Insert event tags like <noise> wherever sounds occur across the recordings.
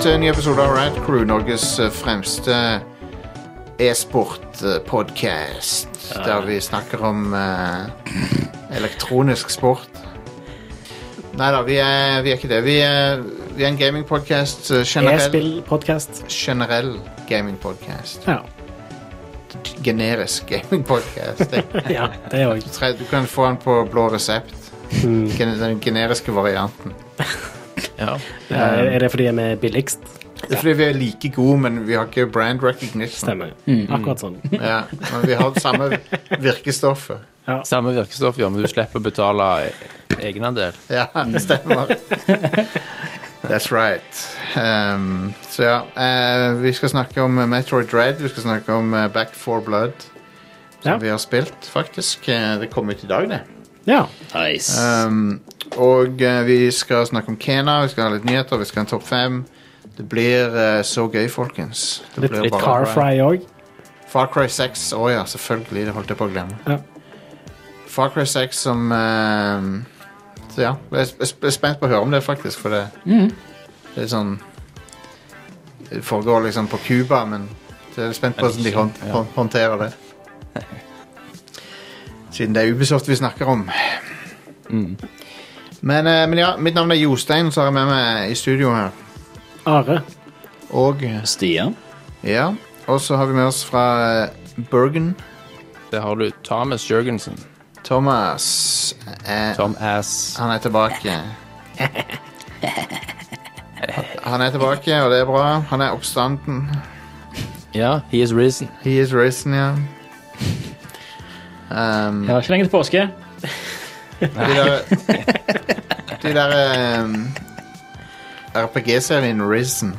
til en ny episode av Rad Crew, Norges eh, fremste e-sport-podkast. Der vi snakker om eh, elektronisk sport. Nei da, vi, er- vi er ikke det. Vi er, vi er en gamingpodkast. eh, Generell, E-spillpodkast. generell gamingpodkast. Ja. Generisk gamingpodkast. ja, <laughs> det òg. Du kan få den på blå resept. Gen- Den generiske varianten. Ja. Er det fordi vi er billigst? Det er fordi vi er like gode, men vi har ikke brand recognition. Stemmer. Akkurat sånn. Ja, men vi har det samme virkestoffet. Samme virkestoff, ja, men du slipper å betale e- egenandel. Ja, det stemmer. That's right. Um, så ja, eh, vi skal snakke om eh, Metroid Dread, vi skal snakke om eh, Back 4 Blood, som Ja. vi har spilt, faktisk. Eh, det kom ut i dag, det. <laughs> Ja. Nice. Eh, Um, og eh, vi skal snakke om Kena, vi skal ha litt nyheter, vi skal ha en topp fem. Det blir eh, så gøy, folkens. Det Litt, blir litt bare- Carfry òg. Far Cry 6, å ja, selvfølgelig, det holdt jeg på å glemme. Ja. Far Cry 6 som eh, Så ja, jeg er sp- jeg er spent på å høre om det, faktisk, for det, det er sånn Det foregår liksom på Cuba, men jeg er spent på hvordan de hånd, hånd, håndterer det. Siden det er Ubisoft vi snakker om. Men, eh, men ja, mitt navn er Jostein, så har jeg med meg i studio her. Are. Og Stian. ja, og så har vi med oss fra eh, Bergen. Det har du Thomas Jørgensen. Thomas eh, Tom Ass. Han er tilbake. Han er tilbake, og det er bra. Han er oppstanden. Ja, he is risen. He is risen, ja. Um, Det var ikke lenge til påske. de der, de der um, RPG-serien Risen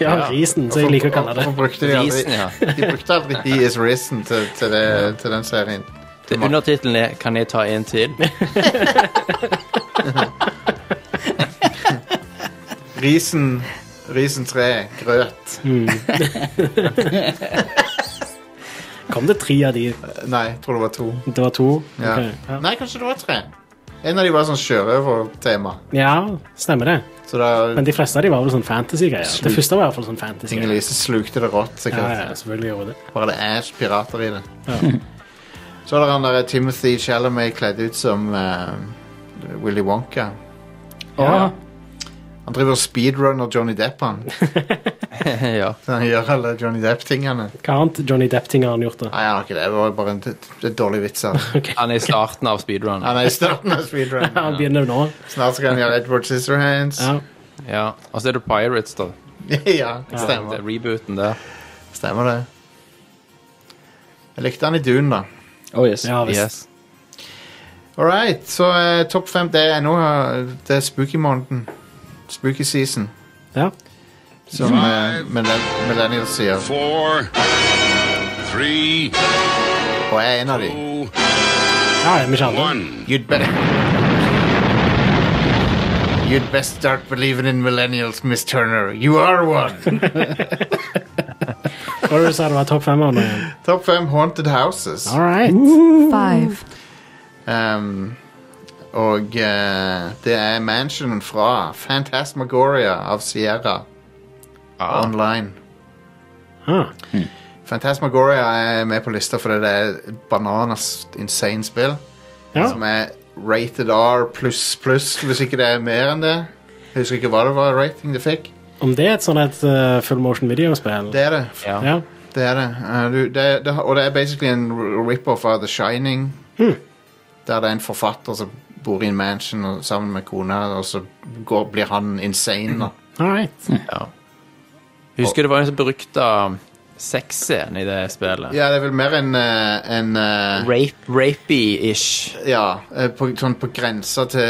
Ja, Ja. Risen, som jeg liker å kalle det. Hvorfor brukte de aldri, Risen, ja. de brukte aldri He is Risen til, til, det, til den serien. Det- Undertittelen er 'Kan jeg ta en til?' Risen, Risen 3, grøt. Mm. Kom det tre av de? Nei, jeg tror det var to. Det var to? Ja. Ok, Ja. Nei, kanskje det var tre. En av de var sånn sjørøvertema. ja, stemmer det. Så da Men de fleste av de var vel sånn fantasy-greier. Det første var i hvert fall sånn fantasy. Inger Ja, Lise slukte det rått, sikkert. ja, selvfølgelig gjorde det. Bare det er pirater i det. <laughs> Så er det han der eh, Timothy Chalamet kledd ut som eh, Willy Wonka. Ja. Han driver og speedrunner Johnny Depp, <laughs> han. <laughs> ja. Så han gjør alle Johnny Depp-tingene. Hva annet Johnny Depp-ting har han gjort, da? Nei, han har ikke det. Det var bare en det, det er dårlig vits. <laughs> Han. Han er i starten av speedrun. han er i starten av <laughs> speedrun. Han begynner nå. Snart skal han gjøre Edward Scissorhands. Ja. Ja. Og så er det Pirates, da. <laughs> ja, Det stemmer. er rebooten der. stemmer det. Jeg likte han i Dune, da. Oh, yes. Ja, visst. Yes. Alright, så eh, topp fem det er nå eh, Det er spooky måneden Spooky season Ja. Som eh, millen- millennials sier four, three, Og jeg er en av de two, ja, ja, vi kjenner det. one. You'd better You'd best start believing in millennials, Miss Turner You are <laughs> one Hva var det du sa det var topp fem av nå igjen? Topp fem haunted houses All right. Five. um, Og eh, det er mansionen fra Phantasmagoria av Sierra Ah. Online Ah, Phantasmagoria er med på lista fordi det er et bananas insane spill. Ja. Som er rated R pluss pluss, hvis ikke det er mer enn det. Jeg husker ikke hva det var rating det fikk. Om det er et sånn et eh, full motion videospill? Det er det. Ja. Ja. det, er det. Eh, du, det, det og det er basically en r- rip-off av The Shining. Hmm. Der det er en forfatter som bor i en mansion og, sammen med kona, og så går, blir han insane. da. Hmm. All right. Husker det var en så berykta sexscene i det spillet. Ja, det er vel mer en, eh, en eh, Rape, Rapey-ish. Ja, eh, på, sånn på grensa til,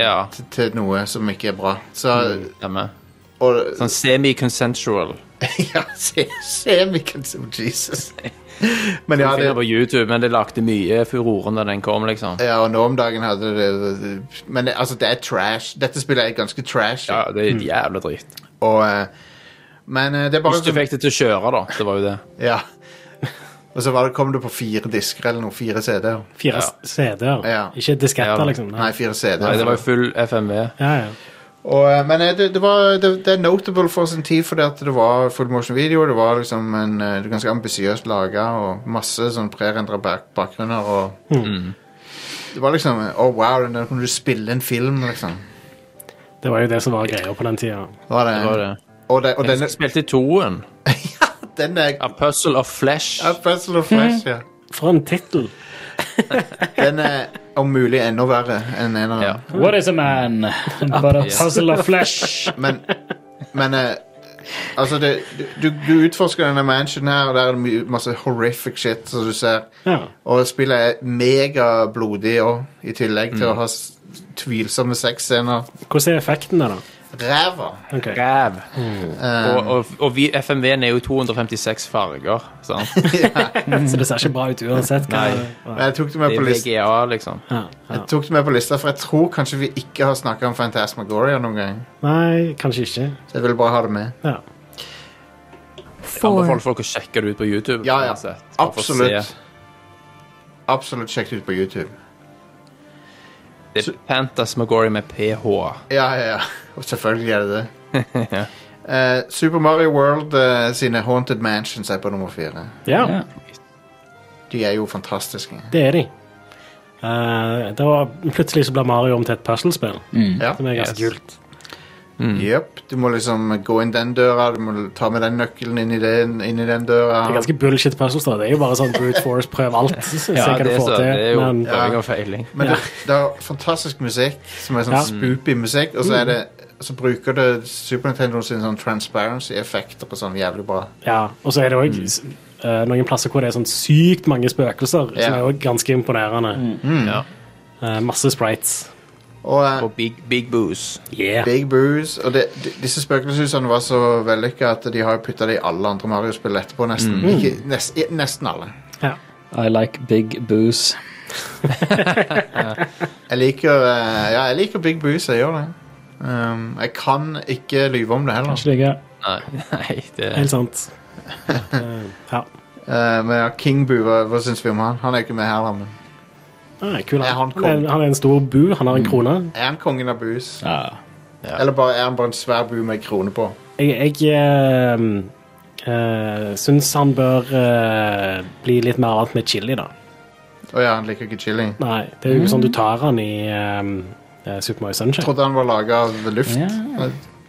Ja. til, til noe som ikke er bra. Så, Stemmer. og, Sånn semi-consensual. <laughs> ja, se, se hvilken som Jesus. Men ja, Jeg finner på det, YouTube, men det lagde mye furore da den kom, liksom. ja, og nå om dagen hadde det det- Men det, altså, det er trash. Dette spillet er ganske trash. Ja, det er jævla dritt. Og, eh, men eh, det er bare Hvis du fikk det til å kjøre, da. Det var jo det. Ja. <laughs> Og så var det, kom det på fire disker eller noe. Fire CD-er. Fire Ja. CD-er. Ja. Ikke disketter, Ja. liksom. Nei, fire CD-er. Nei, det var jo full FMV. Ja, ja. Og, eh, men eh, det, det, var, det, det er notable for sin tid fordi at det var full motion video. Det var liksom en eh, ganske ambisiøst laga og masse sånn prerendra bak bakgrunner. Og Mm. Det var liksom Å, oh, wow, den der kunne du spille en film, liksom. Det var jo det som var greia på den tida. Det var det. Det var det. Og, det, og Jeg denne, spilte i toen. den er A Puzzle of Flesh. A Puzzle of Flesh, <laughs> ja. For en tittel! Den er om mulig enda verre enn en av Ja. dem. What is a man Ah, but a puzzle of flesh? Men, men eh, altså det, du, du utforsker denne mansion her, og der er det mye- masse horrific shit som du ser. Ja. Og spillet er megablodig òg, i tillegg Mm. til å ha s- tvilsomme sexscener. Hvordan er effektene, da? <laughs> Ræva! Ok. Ræv. Mm. Og, og, og vi, FMV-en er jo 256 farger. Sant? Så det ser ikke bra ut uansett. Hva Men Nei. Jeg tok det Det med på er lista. VGA, liksom. Ja, ja. Jeg tok det med på lista, for jeg tror kanskje vi ikke har snakka om Fantasmagoria noen gang. Nei, kanskje ikke. Så jeg ville bare ha det med. Ja. Jeg anbefaler Four. folk å sjekke det ut på YouTube. Ja, ja. uansett. Bare for å Absolutt. se. Absolutt sjekk det ut på YouTube. Det er Pantasmagory med PH. Ja, ja, <laughs> ja. Og selvfølgelig er det <laughs> det. Eh, Super Mario World eh, sine Haunted Mansions er på nummer fire. ja, Ja. De er jo fantastiske. det er de. Eh, det var Plutselig så ble Mario om til et puslespill, Ja. som er ganske Yes. kult. Jep, Du må liksom gå inn den døra, du må ta med den nøkkelen inn i den, inn i den døra. Det er ganske bullshit puzzles, da. Det er jo bare sånn brute force, prøv <laughs> alt. Se hva du det, er får så, til. det er jo Men prøving og feiling. Men det, det er fantastisk musikk, som er sånn Ja. Mm. spoopy musikk, og så, er det, så bruker det Super Nintendo sin sånn transparency-effekter og sånn jævlig bra. ja, og så er det òg Mm. noen plasser hvor det er sånn sykt mange spøkelser, Ja. som er òg ganske imponerende. Mm. Ja. Eh, masse sprites. Og eh, Og Big, big Booze. Yeah. Big Booze Og det, de, disse spøkelseshusene var så vellykka at de har putta det i alle andre Mario-spill etterpå, nesten. Mm. Ikke, nes- i- nesten alle. Ja. I like big booze. Jeg liker, eh, ja, jeg liker Big Booze, jeg gjør det. Um, jeg kan ikke lyve om det heller. Kanskje det ikke Nei, <laughs> nei, det Helt sant. <laughs> Eh, ja. Eh, men ja, King Boo, hva, hva syns vi om han? Han er ikke med her, da, men Nei, Ah, kul, Er han han. kong? Han, er, han er en stor bu, han har Mm. en krone. er han kongen av booze? ja. Ja. Eller bare, er han bare en svær bu med en krone på? Jeg, jeg ehm, syns han bør eh, bli litt mer vant med chili, da. Å ja, han liker ikke chili. Nei, det er Mm. jo ikke sånn du tar han i eh, eh, Super Mario Jeg Sunshine. trodde han var laga av luft. Ja.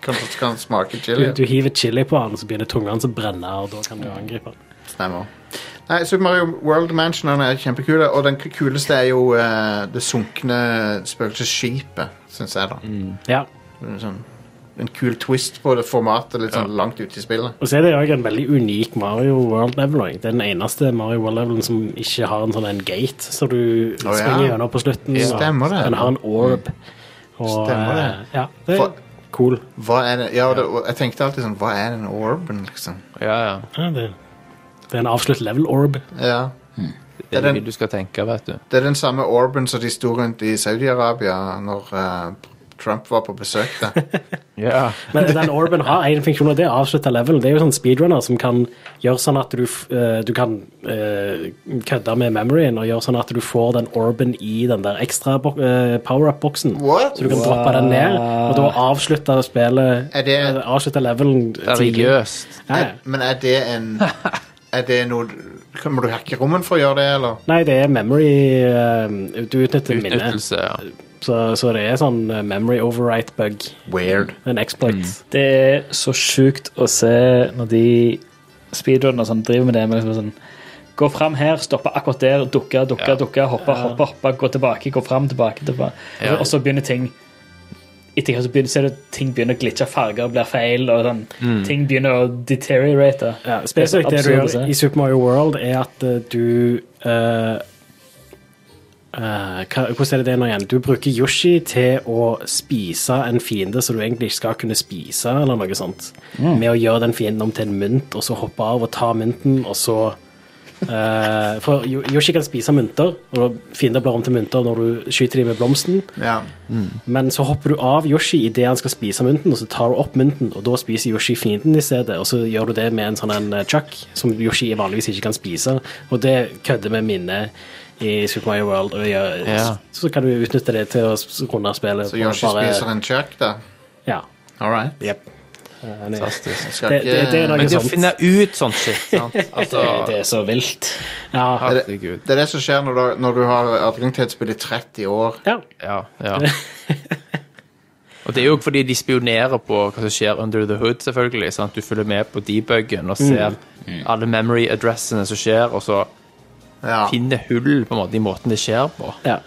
Kan, kan smake Du, chili. du hiver chili på han, så begynner tunga hans å brenne, og da kan du angripe han. Stemmer. Nei, Super Mario World Mansionene er kjempekule, og den kuleste er jo eh, det sunkne spøkelsesskipet, syns jeg, da. Ja. Det er Sånn, en kul twist på det formatet litt sånn langt ute i spillet. Og så er det òg en veldig unik Mario World Level. også. Det er den eneste Mario World Levelen som ikke har en sånn en gate, så du Å, ja. springer gjennom på slutten. og Stemmer det. Den har en orb. Og, Stemmer det. eh, Ja, det For- er cool. Hva er det? Ja, og det, og jeg tenkte alltid sånn Hva er den orben, liksom? Ja, ja. Ja, det, det er en avslutt level orb. Ja. Det er er den- det du skal tenke, vet du. Det er den samme orben som de sto rundt i Saudi-Arabia når eh, Trump var på besøk der. Ja. Men den orben har én funksjon, og det er å avslutte level. Det er jo sånn speedrunner som kan gjøre sånn at du, f- eh, du kan eh, kødde med memoryen og gjøre sånn at du får den orben i den der ekstra bok- eh, power-up-boksen. What? Så du kan droppe den ned, og da avslutte spillet Er det- eh, Avslutte levelen tidlig. Seriøst. Ja, ja. Er- Men er det en <laughs> Er det noe kan- Må du hacke rommen for å gjøre det, eller? Nei, det er memory eh, Du utnytter minnet. Utnyttelse, ja. Så, så det er sånn eh, memory overwrite bug. Weird. En exploit. Mm. Det er så sjukt å se når de speedrunner og sånn, driver med det med liksom sånn Gå fram her, stoppe akkurat der, dukke, dukke, Ja. dukke, hoppe, hoppe, hoppe, gå tilbake, gå fram, tilbake, tilbake. Ja. Og så begynner ting etter hvert så begynner, ser du at ting begynner å glitche, farger blir feil, og sånn. Mm. ting begynner å deteriorate. Ja, spesifikt det, Det er så du absurd å gjør se. i Super Mario World, er at eh, du eh, eh, hva, Hvordan er det det nå igjen? Du bruker Yoshi til å spise en fiende som du egentlig ikke skal kunne spise, eller noe sånt. Mm. Med å gjøre den fienden om til en mynt, og så hoppe av og ta mynten, og så eh, For Yo- Yoshi kan spise mynter, og fiender blir om til mynter når du skyter dem med blomsten. Ja. Men så hopper du av Yoshi idet han skal spise mynten, og så tar du opp mynten, og da spiser Yoshi fienden i stedet. Og så gjør du det med en sånn en eh, chuck, som Yoshi vanligvis ikke kan spise. Og det kødder med minnet i Super Mario World. Og gjør, Ja. så, så kan du utnytte det til å s- runde spillet. Så på Yoshi bare- spiser en chuck, da. Ja. All right. Jepp. Eh, han er- Fantastisk. Skal Det- ikke det- det er noe- Men sånn- det å sant. finne ut sånt shit, <laughs> sant? Altså, <laughs> Det er så vilt. Ja. herregud. Det er det som skjer når du, når du har adgang til et spill i 30 år. ja. Ja, ja. Og det er jo fordi de spionerer på hva som skjer under the hood, selvfølgelig. Sant? Du følger med på debuggen og ser alle memory addressene som skjer, og så Ja. finner hull på en måte i måten det skjer på. ja.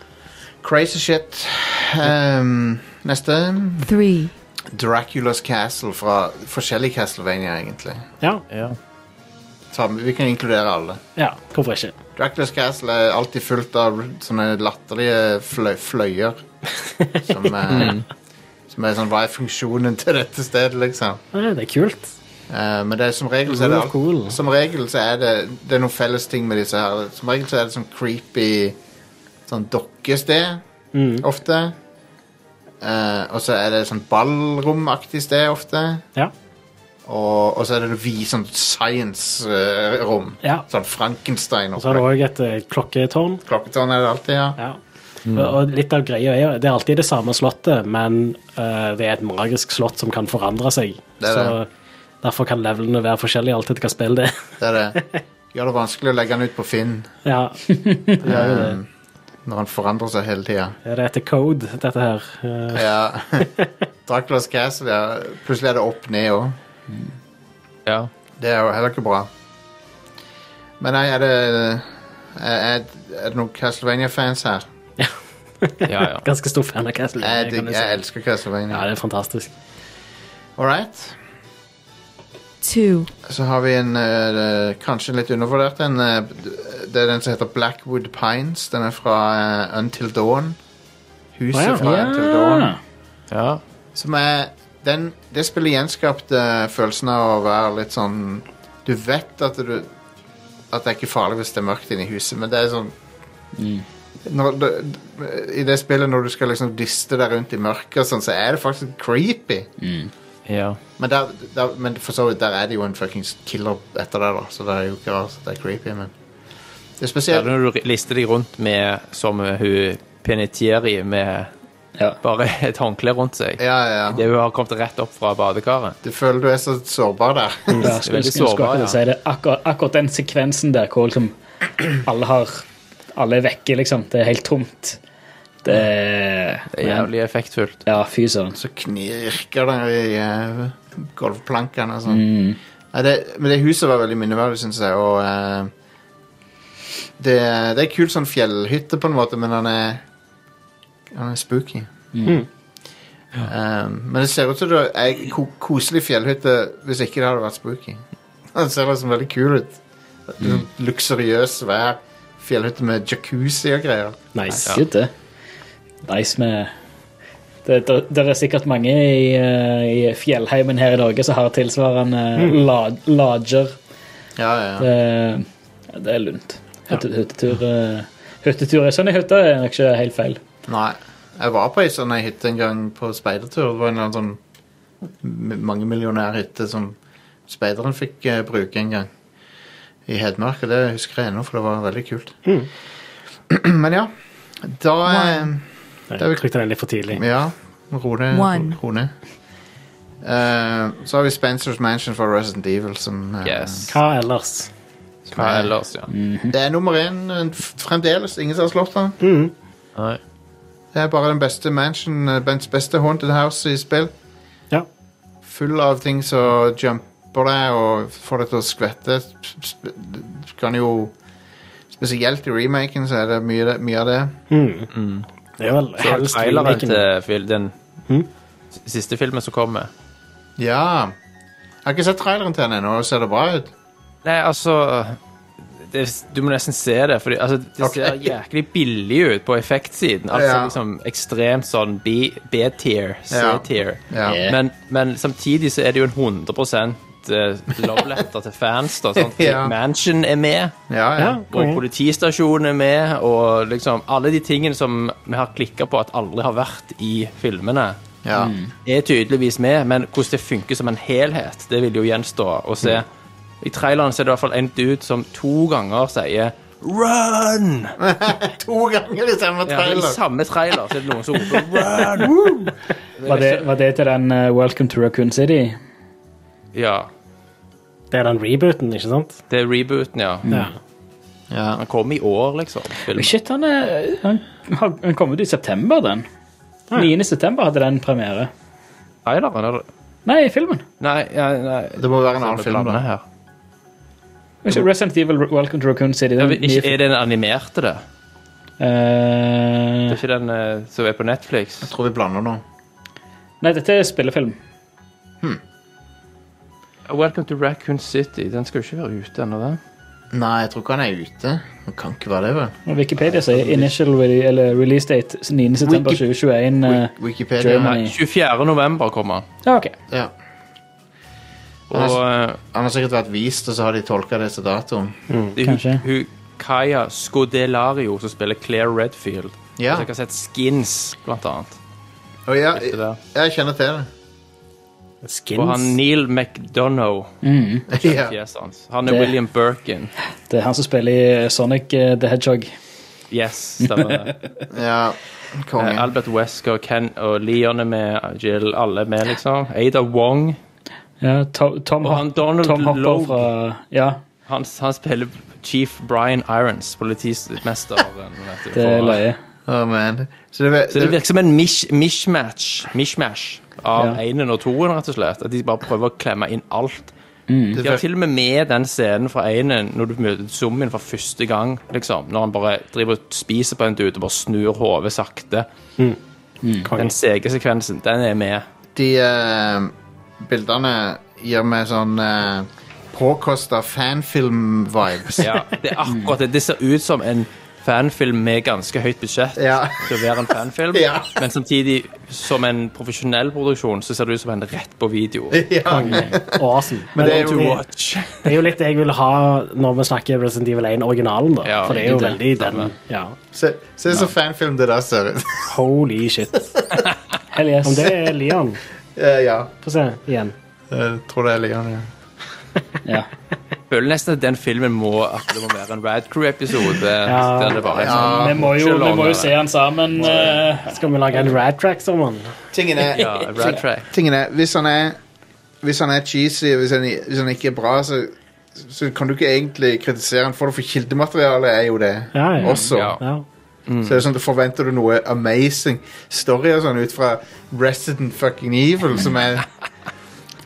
Crazy shit. Ehm, neste. three, Draculas Castle fra forskjellige Castlevania, egentlig. ja. Ja. Ta, vi kan inkludere alle. Ja. Hvorfor ikke? Draculas Castle er alltid fullt av sånne latterlige flø fløyer. Som, eh, Mm. som er sånn Hva er funksjonen til dette stedet, liksom? Nei, det er kult. Eh, men det er, som regel så er det, Rule of cool. al- som regel så er det Det er noen felles ting med disse her. Som regel så er det sånn creepy sånn dokkested Mm. ofte. Eh, og så er det sånn ballromaktig sted ofte. Ja. Og, og så er det vi sånn science-rom. Ja. Sånn Frankenstein. Og så har du Og òg et eh, klokketårn. klokketårn er det alltid, ja. Ja. Og- Og litt av greia er jo Det er alltid det samme slottet, men eh, det er et magisk slott som kan forandre seg. Det er Så derfor kan levelene være forskjellige alt etter hva spill det er. <laughs> Det er det. Gjør det vanskelig å legge den ut på Finn ja. eh, når han forandrer seg hele tida. Det er etter code, dette her. Eh, Ja. <laughs> Draculas Castle, ja. Plutselig er det opp ned òg. ja. Det er jo heller ikke bra. Men nei, er det Er, er det noen Castlevania-fans her? ja, ja. ganske stor fan av Castle. Jeg, kan digg- du si. jeg elsker Ja, Castlevania. det er fantastisk. All right. two, Så har vi en eh, kanskje en litt undervurdert en. eh, det er den som heter Blackwood Pines. Den er fra eh, Until Dawn. Huset Å, ja. fra Until Dawn. ja. Som er den, Det spillet gjenskapte følelsen av å være litt sånn Du vet at du At det er ikke farlig hvis det er mørkt inne i huset, men det er sånn når, du- I det spillet når du skal liksom diste deg rundt i mørket, og sånn, så er det faktisk creepy. ja. Men, der, der, men for så vidt, der er det jo en fuckings killer etter det, da, så det er jo ikke rart at det er creepy, men Det er Det er spesielt. når du lister deg rundt med, som hun penitieri med Ja. bare et håndkle rundt seg. Ja, ja, Det ja. hun har kommet rett opp fra badekaret. Du føler du er så sårbar der. Ja, skulle veldig skulle sårbar, akkurat ja. si det. Akkurat, akkurat den sekvensen der hvor liksom alle har Alle er vekke, liksom. Det er helt tomt. Det er Det er jævlig effektfullt. Ja, fy søren. Så knirker det i eh, gulvplankene og sånn. Mm. Nei, det, men det huset var veldig minneverdig, syns jeg. Og eh, det, det er kult sånn fjellhytte, på en måte, men han er, han er spooky. Eh, men det ser ut som det er en ko koselig fjellhytte hvis ikke det hadde vært spooky. Den ser liksom veldig kul ut. Sånn Luksuriøs, svær fjellhytte med jacuzzi og greier. Nice. Good, det. Nice med det, det, det er sikkert mange i, eh, i fjellheimen her i Norge som har tilsvarende Mm. la- lodger. Ja, ja, ja. Det, ja, det er lunt. Hytte, hyttetur, eh, hyttetur er sånn i hytte, er nok ikke helt feil. Nei. Jeg var på ei sånn ei hytte en gang på speidertur. Det var en eller annen sånn m- mangemillionær hytte som speideren fikk eh, bruke en gang. I Hedmark. Og det husker jeg ennå, for det var veldig kult. <clears throat> Men ja. Da eh, Jeg Det er jo- trykte den litt for tidlig. Ja. Ro ned. One. ro- ro ned. Eh, så har vi Spencers Mansion for Resident Evil som eh, Yes. Hva ellers? Hva ellers, ja. Det er nummer én eh, f- fremdeles. Ingen som har slått den. Nei. Det er bare den beste mansion, eh, den beste haunted house i spill. Ja. full av ting som jumper deg og får deg til å skvette. Sp- sp- Du kan jo Spesielt i remaken så er det mye, mye av det. Det er vel Så helst traileren remaken. til fil- den s- siste filmen som kommer. Ja. Jeg har ikke sett traileren til den ennå. Ser det bra ut? Nei, altså det, Du må nesten se det, for altså, det Ok. ser jæklig billig ut på effektsiden. Altså Ja. liksom liksom ekstremt sånn B- B-tier, Ja. C-tier. Ja. Yeah. Men, men samtidig så er det jo en 100 lovletter til fans. da, sånn. <laughs> Ja. Mansion er med, ja, ja. Ja, og konge. politistasjonen er med, og liksom alle de tingene som vi har klikka på at aldri har vært i filmene. ja. er tydeligvis med, men hvordan det funker som en helhet, det vil jo gjenstå å se. I traileren så er det i hvert fall en dude som to ganger sier Run! <laughs> To ganger i samme Ja, I trailer. samme trailer så er det noen som roper Run! Var det, var det til den eh, Welcome to Raccoon City? Ja. Det er den rebooten, ikke sant? Det er rebooten, ja. Ja. Ja. Han kom i år, liksom. filmen. Shit, han, er, han, han han kom ut i september, den. 9. september hadde den premiere. Traileren, eller? Nei, filmen. Nei, ja, nei. Det må være en annen film, da. Her. Ikke Resident Evil Welcome to Raccoon City. Ja, Den, men ikke- Er det den animerte, det? Eh, Det er ikke den eh, som er på Netflix? Jeg tror vi blander nå. nei, dette er spillefilm. Welcome to Raccoon City. Den skal jo ikke være ute ennå, den. Nei, jeg tror ikke han er ute. Han kan ikke være det, vel. Og Wikipedia sier initial re eller release date 9. september Wiki- 2021. eh, Wik- Wikipedia. German. Nei, Nei. 24. november kommer han. ja, ok. Ja. Og eh, Han har sikkert vært vist, og så har de tolka det til datoen. det er hun, kanskje. hun Kaya Scodelario som spiller Claire Redfield. Ja. Hvis dere har sett Skins, blant annet. Og ja, Det jeg, der. jeg kjenner til det. Skins. Og han Neil McDonough, Ja. fjeset hans. Han er Det- William Birkin. Det er han som spiller i Sonic eh, the Hedgehog. Yes, stemmer <laughs> det. ja. Eh, Konge. Albert Wesker, Ken og Leon er med, Jill, alle er med, liksom. Ada Wong. Ja, To- Tom, Og han Hop- Donald Tom Hopper Logue. fra Ja, Han, han spiller Chief Brian Irons, politimesteren. vet du, <laughs> det for- er løye. Oh, man. Så det, Så det det, virker som en mish, mishmatch mishmash av Ja. enen og toen, rett og slett. At de bare prøver å klemme inn alt. De har Mm. det, til og med med den scenen fra enen når du møter zombien for første gang. liksom. Når han bare driver og spiser på en dude og bare snur hodet sakte. Mm. Den sege sekvensen, den er med. de eh, bildene gir meg sånn uh, påkosta fanfilm-vibes. Ja, det er akkurat det. Det ser ut som en fanfilm med ganske høyt budsjett Ja. til å være en <laughs> fanfilm, Ja. men samtidig som en profesjonell produksjon så ser det ut som en rett på video. <laughs> ja. Awesome. Men det er To jo- watch. det er jo litt det jeg vil ha når vi snakker Resident Evil 1-originalen, da. Ja, For det er jo det er veldig det. den. Ja. Se se så fanfilm det der ser ut. Holy shit. Hell yes. Om det er Leon <laughs> Eh, ja. Få se igjen. Jeg Eh, tror det er Leon, ja. Ja. føler nesten at den filmen må at det må være en Rad Crew-episode. Ja. der det bare er sånn, ja. Vi må jo, vi må jo se han sammen. eh, Skal vi lage en rad track sammen? Tingen er, ja, Rad Track. tingen er hvis, han er hvis han er cheesy, hvis han, hvis han ikke er bra, så, så kan du ikke egentlig kritisere han for det, for kildematerialet er jo det Ja, ja. også. Ja. Ja. Mm. Så det er sånn, da forventer du noe amazing story og sånn ut fra Resident fucking Evil, som er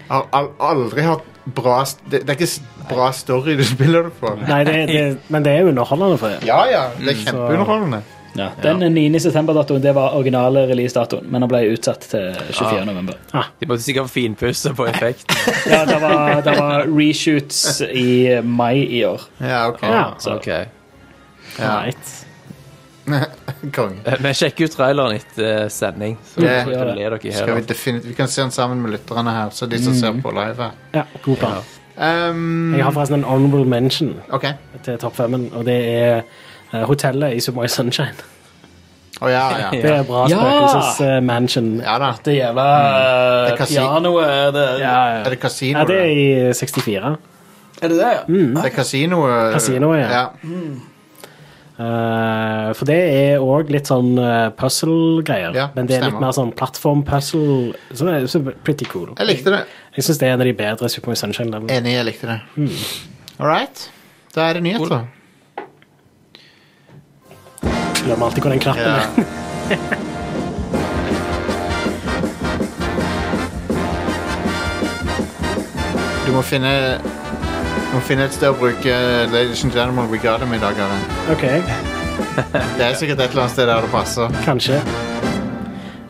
Har al- aldri hatt bra st- Det, det er ikke s- bra story du spiller det for. Nei, det, det, men det er jo underholdende for det. Ja ja, Mm, det er kjempeunderholdende. Ja. Den 9. september-datoen det var originale releasedatoen, men den ble utsatt til 24. november. De måtte sikkert finpusse på effekten. Ja, det var, det var reshoots i mai i år. Ja, ok. Ja. Så. Ah, Ok. Right. <laughs> Konge. Men sjekk ut traileren etter eh, sending, så Ja. kan dere le dere i Skal vi, hjel. definitivt- vi kan se den sammen med lytterne her, så de som ser på live her. Ja, god plan. Um, Mm. Jeg har forresten en honorable mention OK. til topp femmen, og det er eh, hotellet i Super Mario Sunshine. Å ja, <laughs> ja. Det er bra Ja! spøkelsesmansion. Ja da. Det jævla Det er kasi- pianoet det, Ja, ja. Er det kasino? ja, det er i 64. Er det det? det? Det er kasino. eh, Kasino, ja. Eh, for det er òg litt sånn eh, puzzle-greier. Ja, men det er stemmer. litt mer sånn plattform-puzzle, som er som er pretty cool. Jeg likte det. Jeg syns det er en av de bedre Super Mario Sunshine-levelene. Enig, jeg likte det. All right. Da er det nyheter. Glemmer alltid hvor den knappen Ja. er. <laughs> Du må finne du må finne et sted å bruke Ladies and Gentlemen We Got Them i dag. Are. Ok, Det er sikkert et eller annet sted der det passer. kanskje.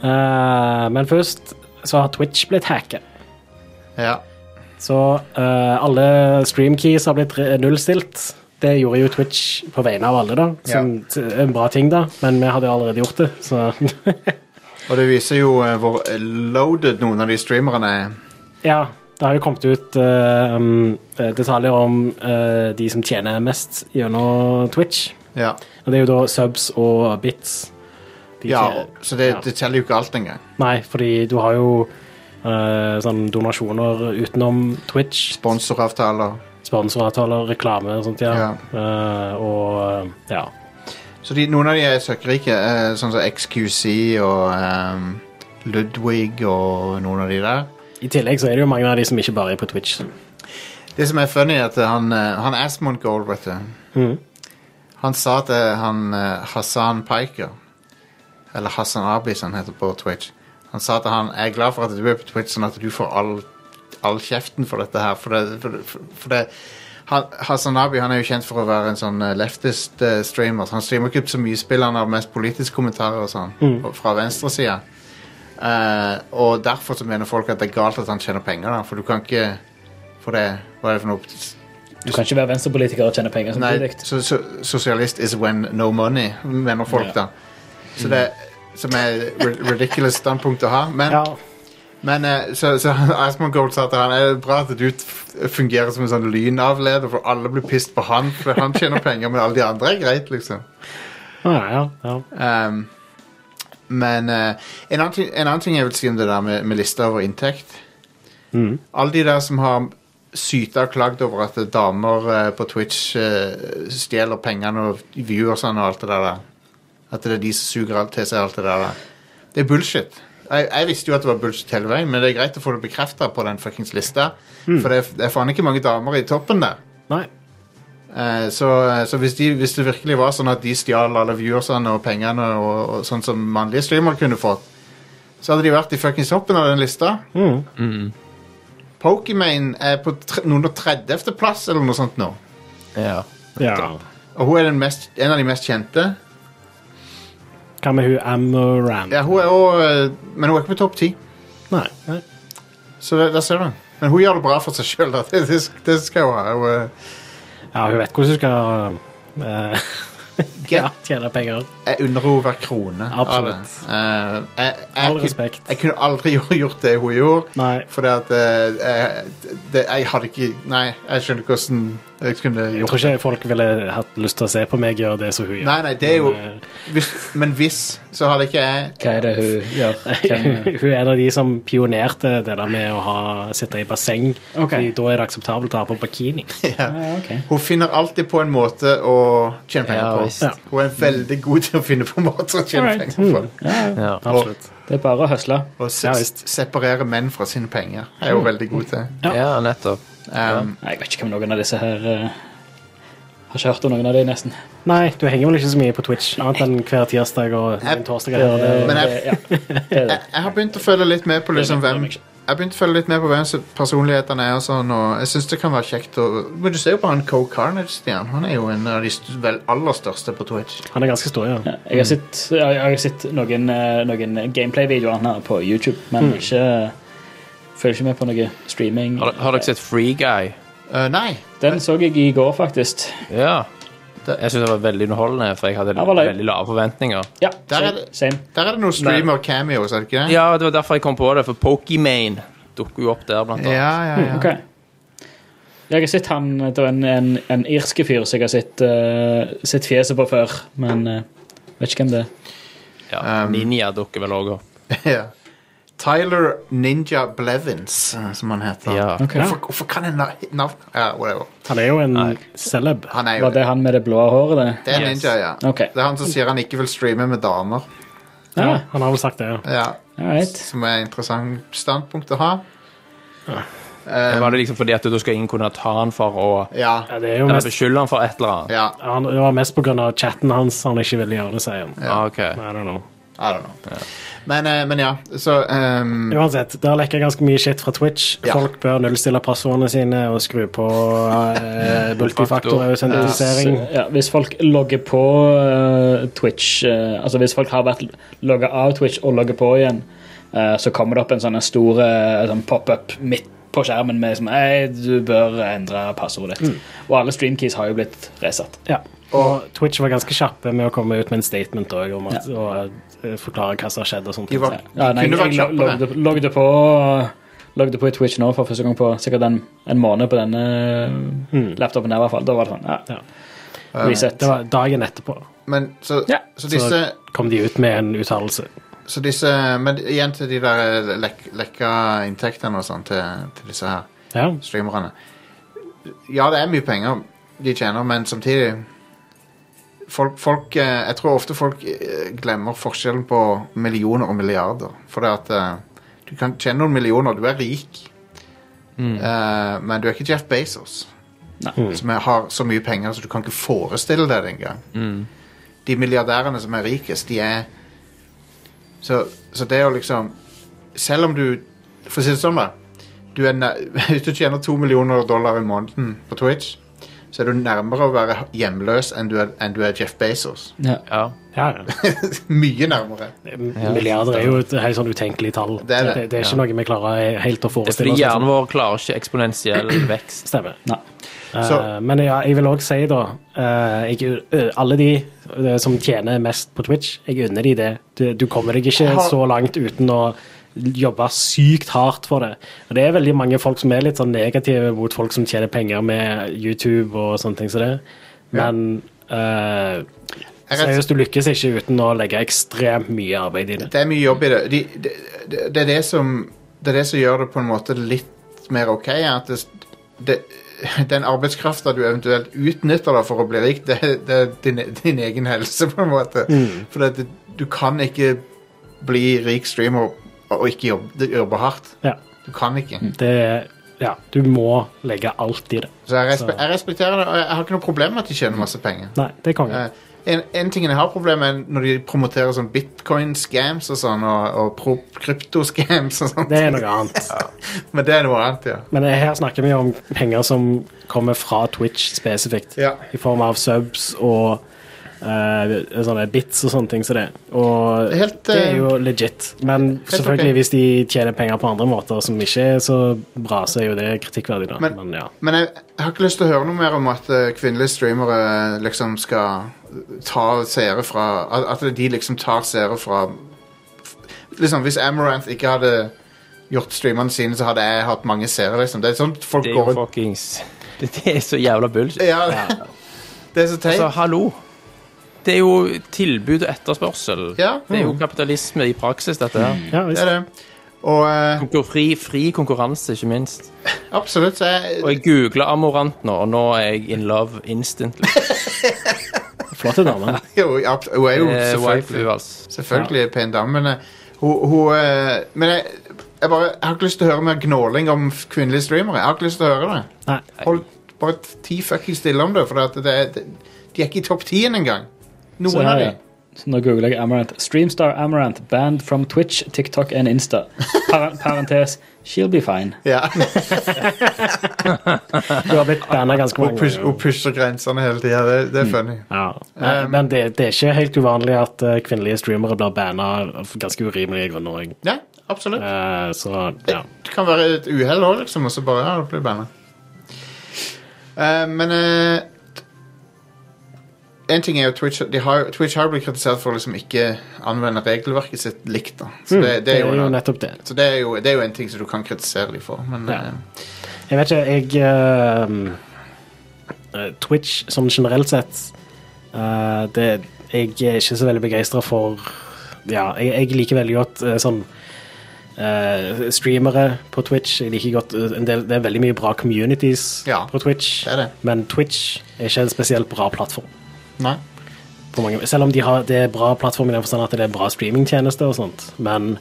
Eh, men først så har Twitch blitt hacket. Ja. Så eh, alle streamkeys har blitt re- nullstilt. Det gjorde jo Twitch på vegne av alle, da. Som t- er en bra ting, da. Men vi hadde jo allerede gjort det, så <laughs> Og det viser jo eh, hvor loaded noen av de streamerne er. Ja, det har jo kommet ut eh, um, eh, detaljer om eh, de som tjener mest gjennom Twitch. Ja. Og det er jo da subs og bits. De ja tjener- så det, Ja. det teller jo ikke alt engang. Nei, fordi du har jo eh, sånn donasjoner utenom Twitch. Sponsoravtaler. sponsoravtaler, reklame og sånt, ja. Ja. Eh, og ja. Så de, noen av de er søkkerike, eh, sånn som XQC og ehm, Ludwig og noen av de der. I tillegg så er det jo mange av de som ikke bare er på Twitch. Det som er funny, er at han, eh, han Asmund Gold, vet du Han sa til han eh, Hassan Piker Eller Hassan Abi, som han heter på Twitch. Han sa til han jeg er glad for at du er på Twitch, sånn at du får all, all kjeften for dette her. For det, for, for- for det han, Hassan Abi han er jo kjent for å være en sånn eh, leftist eh, streamer. så Han streamer ikke så mye spill, han har mest politiske kommentarer og sånn. og- Fra venstresida. Eh, og derfor så mener folk at det er galt at han tjener penger, da. For du kan ikke For det Hva er det for noe Du kan ikke være venstrepolitiker og tjene penger Nei, samtidig. so, so, sosialist is when no money, mener folk Ja. da. Så det som er ri- ridiculous standpunkt å ha. Men, Ja. men eh, så, så <laughs> Asmund Gold sa til han er det bra at du f- fungerer som en sånn lynavleder, for alle blir pissed på han, for han tjener penger, men alle de andre er greit, liksom. Ja, ja, ja. Ehm, men eh, en, annen ting, en annen ting jeg vil si om det der med, med lista over inntekt Alle de der som har syta og klagd over at damer eh, på Twitch eh, stjeler pengene og viewersene og alt det der der. At det er de som suger alt til seg alt det der der. Det er bullshit. Jeg, jeg visste jo at det var bullshit hele veien, men det er greit å få det bekrefta på den fuckings lista. For det er, det er faen ikke mange damer i toppen der. Nei. Eh, Så, så hvis, de, hvis det virkelig var sånn at de stjal alle viewersene og pengene, og, og sånn som mannlige streamere kunne fått, så hadde de vært i fuckings toppen av den lista. Mm. Pokimane er på tre- noen og 30. plass eller noe sånt nå. Ja. Ja. Og hun er den mest, en av de mest kjente. Hva med hun Amoran? Ja, hun er også, eh, men hun er ikke på topp ti. Nei. Nei. Så der, der ser du. Men hun gjør det bra for seg sjøl. <laughs> Det, det, det skal hun ha. Hun, eh, Ja, hun vet hvordan hun skal eh, Get, tjene penger. Jeg unner henne hver krone. av Absolutt. det. Eh, jeg, jeg, All kun- respekt. Jeg kunne aldri <laughs> gjort det hun gjorde. Nei. Fordi at eh, eh, det, Jeg hadde ikke Nei, jeg skjønner ikke hvordan jeg kunne Jeg gjort tror ikke folk ville hatt lyst til å se på meg gjøre det som hun gjør. Nei, nei, det er jo Men, hvis, Men hvis, så hadde ikke jeg Hva er det hun gjør? Hvem, <laughs> hun er en av de som pionerte det der med å ha, sitte i basseng. <laughs> Ok. Fordi da er det akseptabelt å ha på bikini. eh, ja, ok. Hun finner alltid på en måte å tjene penger Ja, på. visst. Ja. Hun er veldig god til å finne på måter å tjene Alright. penger på. ja. Absolutt. Det er bare å høsle. Og se, Mm. Ja, visst. separere menn fra sine penger er hun veldig god til. Ja. ja nettopp. Um, Nei, Jeg vet ikke hvem noen av disse her eh, Har ikke hørt om noen av de nesten. Nei, du henger vel ikke så mye på Twitch, annet enn hver tirsdag og en torsdag. her og der. Men jeg- Eh, ja. Det er det. jeg, jeg har begynt å følge litt med på liksom Det er hvem meg, det er meg. Jeg har begynt å følge litt med på hvem som- personlighetene er og sånn, og jeg syns det kan være kjekt å Men du ser jo på han Co Carnage, Stian. Han er jo en av de st- vel aller største på Twitch. Han er ganske stor, ja. Ja, Jeg har sett, jeg jeg har sett noen, eh, noen gameplay-videoer her på YouTube, Hmm. men ikke, følger ikke med på noe streaming. Har, har dere sett Free Guy? Eh, nei. Den så jeg i går, faktisk. Ja. Det- Jeg syns det var veldig underholdende, for jeg hadde Ja, var det? veldig lave forventninger. Ja, Der er same. det- same. Der er det noen streamer cameos, er det ikke det? Ja, det var derfor jeg kom på det, for Pokimane dukker jo opp der, blant annet. ja, ja. <laughs> ja. Ok. Jeg har sett han, det var en, en, en irske fyr som jeg har sett, eh, sett fjeset på før, men eh, vet ikke hvem det er. Ja, Um, Ninja dukker vel også opp. Ja. Tyler Ninja Blevins, eh, som han heter. Ja. Ok. Hvorfor, hvorfor kan jeg na- navn Ja, whatever. Han er jo en Nei. celeb. Han er jo Var det. det han med det blå håret? Det? er Yes. Ninja, ja. Ok. Det er han som sier han ikke vil streame med damer. Ja, Ja, han har vel sagt det, ja. Ja, alright. Som er et interessant standpunkt å ha. var det liksom fordi at du da skal ingen kunne ta han for å Ja. ja det er jo Eller mest, beskylde han for et eller annet? ja. han, det var mest på grunn av chatten hans han ikke ville gjøre det, sier han. Ja. Ah, ok. I don't know. I don't know. Men, eh, men ja, så ehm, Uansett, der lekker ganske mye shit fra Twitch. Ja. Folk bør nullstille passordene sine og skru på eh, multifaktor-autentisering. Ja, hvis folk logger på eh, Twitch, eh, altså hvis folk har vært logget av Twitch og logger på igjen, eh, så kommer det opp en sånn en stor eh, sånn pop-up midt på skjermen med som, «Ei, du bør endre passordet ditt. Og alle streamkeys har jo blitt resatt. Ja. Og Twitch var ganske kjappe med å komme ut med en statement også, om at, Ja. og eh, forklare hva som har skjedd. og sånt. De var, Ja, nei, kunne jeg vært lo- kjappere. logget, logget på Logget på i Twitch nå for første gang på sikkert en, en måned på denne laptopen. her i hvert fall. Da var det sånn. Ja. Reset. Det var dagen etterpå Men så, Ja. så disse kom de ut med en uttalelse. Så disse Men igjen til de der lek, lekka inntektene og sånn til, til disse her Ja. streamerne. Ja, det er mye penger de tjener, men samtidig folk, folk, eh, Jeg tror ofte folk eh, glemmer forskjellen på millioner og milliarder. For det at eh, du kan tjene noen millioner, du er rik, Eh, men du er ikke Jeff Bezos. Nei. Som er, har så mye penger så du kan ikke forestille deg det engang. De milliardærene som er rikest, de er Så, så det å liksom Selv om du For å si det sånn, da. Du er nær, <laughs> hvis du tjener to millioner dollar i måneden på Twitch, så er du nærmere å være hjemløs enn du er, enn du er Jeff Bezos. <laughs> Ja. Ja. Ja, Mye nærmere. milliarder er jo et helt sånn utenkelig tall. Det er det. det er ikke noe vi klarer helt å Det er fordi forestille oss. sånn- hjernen vår klarer ikke <clears throat> eksponentiell vekst. Stemmer. Nei. Eh, Så- men ja, jeg vil òg si, da eh, jeg, ø- Alle de ø, som tjener mest på Twitch, jeg unner de det. Du, du kommer deg ikke Har- så langt uten å jobbe sykt hardt for det. Og det er veldig mange folk som er litt sånn negative mot folk som tjener penger med YouTube og sånne ting som det. Men eh, Jeg er rett- seriøst, du lykkes ikke uten å legge ekstremt mye arbeid i det. Det er mye jobb i det. De, de, de, det, er det, som, det er det som gjør det på en måte litt mer ok. er At det, det, <laughs> den arbeidskrafta du eventuelt utnytter da for å bli rik, det, det er din, din egen helse, på en måte. For det, du kan ikke bli rik streamer og ikke jobbe, jobbe hardt. Ja, Du kan ikke. det er- ja, du må legge alt i det. Så jeg, respe, jeg respekterer det, og jeg har ikke noe problem med at de tjener masse penger. Nei, det er konge. Eh, En, en ting jeg har problem med, er når de promoterer sånn bitcoin-scams og sånn, og, og pro- krypto-scams og sånn. Det er noe <laughs> annet. Men det er noe annet, ja. Men her snakker vi om penger som kommer fra Twitch spesifikt. Ja. I form av subs og eh, sånne bits og sånne ting som det. Og Det er helt, det eh, er jo legit. Men selvfølgelig, ok. hvis de tjener penger på andre måter som ikke er så bra, så er jo det kritikkverdig, da. Men- Men, ja. Men jeg, jeg har ikke lyst til å høre noe mer om at eh, kvinnelige streamere liksom skal eh, ta seere fra At, at de liksom tar seere fra Liksom, Hvis Amaranth ikke hadde gjort streamerne sine, så hadde jeg hatt mange seere. liksom. Det er sånn folk Det er går jo rundt fuckings <laughs> Det det er så jævla bullshit. ja, <laughs> Det er så teit. Altså, hallo. Det er jo tilbud og etterspørsel. Ja. Det er jo kapitalisme i praksis, dette her. ja det visst. er det. Og eh, Konkur fri, fri konkurranse, ikke minst. absolutt. Så Og jeg, jeg googla Amorant nå, og nå er jeg in love instantly. Flotte damer. jo, abs- hun er <laughs> jo Eh, selvfølgelig waifu, altså. Selvfølgelig er pen dame, men eh, hun, hun eh, Men jeg, jeg bare jeg har ikke lyst til å høre mer gnåling om f- kvinnelige streamere. Jeg har ikke lyst til å høre det. Nei. Hold bare ti fucking stille om det, for at det, er- det, de er ikke i topp 10 engang. Så Noen her, av ja. dem. Så nå googler jeg Amaranth. Streamstar Amaranth banned from Twitch, TikTok and <laughs> Insta. Par parentes she'll be fine. Ja. <laughs> Du har blitt banna ganske Hun, mange push, ganger. hun pusher grensene hele tida. Det, det er funny. Ja. Nei, Eh, Men det, det er ikke helt uvanlig at eh, kvinnelige streamere blir banna av ganske urimelige grunner. også. Ja, absolutt. Eh, så ja. Det kan være et uhell òg, liksom, og så bare ja, det blir banna. Eh, men eh, En ting er jo Twitch de har, jo- Twitch har jo blitt kritisert for å liksom ikke anvende regelverket sitt likt. da Så det, Mm, det, er, jo en, nettopp det. så det, er, jo, det er jo en ting som du kan kritisere dem for. Men Ja. eh, Jeg vet ikke, jeg ehm, eh, Twitch som generelt sett eh, det, Jeg er ikke så veldig begeistra for Ja, jeg, jeg liker veldig godt eh, sånn eh, streamere på Twitch. Jeg liker godt eh, en del, Det er veldig mye bra communities Ja, på Twitch, det er det. men Twitch er ikke en spesielt bra plattform. nei. på mange, selv om de har, det er bra plattform i den forstand at det er bra streamingtjenester og sånt, men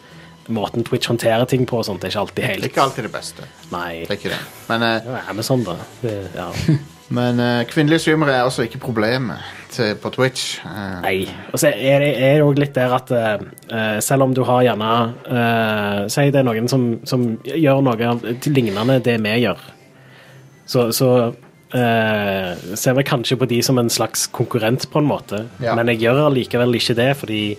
måten Twitch håndterer ting på og sånt, er ikke alltid Det er helt ikke alltid det beste. Nei. Det er ikke det. Men, eh, Det er Amazon, da. Det, ja. men eh, kvinnelige streamere er også ikke problemet til, på Twitch. Eh, Nei. Og så er det er det òg litt der at eh, selv om du har gjerne eh, Si det er noen som, som gjør noe av- til lignende det vi gjør, så, så eh, ser vi kanskje på de som en slags konkurrent, på en måte. Ja. Men jeg gjør allikevel ikke det, fordi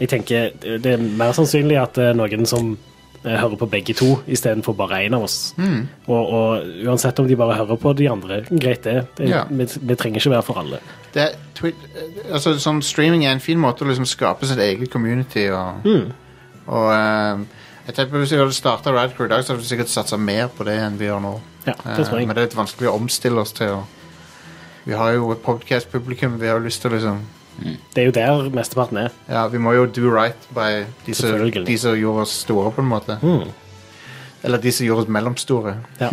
jeg tenker det er mer sannsynlig at det er noen som eh, hører på begge to istedenfor bare én av oss. Mm. Og, og uansett om de bare hører på de andre, greit det. det Ja. vi, vi trenger ikke være for alle. det, er- Twitch eh, altså, sånn streaming er en fin måte å liksom skape sitt eget community og, Mm. og eh, jeg tenker Hvis vi hadde starta Radcrew i dag, så hadde vi sikkert satsa mer på det enn vi gjør nå. Ja, Eh, det tror jeg. men det er litt vanskelig å omstille oss til. å- vi har jo et podcast-publikum. Vi har jo lyst til å liksom Det er jo der mesteparten er. Ja, vi må jo do right by de som, Selvfølgelig. Mm. Mm. de som gjorde oss store, på en måte. Eller de som gjorde oss mellomstore. Ja.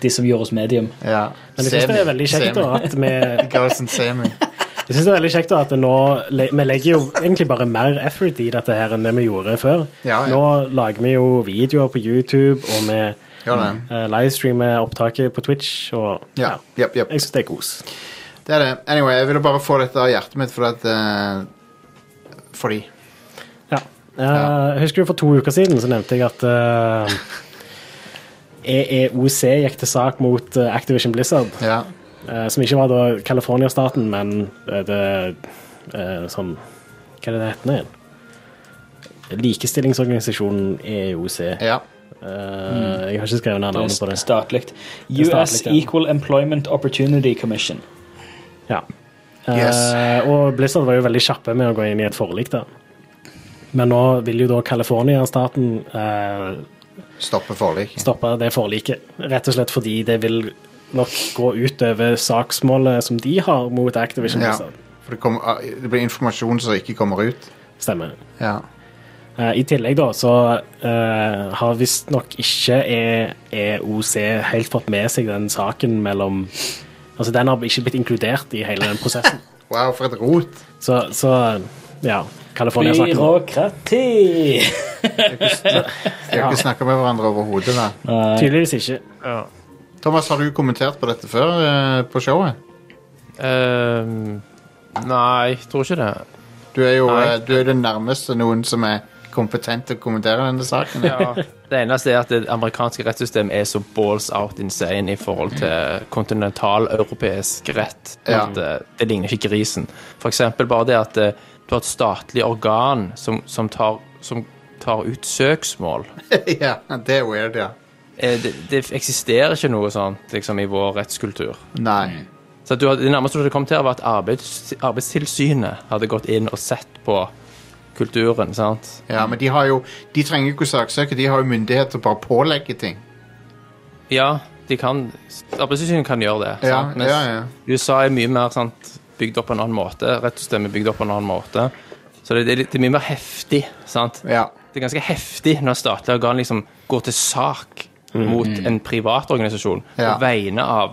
de som gjorde oss medium. Ja. Men jeg syns det er veldig kjekt da, at vi Ghost and Semi. jeg synes det er veldig kjekt da, at nå, le- vi legger jo egentlig bare mer effort i dette her enn det vi gjorde før. Ja, ja. Nå lager vi jo videoer på YouTube, og vi Gjør <laughs> det. eh, livestreamer opptaket på Twitch. Og, Ja. Jepp, jepp. Jeg syns det er kos. Det er det. Anyway, jeg ville bare få dette av hjertet mitt fordi at eh, Fordi. Ja. Eh, Husker du for to uker siden så nevnte jeg at eh, E EEOC gikk til sak mot eh, Activision Blizzard, Ja. eh, som ikke var da California-staten, men eh, det eh, sånn Hva er det det heter nå igjen? Likestillingsorganisasjonen EEOC. ja. Eh, Mm. Jeg har ikke skrevet ned Det navnet på er det. Statlig. er US statlig, ja. Equal Employment Opportunity Commission. Ja. Eh, Yes. og Blizzard var jo veldig kjappe med å gå inn i et forlik der. Men nå vil jo da California-staten eh, Stoppe forlik. stoppe det forliket. Rett og slett fordi det vil nok gå utover saksmålet som de har mot Activision. Ja. Blizzard. For det, kommer- ah, det blir informasjon som ikke kommer ut. Stemmer. Ja. Eh, I tillegg da, så eh, har visstnok ikke E- EOC helt fått med seg den saken mellom Altså, den har ikke blitt inkludert i hele den <laughs> prosessen. Wow, for et rot! Så, så ja. California-saken. Byråkrati! De har ikke snakka med hverandre overhodet. da. Tydeligvis ikke. Thomas, har du kommentert på dette før eh, på showet? Ehm, nei, jeg tror ikke det. Du er jo Nei. eh, du er den nærmeste noen som er kompetent til å kommentere denne saken. Ja. Det eneste er at det amerikanske rettssystemet er så balls out insane i forhold til kontinentaleuropeisk rett. Ja. At eh, det ligner ikke grisen. For eksempel bare det at eh, du har et statlig organ som, som, tar, som tar ut søksmål. <laughs> ja, det er weird, ja. Eh, det, det eksisterer ikke noe sånt liksom, i vår rettskultur. Nei. Så at du, hadde- Det nærmeste du hadde kommet her, var at arbeids, Arbeidstilsynet hadde gått inn og sett på kulturen. sant? Ja, men de har jo De trenger jo ikke å saksøke, de har jo myndighet til å bare pålegge ting. Ja, de kan, Arbeidstilsynet kan gjøre det. Ja, sant? Mens ja, ja. USA er mye mer sant, bygd opp på en annen måte. Rettssystemet er bygd opp på en annen måte. Så det, det, er litt- det er mye mer heftig. sant? ja. Det er ganske heftig når statlige organ liksom går til sak mot en privat organisasjon Ja. på vegne av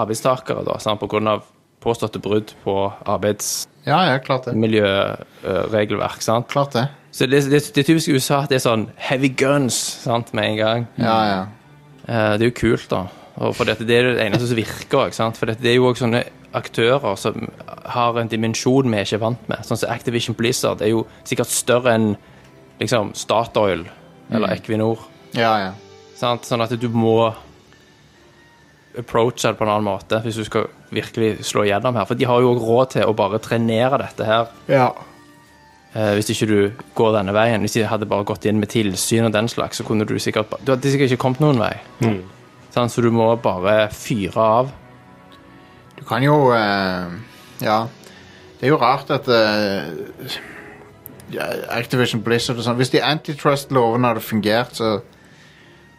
arbeidstakere, da, sant? på grunn av påståtte brudd på arbeidsmiljøregelverk. Ja, ja, klart det. øh, regelverk, sant? Klart det. Så det, det, det er typisk i USA at det er sånn heavy guns sant, med en gang. Ja, ja. Eh, det er jo kult, da. Og for dette, det er det eneste som virker. Ikke sant? For dette, det er jo også sånne aktører som har en dimensjon vi er ikke er vant med. Sånn som Activision Blizzard er jo sikkert større enn liksom, Statoil eller Equinor. Ja, ja. Sant? Sånn at du må approache det på en annen måte hvis du skal virkelig slå igjennom her. For de har jo også råd til å bare trenere dette her ja. eh, hvis ikke du går denne veien. Hvis de hadde bare gått inn med tilsyn og den slags, så kunne du sikkert ba- Du hadde sikkert ikke kommet noen vei. Sant? så du må bare fyre av. Du kan jo eh, Ja. Det er jo rart at eh, ja, Activision Blizzard og sånn Hvis de antitrust-lovene hadde fungert, så,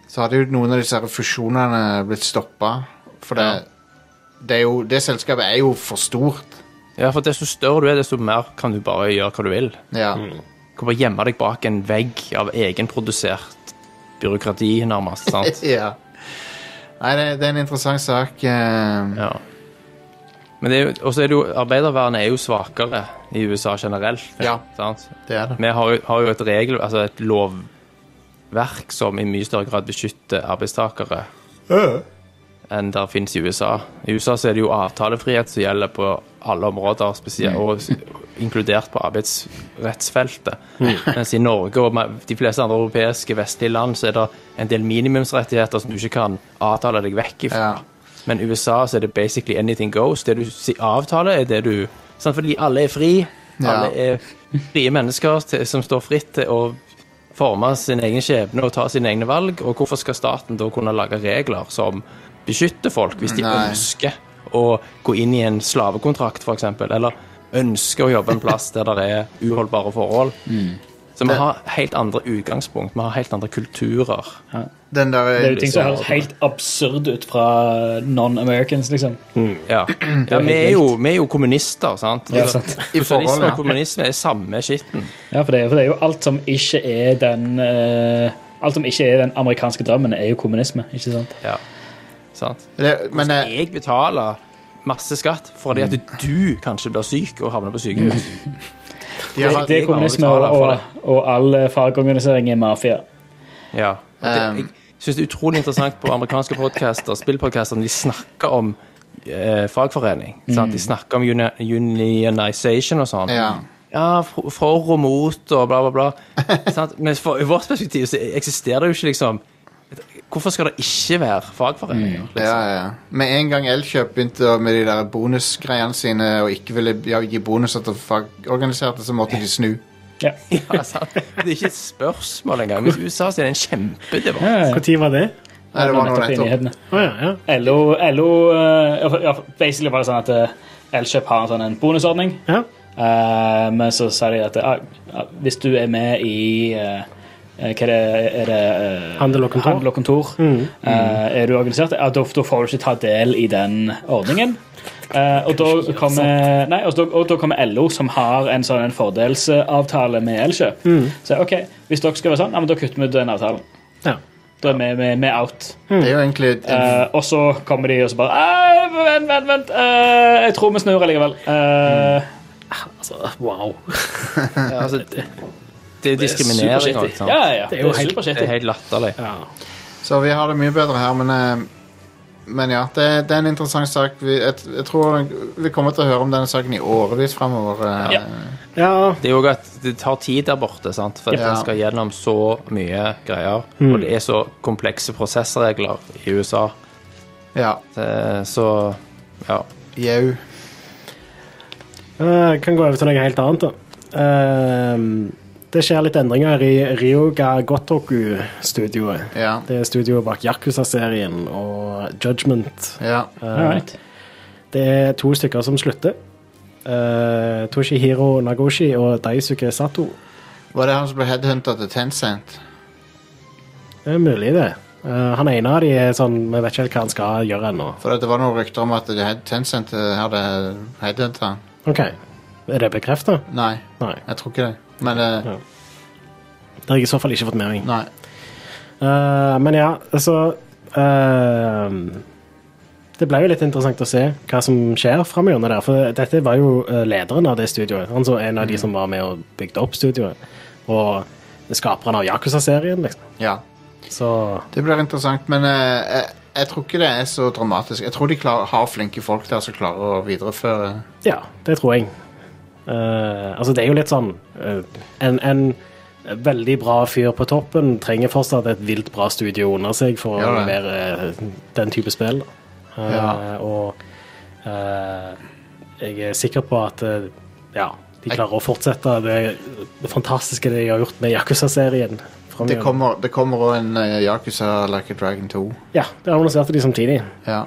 så hadde jo noen av disse her fusjonene blitt stoppa. For det, det, er jo, det selskapet er jo for stort. Ja, for desto større du er, desto mer kan du bare gjøre hva du vil. Ja. Mm. Du kan bare gjemme deg bak en vegg av egenprodusert byråkrati, nærmest. <laughs> sant? <laughs> ja. Nei, det, det er en interessant sak. eh, Ja. Men det er jo, også er det jo, arbeidervernet er jo svakere i USA generelt. Ja. Sant? Det er det. Vi har jo, har jo et regel, altså et lovverk som i mye større grad beskytter arbeidstakere enn der finnes i USA. I USA så er det jo avtalefrihet som gjelder på alle områder, spesielt, og s- inkludert på arbeidsrettsfeltet. Mens i Norge og ma- de fleste andre europeiske vestlige land så er det en del minimumsrettigheter som du ikke kan avtale deg vekk ifra. Ja. Men i USA så er det basically anything goes. Det du si- avtaler, er det du sant? Fordi alle er fri. Alle er frie mennesker til, som står fritt til å forme sin egen skjebne og ta sine egne valg. Og hvorfor skal staten da kunne lage regler som beskytter folk, hvis de Nei. ønsker å gå inn i en slavekontrakt, f.eks., eller ønsker å jobbe en plass der det er uholdbare forhold? Mm. Så vi har helt andre utgangspunkt, vi har helt andre kulturer. Den der Det er jo ting som høres helt absurd ut fra non-Americans, liksom. Ja, ja vi, er jo, vi er jo kommunister, sant? Ja, sant. I forhold, Sosialisme ja. og kommunisme er samme skitten. Ja, for det, er- for det er jo alt som ikke er den eh, Alt som ikke er den amerikanske drømmen, er jo kommunisme. ikke sant? Ja. Sant? Det, men eh, Jeg betaler masse skatt fordi Mm. at du kanskje blir syk og havner på sykehus. de har, Det er kommunisme og, og, og all eh, fagorganisering er mafia. Ja. Og Um. Det, jeg syns det er utrolig interessant på amerikanske podcaster, spillpodcaster, når de snakker om eh, fagforening. Mm. Sant? De snakker om uni unionization og sånn. ja. Ja, for for og mot og bla, bla, <laughs> bla. Sant? Men for, i vårt perspektiv så eksisterer det jo ikke liksom Hvorfor skal det ikke være fagforeninger? Mm. Ja, Altså. Liksom? <laughs> ja. Med en gang Elkjøp begynte å- med de der bonusgreiene sine og ikke ville ja, gi bonuser til fagorganiserte, så måtte de snu. <laughs> Ja. Ja, sant? Altså, Det er ikke et spørsmål engang. Men i USA så er det en kjempedebatt. Når var det? Nei, det var noe nettopp i nettopp. nyhetene. Å ja, ja. LO, LO eh, ja, Basically var det sånn at eh, Elkjøp har en sånn en bonusordning. ja. Eh, men så sa de at ah, ah, hvis du er med i eh, eh, Hva er det? Er det eh, Handel og kontor. Mm. handel og kontor, eh, er du organisert? Ja, da, da får du ikke ta del i den ordningen. Eh, og, da kommer, nei, og, da, og da kommer LO, som har en sånn en fordelsavtale med Elkjøp. Mm. Så ok, hvis dere skal være sånn, ja, men da kutter vi ut den avtalen. Ja. Da er vi, vi, vi er out. Det er jo egentlig en, Eh, og så kommer de og så bare «Ei, Vent, vent, vent. eh, jeg tror vi snur allikevel. Eh, Altså, wow. Ja, altså, det, det er diskriminering supershitty. òg. ja, ja, ja. Det er jo helt- supershitty. Det er helt latterlig. Ja. Så vi har det mye bedre her, men eh, men ja, det, det er en interessant sak. Vi, jeg, jeg tror vi kommer til å høre om denne saken i årevis eh, framover. Ja. ja. Det er jo også at det tar tid der borte, sant? for Ja. en skal gjennom så mye greier. Og det er så komplekse prosessregler i USA. Ja. Det- Så ja. Jau. Eh, kan gå over til noe helt annet, da. Ehm, det skjer litt endringer i Ryoga Gotoku-studioet. Ja. Det er studioet bak Yakuza-serien og Judgment. Eh, Ja. Alright. Det er to stykker som slutter. Eh, Toshihiro Nagoshi og Daisuke Sato. Var det han som ble headhunta til Tencent? Det er mulig, det. Eh, han ene av de er sånn Vi vet ikke helt hva han skal gjøre ennå. For det var noen rykter om at det had- Tencent eh, hadde headhunta han. OK. Er det bekrefta? Nei, Nei. jeg tror ikke det. Men eh, Ja. Det har jeg i så fall ikke fått med meg. Nei. Eh, men ja, altså eh, Det ble jo litt interessant å se hva som skjer framover der. For dette var jo eh, lederen av det studioet. Han som en av de som var med og bygde opp studioet. Og skaperen av Yakuza-serien, liksom. Ja. Så Det blir interessant, men eh, jeg, jeg tror ikke det er så dramatisk. Jeg tror de klar, har flinke folk der som klarer å videreføre ja, det tror jeg. Eh, altså, det er jo litt sånn eh, en, en veldig bra fyr på toppen trenger fortsatt et vilt bra studio under seg for å Ja, det. levere eh, den type spill. da. Eh, Ja. Og eh, jeg er sikker på at eh, ja, de klarer å fortsette det, det fantastiske de har gjort med Yakuza-serien. fremover. Det kommer det kommer òg en eh, Yakuza Like a Dragon 2. Ja, det annonserte de samtidig. Ja.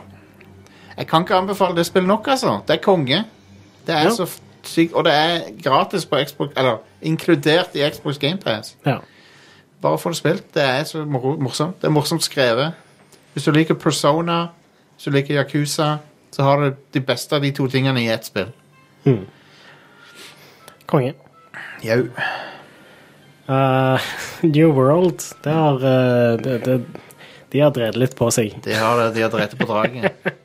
Jeg kan ikke anbefale det spillet nok, altså. Det er konge. Det er Ja. så f- sykt Og det er gratis på Xbox Eller inkludert i Xbox GamePass. Ja. Bare få det spilt. Det er så moro- morsomt. Det er morsomt skrevet. Hvis du liker Persona, hvis du liker Yakuza, så har du de beste av de to tingene i ett spill. Konge. Jau. Eh, <laughs> New World, det har eh, det, det, De har drevet litt på seg. De har det. De har drept på draget.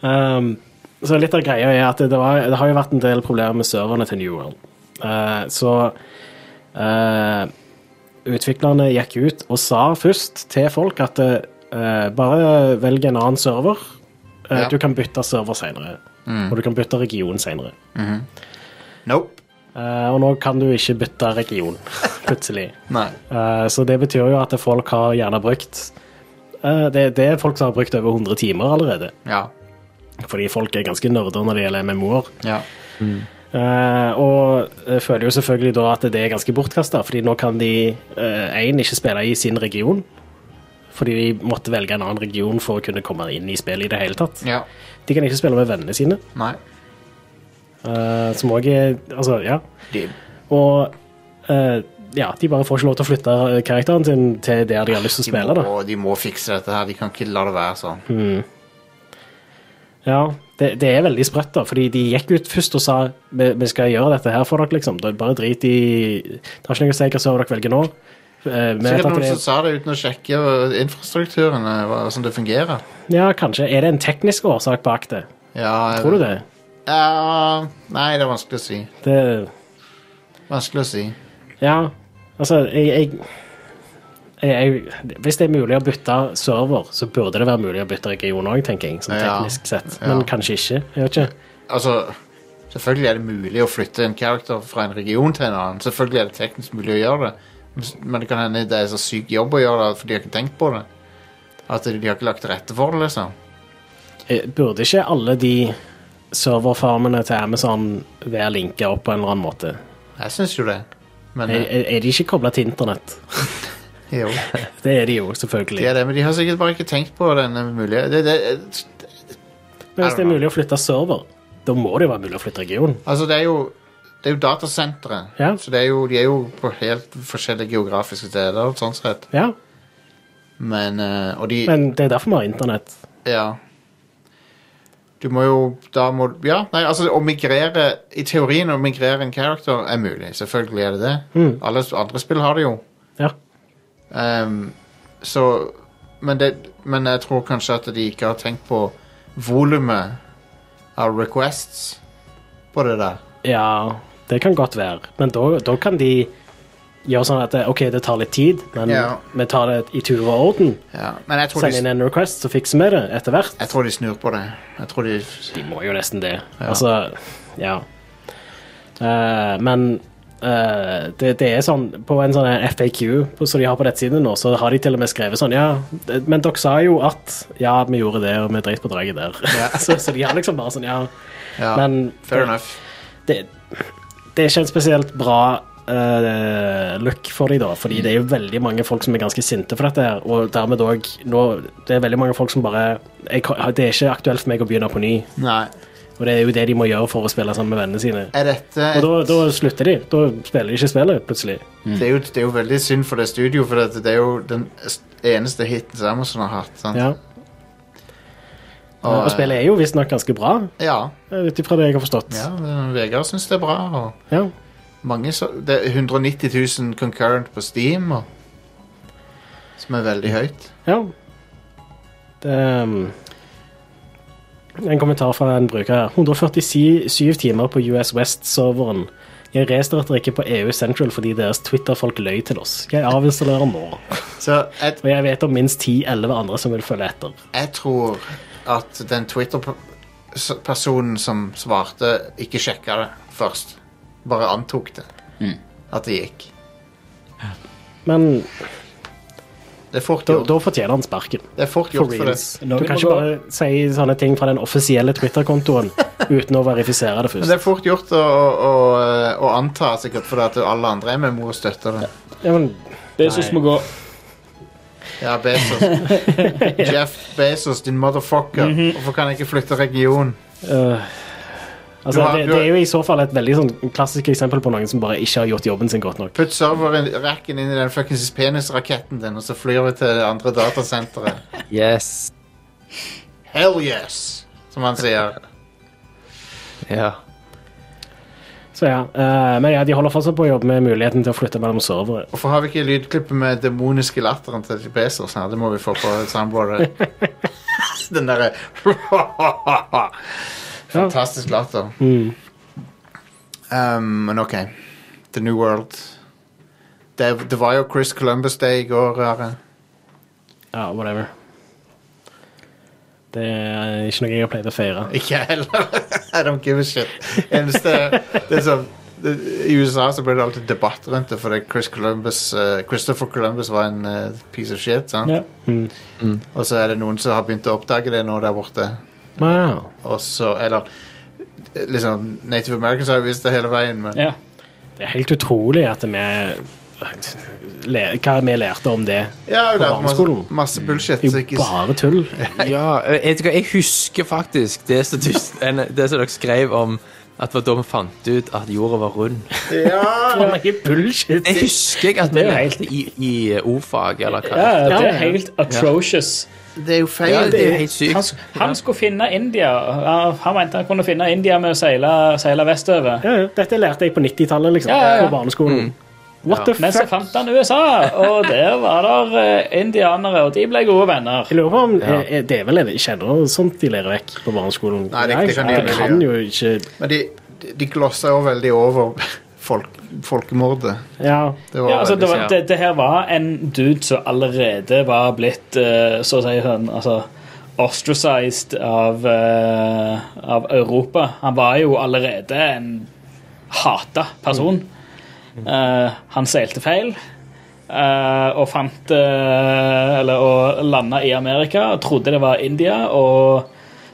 Um, så litt av greia er at det, det, var, det har jo vært en del problemer med serverne til New World. Eh, så eh, utviklerne gikk ut og sa først til folk at eh, bare velg en annen server. Eh, Ja. Du kan bytte server senere. Og du kan bytte region senere. Nope. Eh, og nå kan du ikke bytte region, plutselig. Nei. Eh, Så det betyr jo at folk har gjerne brukt eh, det, det er folk som har brukt over 100 timer allerede. Ja. Fordi folk er ganske nerder når det gjelder MMO-er. Ja. Eh, og jeg føler jo selvfølgelig da at det er ganske bortkasta, fordi nå kan de én ikke spille i sin region. Fordi de måtte velge en annen region for å kunne komme inn i spillet i det hele tatt. ja. De kan ikke spille med vennene sine, Nei. eh, som òg er Altså, ja. De- Og eh, ja, de bare får ikke lov til å flytte eh, karakteren sin til der de har lyst til å De spille, da. må, de må fikse dette her. De kan ikke la det være sånn. Ja, det, det er veldig sprøtt, da, fordi de gikk ut først og sa vi, vi skal gjøre dette her for dere, liksom. Det er bare drit i Det har ikke noe å si hva server dere velger nå. Eh, vi vet Sikkert at noen det som sa det uten å sjekke eh, infrastrukturen, eh, hva- hvordan det fungerer. Ja, kanskje. Er det en teknisk årsak bak det? Ja, jeg- Tror du det? Ja, nei, det er vanskelig å si. det Vanskelig å si. ja, altså, jeg, jeg, jeg, jeg Hvis det er mulig å bytte server, så burde det være mulig å bytte region òg, tenker jeg, sånn Ja. teknisk sett. Ja. Men kanskje ikke. Jeg vet ikke. Altså, selvfølgelig er det mulig å flytte en karakter fra en region til en annen. Selvfølgelig er det teknisk mulig å gjøre det. Men det kan hende det er så syk jobb å gjøre det, for de har ikke tenkt på det. At de de har ikke lagt til rette for det, liksom. Eh, Burde ikke alle de serverfarmene til Amazon være linka opp på en eller annen måte? Jeg syns jo det. Men Er, eh, er er de ikke kobla til internett? jo. Det er de jo, De selvfølgelig. er det, men de har sikkert bare ikke tenkt på denne muligheten. Det, det, Men hvis det er mulig å flytte server, da må det jo være mulig å flytte region. altså, det er jo det er jo datasentre, Ja. så det er jo, de er jo på helt forskjellige geografiske steder. sånn sett. Ja, Men, eh, og de, Men det er derfor vi har internett. Ja. Du må jo Da må Ja, nei, altså å migrere I teorien å migrere en character er mulig. Selvfølgelig er det det. Alle s- andre spill har det jo. Mm. Ja. Ehm, så men, det, men jeg tror kanskje at de ikke har tenkt på volumet av requests på det der. Ja, det kan godt være. Men da, da kan de gjøre sånn at det- OK, det tar litt tid, men Ja. vi tar det i tur og orden. Ja. Men jeg tror, Send inn de, en request, så fikser vi det etter hvert. jeg tror de snur på det. Jeg tror de De må jo nesten det. Altså, ja. Eh, men eh, det, det er sånn På en sånn her FAQ på- som de har på nettsiden nå, så har de til og med skrevet sånn Ja, det- men dere sa jo at Ja, vi gjorde det, og vi dreit på draget der. <laughs> så, så de har liksom bare sånn Ja. ja, Men- Fair enough. det, det er ikke en spesielt bra eh, look for dem, da. Fordi det er jo veldig mange folk som er ganske sinte for dette her. Og dermed òg nå Det er veldig mange folk som bare jeg, kan- Det er ikke aktuelt for meg å begynne på ny. Nei. Og det er jo det de må gjøre for å spille sammen med vennene sine. Er dette Og da, da slutter de. Da spiller de ikke spillet, plutselig. Det er, jo, det er jo veldig synd for det studio, for det, det er jo den eneste hiten som Amazon har hatt. Sant? Ja. Og, eh, spillet er jo visstnok ganske bra, eh, Ja, ut ifra det jeg har forstått. ja men Vegard syns det er bra. Og Ja. mange, så- det er 190 000 concurrent på Steam, og, som er veldig høyt. Ja. Det ehm, En kommentar fra en bruker her. 147 timer på US West-serveren. Jeg restarter ikke på EU Central fordi deres Twitter-folk løy til oss. Jeg avinstallerer nå. Så jeg, Og jeg vet om minst 10-11 andre som vil følge etter. jeg tror at den Twitter-personen som svarte, ikke sjekka det først. Bare antok det. Mm. At det gikk. Men Det er fort da, gjort. da fortjener han sparken. Det er fort For gjort for reals. det. Du kan ikke bare si sånne ting fra den offisielle Twitter-kontoen uten å verifisere det <laughs> Men det først. er fort gjort å, å, å, å anta, sikkert, fordi at alle andre er med mor og støtter det. Ja, men, Bezos må gå. Ja, Bezos. Jeff Bezos, din motherfucker. Hvorfor kan jeg ikke flytte region? øh, altså, Du har- det, du det har- er jo i så fall et veldig sånn klassisk eksempel på noen som bare ikke har gjort jobben sin godt nok. Putt serverracken inn i den fuckings penisraketten din, og så flyr vi til det andre datasenteret. Yes. Hell yes! Som han sier. Ja. Så ja, eh, Men ja, de holder fortsatt på å jobbe med muligheten til å flytte mellom servere. Hvorfor har vi ikke lydklippet med demoniske latteren til Bezos? Her? Det må vi få på soundboardet. den derre Fantastisk latter. Um, men OK. The New World. Det, det var jo Chris Columbus Day i går. Are. Ja, whatever. Det er ikke noe jeg har pleid å feire. Ikke jeg heller. <laughs> I don't give a shit. Eneste, det er sånn, det, I USA så ble det alltid debatt rundt det, fordi Chris Columbus, eh, Christopher Columbus var en eh, piece of shit. Sant? Mm. Ja. Og så er det noen som har begynt å oppdage det nå der borte. Wow. Og så, eller eh, liksom, Native Americans har jo visst det hele veien, men Ja. Det er helt utrolig at vi le, Hva vi lærte om det. Ja, det er masse, På barneskolen. masse bullshit. Det så er ikke- jo bare tull. Ja, jeg, vet ikke hva, jeg husker faktisk det som, du, en- det som dere skrev om at det var da vi fant ut at jorda var rund. ja, Det er bullshit. Jeg husker at vi Det er lærte i, i ordfag, eller hva. ja, Ja, det ja. er helt atrocious. det er jo feil. Ja, det er jo helt Han, sykt. sk- han skulle finne India. Ja, Han mente han kunne finne India med å seile, seile vestover. Ja, ja. Dette lærte jeg på 90-tallet, liksom. Ja, ja, ja. På barneskolen. What the Men så fuck? fant han USA, og der var der eh, indianere, og de ble gode venner. Jeg lurer på om eh, eh, det er vel ikke ennå sånt de lærer vekk på barneskolen. Nei, det- det kan de jo jeg ikke kan jo ikke Men de, de, de glosser jo veldig over <laughs> folk, folkemordet. Ja. Det var Ja, altså, det, veldig- var, det, det her var en dude som allerede var blitt eh, så å si sånn, altså, ostracized av, eh, av Europa. Han var jo allerede en hata person. Mm. Eh, han seilte feil. eh, og fant eh, Eller og landa i Amerika. Trodde det var India. Og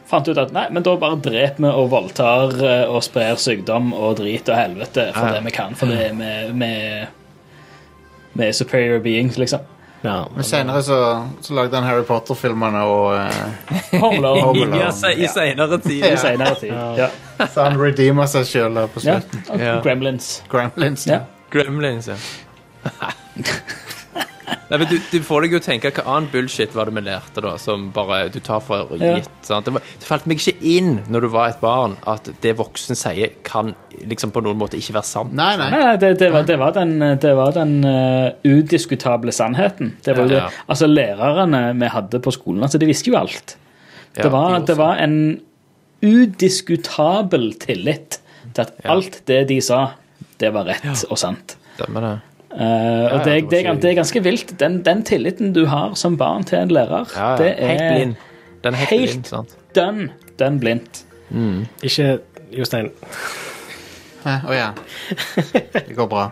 fant ut at nei, men da bare dreper vi og voldtar eh, og sprer sykdom og drit og helvete for Ja. det vi kan. For det Mm. er vi- vi- vi er superior beings, liksom. ja. Men senere så, så lagde han Harry Potter-filmerne og eh, <laughs> Homelone Home Alone. Ja, se- I senere tid. i senere tid. Ja. Så han redeemer seg sjøl på Ja. slutten. og Ja. Gremlins. Gremlins. Ja. Gremlins, ja. Nei, men du, du får deg jo tenke hva annen bullshit var det vi lærte, da, som bare du tar for gitt. Ja. Sant? Det, var, det falt meg ikke inn når du var et barn, at det voksen sier, kan liksom på noen måte ikke være sant. Nei, nei. Nei, nei, det, det, var, det var den, det var den eh, udiskutable sannheten. Det var jo Ja, det. ja. Altså, lærerne vi hadde på skolen, altså, de visste jo alt. Ja, Det var, de det var en udiskutabel tillit til at Ja. alt det de sa, det var rett og sant. Stemmer det. Eh, og det, det var det, er ikke- gan- det er ganske vilt. Den, den tilliten du har som barn til en lærer, Ja, ja. det helt er blind. Den er helt, helt- blind, sant? dønn, dønn blindt. Ikke Jostein. Hæ? Å ja. Det går bra.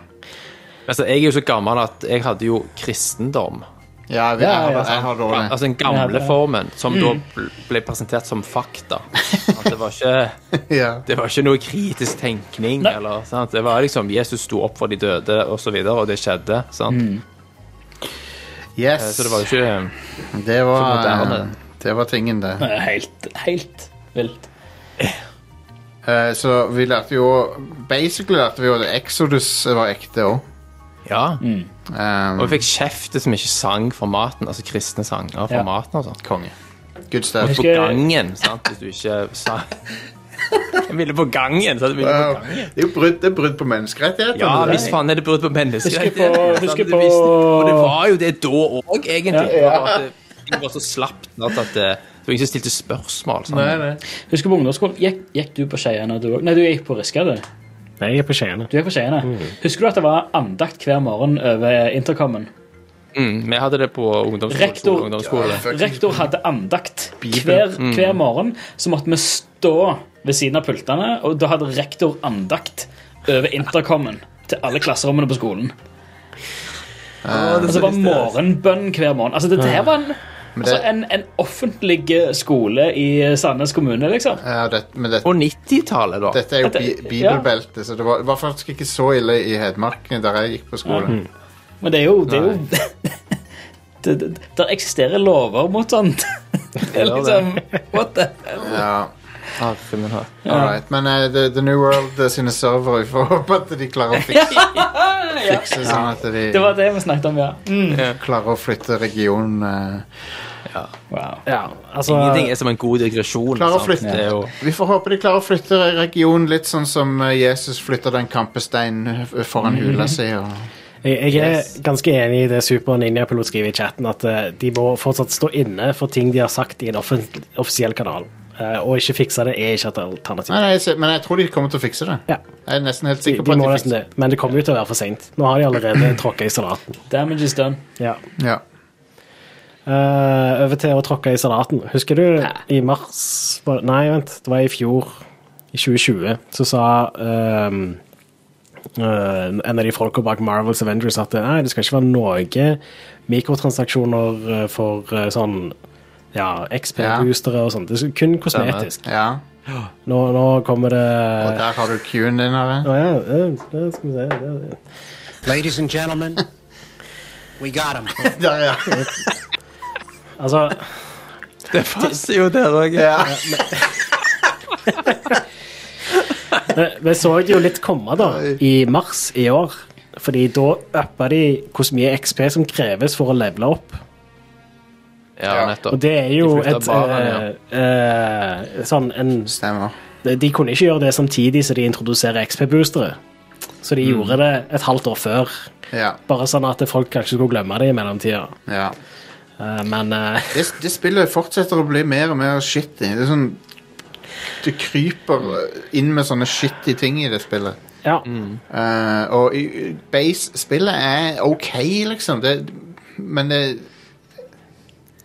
Altså, jeg er jo så gammel at jeg hadde jo kristendom. Ja, vi, jeg, Ja, har, ja, jeg har dårlig. Altså den Ja, gamle det- Mm. formen, som da bl- ble presentert som <laughs> fakta. At det var ikke Ja. det var ikke noe kritisk tenkning. Nei. Eller, sant? Det var liksom Jesus sto opp for de døde, og så videre, og det skjedde. Sant? Mm. Eh, Yes. Så det var jo ikke eh, Det Så var, moderne. eh, det var tingen, det. Det er Helt, helt vilt. Eh, så vi lærte jo Basically lærte vi jo at Exodus var ekte òg. Ja. Mm. Um, Og vi fikk kjeft som ikke sang for maten, altså kristne sanger for Ja. maten og sånn. konge. Good stuff. På Husker- gangen, sant, hvis du ikke sang. <laughs> Jeg ville på gangen! Sant? Jeg ville på Wow. gangen. Det er jo brudd, det er brudd på menneskerettighetene. Ja, det hvis faen er det brudd på menneskerettighetene. Husker på- sant? husker Det visste- på- Og det var jo det da òg, egentlig. Det var bare at det- Det var så slapt sant, at det det var ingen som stilte spørsmål. Sant? Nei, nei. Husker på ungdomsskolen, gikk, gikk du på Skeiane du òg? Nei, du gikk på Riska, du. Nei, jeg er på Skeiene. Du gikk på Skeiene. Husker du at det var andakt hver morgen over intercomen? Mm, vi hadde det på ungdomsskole. Rektor- skole- ungdomsskole. Rektor hadde andakt hver, hver morgen, så måtte vi stå ved siden av pultene, og da hadde rektor andakt over intercomen til alle klasserommene på skolen. Eh, Altså, det var morgenbønn hver morgen. Altså, dette her var en, altså, en, en offentlig skole i Sandnes kommune, liksom. Ja, det, men det, På 90-tallet, da. dette er jo bi Dette- bibelbeltet, så det var, det var faktisk ikke så ille i Hedmarken der jeg gikk på Mm. skolen. Men det er jo Det, er jo, <laughs> det, det, der eksisterer lover <laughs> mot sånt. Det er gjør liksom What the Ja, Herre min hatt. all right. Men eh, the, the New World eh, sine servere, vi får <laughs> håpe at de klarer å fikse, <laughs> fikse sånn at Det de var det vi snakket om, ja. Mm. klarer å flytte regionen eh, Wow. Ja, altså Ingenting er som en god digresjon. Klarer å Sånn, sant? flytte. Det er jo Vi får håpe de klarer å flytte regionen litt sånn som eh, Jesus flytter den kampesteinen f- foran Mm. hula si. Og... Jeg, jeg er ganske enig i det Super Ninja-pilot skriver i chatten, at eh, de må fortsatt stå inne for ting de har sagt i en offen, offisiell kanal. Eh, og ikke fikse det er ikke et alternativ. Nei, nei, jeg ser, men jeg tror de kommer til å fikse det. Ja. Jeg er nesten helt De, sikker de på må at de nesten fikser det. det, men det kommer jo til å være for seint. Nå har de allerede tråkka i salaten. Damage is done. Ja. Ja. Eh, over til å tråkke i salaten. Husker du i mars var- Nei, vent, det var i fjor, i 2020, så sa ehm, eh, en av de folka bak Marvels Avengers at nei, det skal ikke være noen mikrotransaksjoner eh, for eh, sånn ja, XP-boostere og sånt. Det er kun kosmetisk. ja. Nå, nå kommer det Og der har du Q-en din. Are. Å ja, eh, det skal vi se. det- det- Ladies and gentlemen, we got him. <laughs> Der, ja. Altså, Det passer jo der òg. ja. Eh, Vi så det jo litt komme da, i mars i år. Fordi da uppa de hvor mye XP som kreves for å levele opp. Ja, nettopp. Og det er jo De flytta et baren, eh, eh, Sånn en Stemmer. De kunne ikke gjøre det samtidig som de introduserer XP-boostere. Så Mm. de gjorde det et halvt år før. Ja. Bare sånn at folk kanskje skulle glemme det i mellomtida. ja. Eh, Men eh, Det, det spillet fortsetter å bli mer og mer shitty. Det er sånn Det kryper inn med sånne shitty ting i det spillet. ja. Mm. Eh, og i- base-spillet er OK, liksom. Det, men det,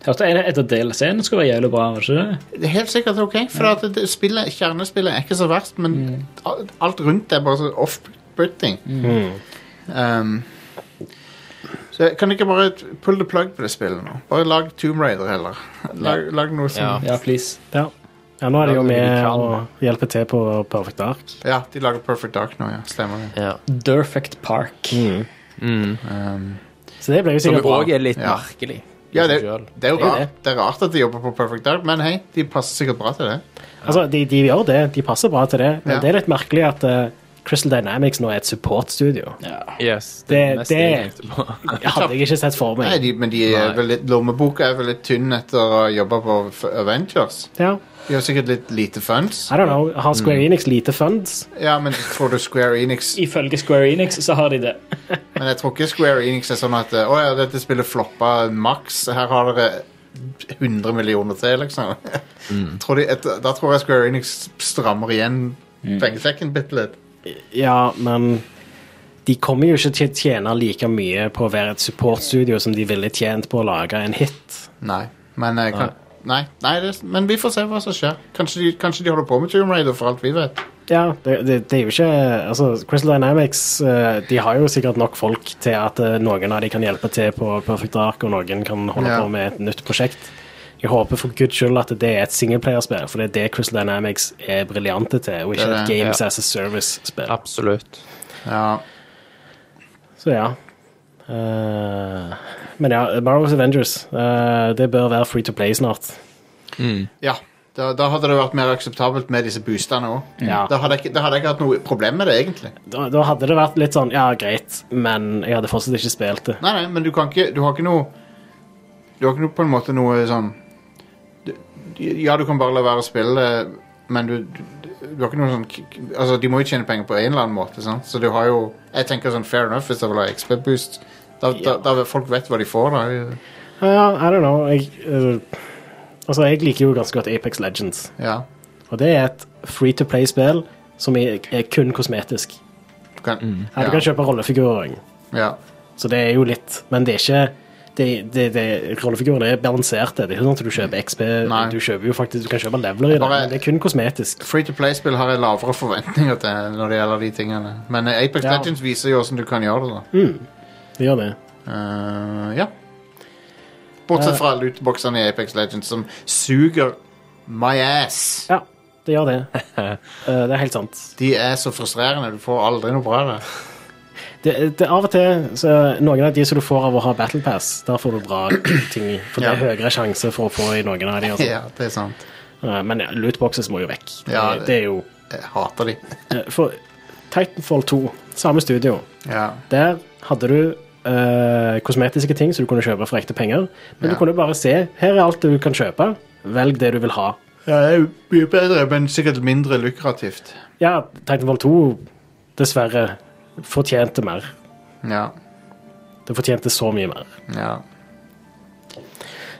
Hørte en etter DLC-en skulle være jævlig bra. var det ikke det? det er helt sikkert OK. For at det, det spillet, kjernespillet er ikke så verst, men al- alt rundt er bare så off-putting. Um, så jeg- kan du ikke bare t- pull the plug på det spillet nå? Bare lag Tomb Raider heller. Lag, lag noe som ja. Ja, please. ja. Ja, nå er det jo Ja, det er med å veldig hjelpe til på Perfect Ark. de lager Perfect Dark nå, ja. Stemmer det. Ja. Derfect Park. Mm. Um, Så det ble jo Som sikkert bra. òg er litt Ja. merkelig. i ja, seg det, selv. det er jo Det er jo rart. Det er rart at de jobber på Perfect Dark, men hei, de passer sikkert bra til det. Altså, de, de gjør det, de passer bra til det, men Ja. det er litt merkelig at eh, Crystal Dynamics nå er et supportstudio. Yes, Det- mest det- jeg tenkte på. <laughs> Det hadde jeg ikke sett for Nei, meg. de, men de er Nei. vel litt, lommeboka er vel litt tynn etter å ha jobba på F- Avengers. Ja. De har sikkert litt lite funds. I don't know. Har Square Enix lite funds? Ja, men får du Square Enix Ifølge Square Enix så har de det. Men jeg tror ikke Square Enix er sånn at eh, Å ja, dette spillet floppa maks. Her har dere 100 millioner til, liksom. tror de, et, da tror jeg Square Enix strammer igjen pengesekken bitte litt. Ja, men de kommer jo ikke til å tjene like mye på å være et supportstudio som de ville tjent på å lage en hit. Nei. Men eh, kan, Nei, nei det, men vi får se hva som skjer. Kanskje de, kanskje de holder på med Tomb Raider, for alt vi vet. Ja, det, det, det er jo ikke Altså, Crystal Dynamics eh, De har jo sikkert nok folk til at eh, noen av de kan hjelpe til på Perfect Ark, og noen kan holde Ja. på med et nytt prosjekt. Jeg håper for guds skyld at det er et singleplayerspill, for det er det Crystal Dynamics er briljante til, og ikke Det er et det, Games as a Service-spill. Absolutt. Ja, Så ja. Eh, men ja, Marvel's Avengers. eh, det bør være free to play snart. ja. Da, da hadde det vært mer akseptabelt med disse boostene òg. Ja. Da, hadde jeg ikke- da hadde jeg ikke hatt noe problem med det, egentlig. Da, da hadde det vært litt sånn Ja, greit, men jeg hadde fortsatt ikke spilt det. Nei, nei, men du kan ikke Du har ikke noe Du har ikke noe på en måte noe sånn du- Ja, du kan bare la være å spille Men du, du, du har ikke noe sånn k- k- Altså, de må jo tjene penger på en eller annen måte sant? Så du har jo Jeg tenker sånn fair enough Hvis jeg vil ha XP boost da, da, da, Folk vet hva de får da Ja, I don't know. Jeg, eh, altså, jeg liker jo ganske godt Apex Legends. Ja Og det er et free to play-spill som er, er kun kosmetisk. Du kan, Ja, du Mm. kan ja, kjøpe rollefigurer, ja, så det er jo litt Men det er ikke det, det, det, rollefigurene er balanserte. Det er ikke sånn at du kjøper XP. Nei. Du, kjøper jo faktisk, du kan kjøpe leveler i det, Bare- men det er kun kosmetisk. Free-to-play-spill har jeg lavere forventninger til Når det gjelder de tingene Men eh, Apex Ja. Legends viser jo hvordan du kan gjøre det da Det gjør det. Eh, ja. Bortsett fra lootboxene i Apex Legends, som suger my ass. Ja, det gjør <laughs> det. Eh, det er helt sant. De er så frustrerende. Du får aldri noe bra <laughs> der. Det, det, av og til så Noen av de som du får av å ha Battle Pass, der får du bra ting. For det Ja. er høyere sjanse for å få i noen av de. Altså. <laughs> Ja, det er sant. Eh, men ja, lootboxes må jo vekk. Ja, det, det- det er jo Jeg hater de. eh, For Titanfall 2, samme studio, Ja. der hadde du eh, kosmetiske ting som du kunne kjøpe for ekte penger. Ja. Men du kunne bare se. Her er alt du kan kjøpe. Velg det du vil ha. det er jo mye bedre, men sikkert mindre lukrativt. Ja, Titanfall 2 dessverre fortjente mer. Ja. Det fortjente så mye mer. ja.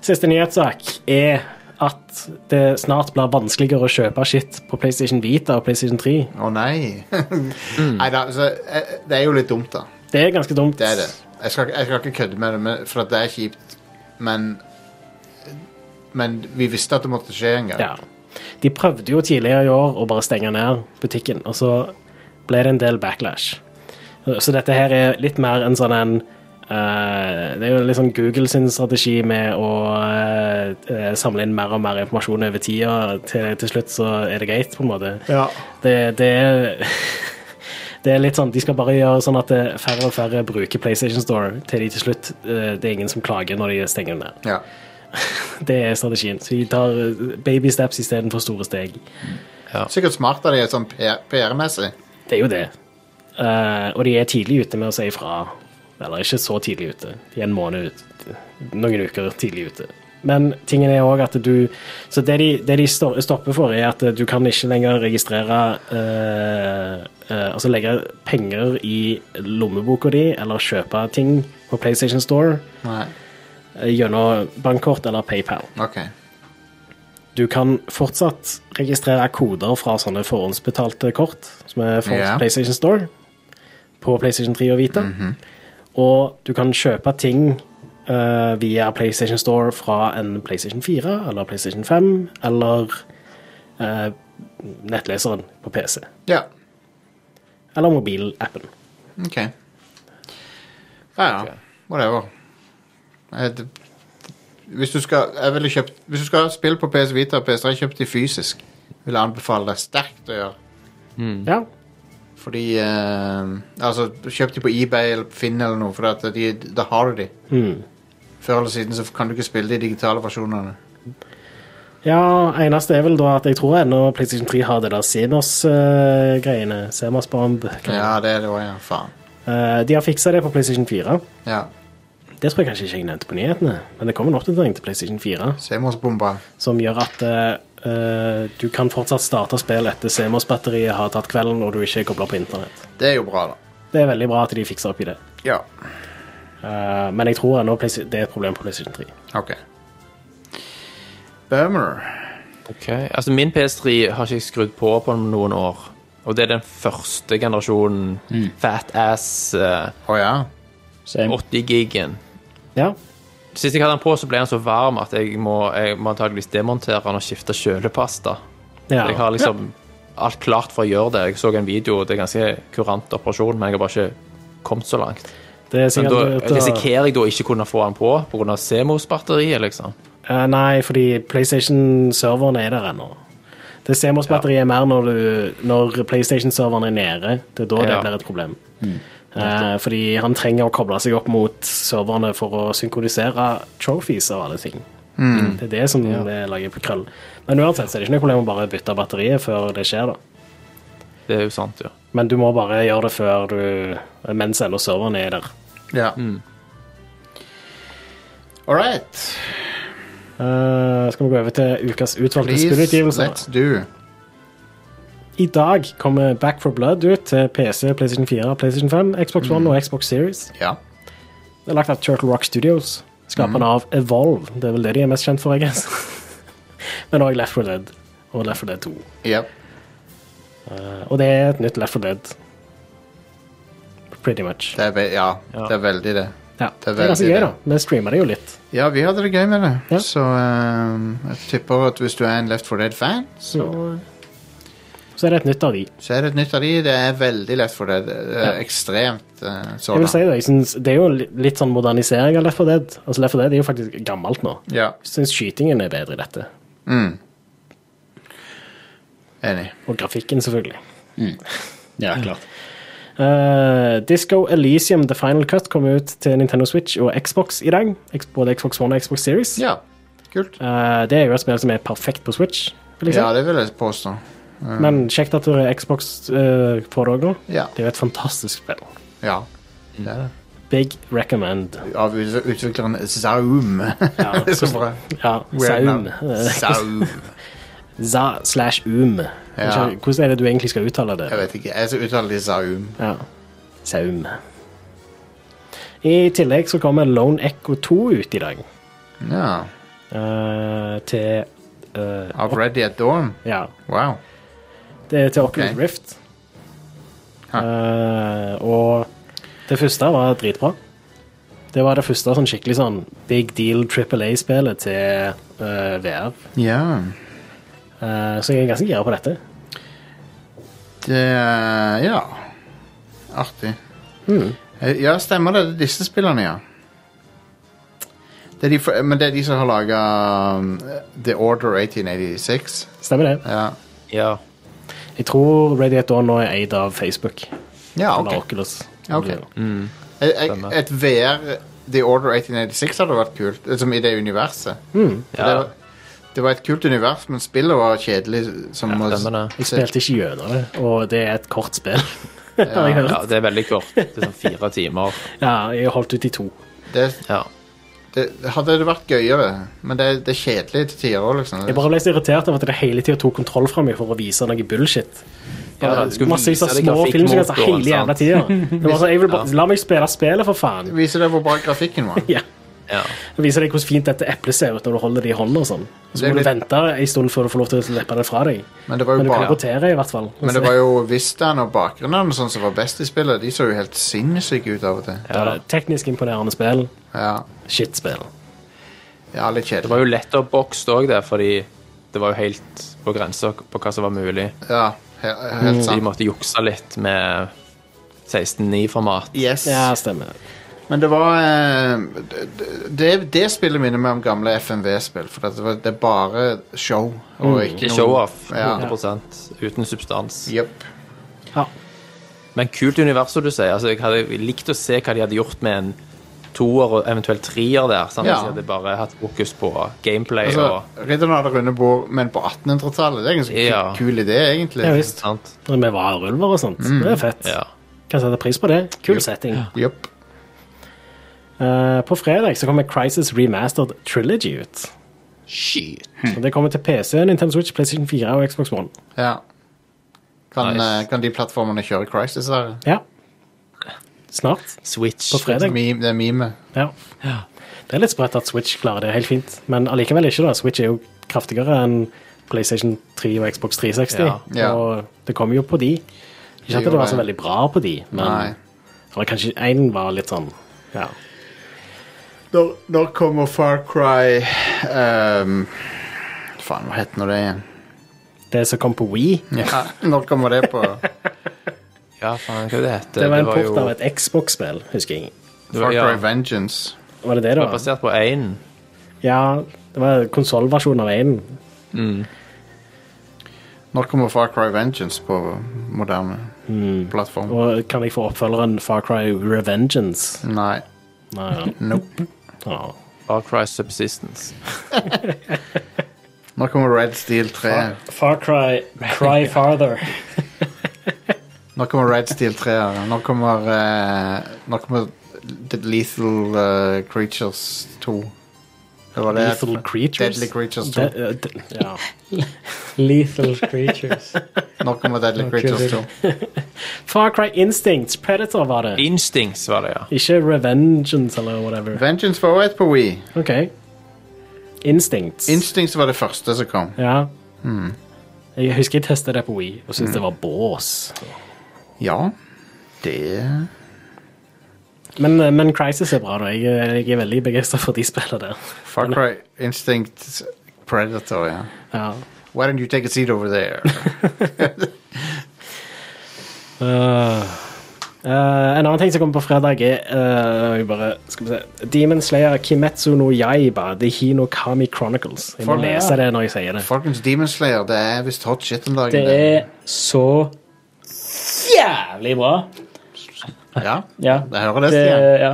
Siste nyhetssak er at det snart blir vanskeligere å kjøpe shit på PlayStation Vita og PlayStation 3. Å <laughs> nei. nei da, så, eh, det er jo litt dumt, da. Det er ganske dumt. Det er det. Jeg skal, jeg skal ikke kødde med det, men, for at det er kjipt. Men Men vi visste at det måtte skje en gang. Ja. De prøvde jo tidligere i år å bare stenge ned butikken, og så ble det en del backlash. Så dette her er litt mer en sånn en eh, Det er jo litt sånn Google sin strategi med å eh, eh, samle inn mer og mer informasjon over tida. Til, til slutt så er det greit, på en måte. Ja. Det, det er <laughs> Det er litt sånn, De skal bare gjøre sånn at eh, færre og færre bruker PlayStation Store til de til slutt eh, Det er ingen som klager når de stenger den ned. ja. Det er strategien. Så de tar eh, baby steps istedenfor store steg. Sikkert smart av de sånn PR-messig. Det er jo det. Eh, og de er tidlig ute med å si ifra. Eller ikke så tidlig ute. De er en måned ut. Noen uker tidlig ute. Men tingen er også at du Så det de, det de sto- stopper for, er at du kan ikke lenger registrere eh, eh, Altså legge penger i lommeboka di eller kjøpe ting på PlayStation Store Nei. eh, gjennom bankkort eller PayPal. OK. Du kan fortsatt registrere koder fra sånne forhåndsbetalte kort, som er for Ja. Mhm. PlayStation Store, på PlayStation 3 og Vita. Og du kan kjøpe ting eh, via PlayStation Store fra en PlayStation 4 eller PlayStation 5 eller eh, nettleseren på PC. Ja. Eller mobilappen. OK. Ja, ja. Whatever. Eh, det- Hvis du skal jeg ville kjøpt, Hvis du skal ha spill på PS Vita og PS3, kjøp de fysisk. Vil jeg anbefale deg sterkt å gjøre. Mhm. Ja. Fordi eh, Altså, kjøp de på eBay eller Finn eller noe, for at de, da har du de. Før eller siden så kan du ikke spille de digitale versjonene. ja, eneste er vel da at jeg tror ennå PlayStation 3 har det der eh, Senos-greiene. Senos Bomb. Ja, det er det òg, ja. Faen. Eh, de har fiksa det på PlayStation 4. Ja. Det tror jeg kanskje ikke jeg nevnte på nyhetene, men det kommer en oppdatering til PlayStation 4 Semorsbomba. som gjør at eh, du kan fortsatt starte spill etter CMOS-batteriet har tatt kvelden og du ikke er kobla på internett. Det er jo bra, da. Det er veldig bra at de fikser opp i det, Ja. Eh, men jeg tror ennå Playsi- det er et problem på PlayStation 3. OK. Bummer. Ok, altså Min PS3 har ikke jeg skrudd på på noen år. Og det er den første generasjonen Mm. fat ass eh, Å ja. Same. 80-gigen. Ja, Sist jeg hadde den på, så ble den så varm at jeg må, jeg må antageligvis demontere den og skifte kjølepasta. ja. Jeg har liksom alt klart for å gjøre det. Jeg så en video, og det er en ganske kurant operasjon, men jeg har bare ikke kommet så langt. det er Men sikkert da at- risikerer jeg da ikke kunne få den på pga. CMOS-batteriet, liksom. Eh, Nei, fordi PlayStation-serveren er der ennå. Det CMOS-batteriet er mer når, du, når PlayStation-serveren er nede. Det er da det Ja. blir et problem. Mm. Eh, fordi han trenger å koble seg opp mot serverne for å synkronisere trophies og alle ting. Mm. Det er det som det lager på krøll. Men uansett så er det ikke noe problem å bare bytte batteriet før det skjer. da. Det er jo sant, ja. Men du må bare gjøre det før du mens ennå serveren er der. Ja. Hmm. All right. Eh, skal vi gå over til ukas utvalgte Please, spillutgivelser? let's do. I dag kommer Back for Blood ut til PC, PlayStation 4, PlayStation 5, Xbox One Mm. og Xbox Series. Ja. Det er lagt av Turtle Rock Studios, Mm. skaperne av Evolve. Det er vel det de er mest kjent for, jeg guess. <laughs> Men òg Left 4 Dead og Left 4 Dead 2. Ja. Og det er et nytt Left 4 Dead. Pretty much. Det er, ve ja. det er veldig det. Ja. det Det er er ganske veldig gøy, det. da. Vi streamer det jo litt. Ja, vi hadde det gøy med det. Ja. Så eh, jeg tipper at hvis du er en Left 4 Dead-fan, så, Så er det et nytt av de. så er det et nytt av de. Det er veldig Left 4 Dead. Det er Ekstremt uh, Jeg sådan. vil si det, jeg synes, det er jo li- litt sånn modernisering av Left 4 Dead. Altså, Left 4 Dead er jo faktisk gammelt nå. Ja. Jeg syns skytingen er bedre i dette. Enig. Og grafikken, selvfølgelig. Mm. Ja, klart. Eh, Disco Elysium The Final Cut kom ut til Nintendo Switch og Xbox i dag. Ex- Både Xbox One og Xbox Series. Ja. Kult. Eh, det er jo et spill som er perfekt på Switch, vil jeg si. Ja, det vil jeg påstå. Men kjekt at det er Xbox eh, på det òg nå. Ja. Det er jo et fantastisk spill. ja. Det er det. Big <laughs> recommend. Av ut- utvikleren Zaum. <laughs> det er så bra. Ja, Weird Saum. Eh, navn. Zaum. Za slash um. Ja. Hvordan er det du egentlig skal uttale det? Jeg vet ikke. Jeg så uttaler de Zaum. Ja. Saum. I tillegg så kommer Lone Echo 2 ut i dag. Ja. Eh, til eh, Av Ready at Dawn. Ja. Wow. Det er til Oculus Ok. Rift. Ha. Eh, og det første var dritbra. Det var det første sånn skikkelig sånn big deal Triple A-spillet til eh, VR. Ja. Eh, så jeg er ganske gira på dette. Det er- eh, Ja. Artig. Eh, Ja, stemmer det. Det er disse spillerne, ja. Det er de, for- men det er de som har laga The Order 1886. Stemmer det. Ja, ja. Jeg tror Radiate Dawn nå er eid av Facebook. ja Eller ok. Oculus. Ja, ok. Et, Stemmer. et VR The Order 1886 hadde vært kult, liksom i det universet. For Det, Ja. var, det var et kult univers, men spillet var kjedelig. Som å s- stemmer det. Jeg spilte ikke gjennom det, og det er et <laughs> kort spill. Har jeg hørt. ja, det er veldig kort. Det er sånn fire timer. Ja, jeg har holdt ut i to. det, Ja. det, hadde det vært gøyere, men det, det er kjedelig til tider òg, liksom. Jeg bare ble så irritert over at det hele tida tok kontroll fra meg for å vise noe bullshit. Ja, det skulle Massevis av vise deg små filmsekvenser grafikkmotoren, hele jævla sant? tida. Det var sånn, jeg <laughs> vil bare- La meg spille spillet, for faen. Viser deg hvor bra grafikken var. Ja. Ja. Vise deg hvor fint dette eplet ser ut når du holder det i hånda. og sånn. Og Så Det er må du litt- vente en stund før du får lov til å slippe det fra deg. Men det var Men jo du kan bare rotere, i hvert fall. men det var jo vistaen og bakgrunnen sånn som var best i spillet. De så jo helt sinnssyke ut av og til. Det er Teknisk imponerende spill. Ja, Shit-spill. ja litt Det kjedelig. var jo lett å bokse òg, det, fordi det var jo helt på grensa på hva som var Mm, mulig. Ja, he helt Så de sant. måtte jukse litt med 16.9-format. Yes. Ja, stemmer. Men det var eh, d- d- Det, det spillet minner meg om gamle FNV-spill. For det, var, det er bare show. Og ikke Ikke noe show-off, Ja. 100 uten substans. Jep. Men kult univers, som du sier. Altså, jeg hadde likt å se hva de hadde gjort med en toer og eventuelt treer der. Sant? Ja. Hvis de hadde bare hatt fokus på gameplay Altså, Ridderne hadde runde bord, men på 1800-tallet. Det er en ganske ku- Ja. kul idé, egentlig. Ja, og visst. sant? Når vi var ulver og sånt. Mm. Det er fett. Ja. Kan sette pris på det. Kul setting. Jep. Eh, på fredag så kommer Crisis Remastered Trilogy ut. Shit. Og Det kommer til PC, Nintendo Switch, PlayStation 4 og Xbox One. Ja. Kan, Nice. eh, kan de plattformene kjøre Crisis der? Ja. Snart. Switch. På fredag. Meme, det er meme. Ja. Det er litt sprøtt at Switch klarer det helt fint, men allikevel ikke. da. Switch er jo kraftigere enn PlayStation 3 og Xbox 360, Ja. Ja. og det kommer jo på de. Ikke at gjør det var så det. veldig bra på de, men Nei. Eller kanskje én var litt sånn ja. Når, når kommer Far Cry ehm, Faen, hva heter nå det igjen? Det som kom på Wii, Ja, når kommer det på Ja, faen, hva det heter det var en jo- port av et Xbox-spill, husker jeg. det Far var, Cry ja, det Vengeance? Var det det, var da? basert på én. Ja, det var konsollversjonen av én. Når kommer Far Cry Vengeance på moderne plattform? Og kan jeg få oppfølgeren Far Cry Revengeance? Nei. Nei, ja. Nope. Ja. Far Cry Subsistence. Nå kommer Red Steel 3. Far Cry, Cry Farther. Nå kommer Red Steel 3. her. Nå kommer, eh, nå kommer The Lethal eh, Creatures 2. Det var det Lethal Creatures? Deadly Creatures 2. Det, eh, det, ja. Lethal Creatures. Nå kommer Deadly Creatures 2. Far Cry Instincts, Predator var det. Instincts var det, ja. Ikke Revengeance eller whatever. Vengeance var også et på Wii. Ok. Instincts. Instincts var det første som kom. ja. Hmm. Jeg husker jeg testet det på Wii og syntes det var bås. Ja, det Men, eh, men Crisis er bra, da. Jeg, er- jeg er veldig begeistra for de spillene der. Far Cry Instinct Predator, ja. Ja. Why don't you take a seat over <laughs> there? Eh, en annen ting som kommer på fredag, er eh, jeg bare, skal vi se, Demon Slayer Kimetsu no Yaiba, The Hino Kami Chronicles. Jeg må For- lese det når jeg sier det. Folkens, Demon Slayer, det er visst hot shit om dagen. Det er så jævlig bra. Ja, Ja. jeg hører det, Det, Stian. ja.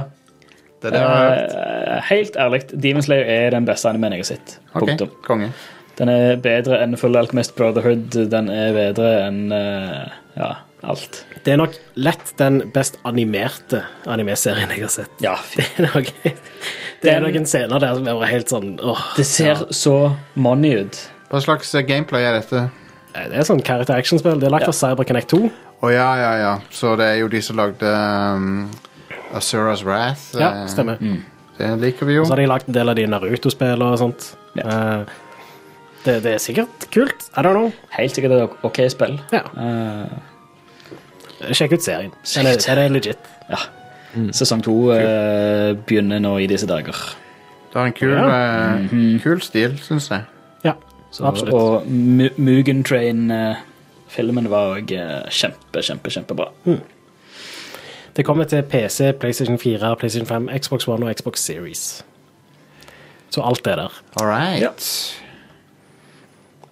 Det er det jeg har hørt. Eh, helt ærlig, Demon Slayer er den beste animen jeg har sett. Punktum. Ok, konge. Den er bedre enn Full Alchemist Brotherhood. Den er bedre enn eh, ja, alt. Det er nok lett den best animerte animeserien jeg har sett. Ja, <laughs> Det er, nok, det er noen scener der som er bare helt sånn åh. Det ser så money ut. Hva slags eh, gameplay er dette? Det er sånn character action-spill. Det er lagt av Cyberconnect 2. Å ja, ja, ja. Så det er jo de som lagde um, Asuras Wrath. Ja, eh, stemmer. Det liker vi jo. Og så har de lagt en del av de Naruto-spillene og sånt. Eh, Det, det er sikkert kult. I don't know. Helt sikkert et ok spill. Ja. Eh, Sjekk ut serien. Den er, den er legit. ja. Sesong to eh, begynner nå i disse dager. Det har en kul, Ja. eh, kul stil, syns jeg. Ja, Så, absolutt. Og Mu- Mugen Train-filmen var òg kjempe, kjempe, kjempebra. Det kommer til PC, PlayStation 4, PlayStation 5, Xbox One og Xbox Series. Så alt er der. All right. Ja.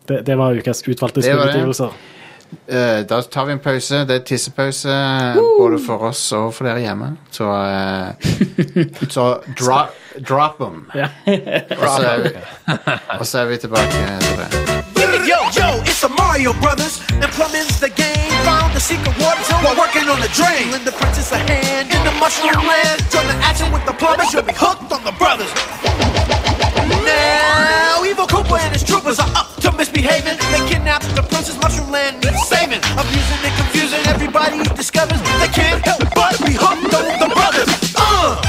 Det, det var ukas utvalgte Det var det. spillutgivelser. Eh, da tar vi en pause. Det er tissepause eh, både for oss og for dere hjemme. Så, eh, så dra, drop them. Ja. Og så er vi, og så er vi <laughs> tilbake til det. Yo, yo, it's the Mario Brothers. The plumbing's the game. Found the secret water zone while working on the drain. Lend the princess a hand in the mushroom land. Join the action with the plumbers. You'll be hooked on from the brothers. Now, Evil Cooper and his troopers are up to misbehaving. They kidnapped the princess, Mushroom Land needs saving. Abusing and confusing everybody he discovers. They can't help but be hooked on the brothers. Uh!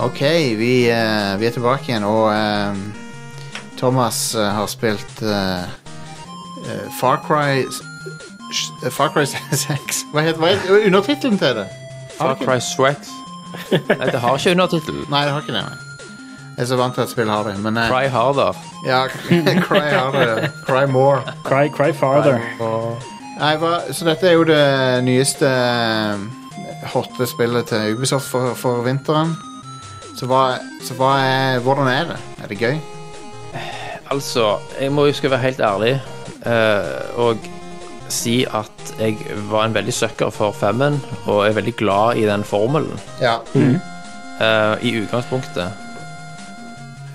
OK, vi, eh, vi er tilbake igjen, og eh, Thomas eh, har spilt eh, eh, Far Cry s- s- eh, Far Cry <laughs> 6 Hva het hva het undertittelen til det? Ah, Far Cry <laughs> Sweat. Nei, det har ikke undertittel. Nei, det har ikke det. Nei. Jeg er så vant til at spill har det, men eh, Cry Harder. ja, <laughs> Cry har det. Cry more. Cry, cry farther. Nei, hva, så dette er jo det nyeste eh, hotte spillet til Ubisoft for, for vinteren. Så, hva, så hva er, hvordan er det? Er det gøy? Altså, jeg må jo skal være helt ærlig eh, og si at jeg var en veldig søkker for femmen, og er veldig glad i den formelen Ja. eh, i utgangspunktet.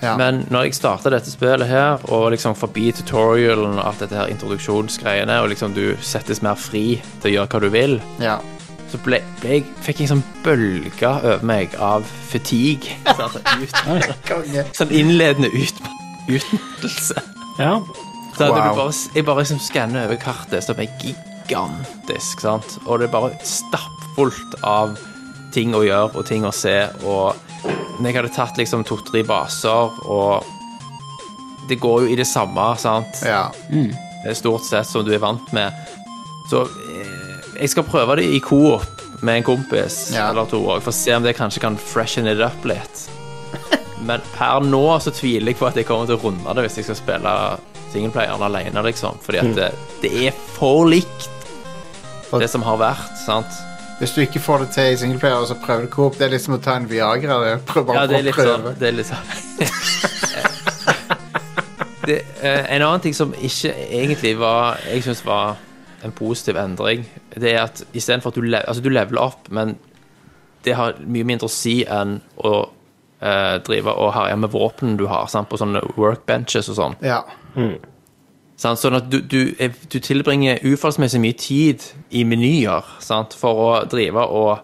Ja. Men når jeg starta dette spillet her, og liksom forbi tutorialen og alt dette her introduksjonsgreiene, og liksom du settes mer fri til å gjøre hva du vil, ja. så ble, ble jeg, fikk jeg en sånn bølge over meg av fatigue. Altså, ut, Konge. sånn innledende ut, utmattelse. Ja. Så at Wow. du bare, jeg bare liksom skanner over kartet, som er gigantisk, sant? og det er bare stappfullt av ting å gjøre og ting å se. Og når jeg hadde tatt liksom to-tre baser, og det går jo i det samme, sant? Ja. Det er stort sett som du er vant med. Så eh, jeg skal prøve det i coop med en kompis Ja. eller to også, for å se om det kanskje kan freshen it up litt. Men per nå så tviler jeg på at jeg kommer til å runde det hvis jeg skal spille singleplayeren alene, liksom. Fordi at det, det er for likt Og- det som har vært, sant. Hvis du ikke får det til i singleplayer, og så prøver du Coop, det er liksom å ta en Viagra. Det er prøv bare Ja, det er å litt sånn. prøve. Det er litt sånn. det, eh, en annen ting som ikke egentlig var Jeg syns var en positiv endring, det er at istedenfor at du, le altså, du leveler opp, men det har mye mindre å si enn å eh, drive og herje med våpen du har, sant? på sånne workbenches og sånn. Ja. Sant? Sånn at du, du, er- du tilbringer uforholdsmessig mye tid i menyer sant? for å drive og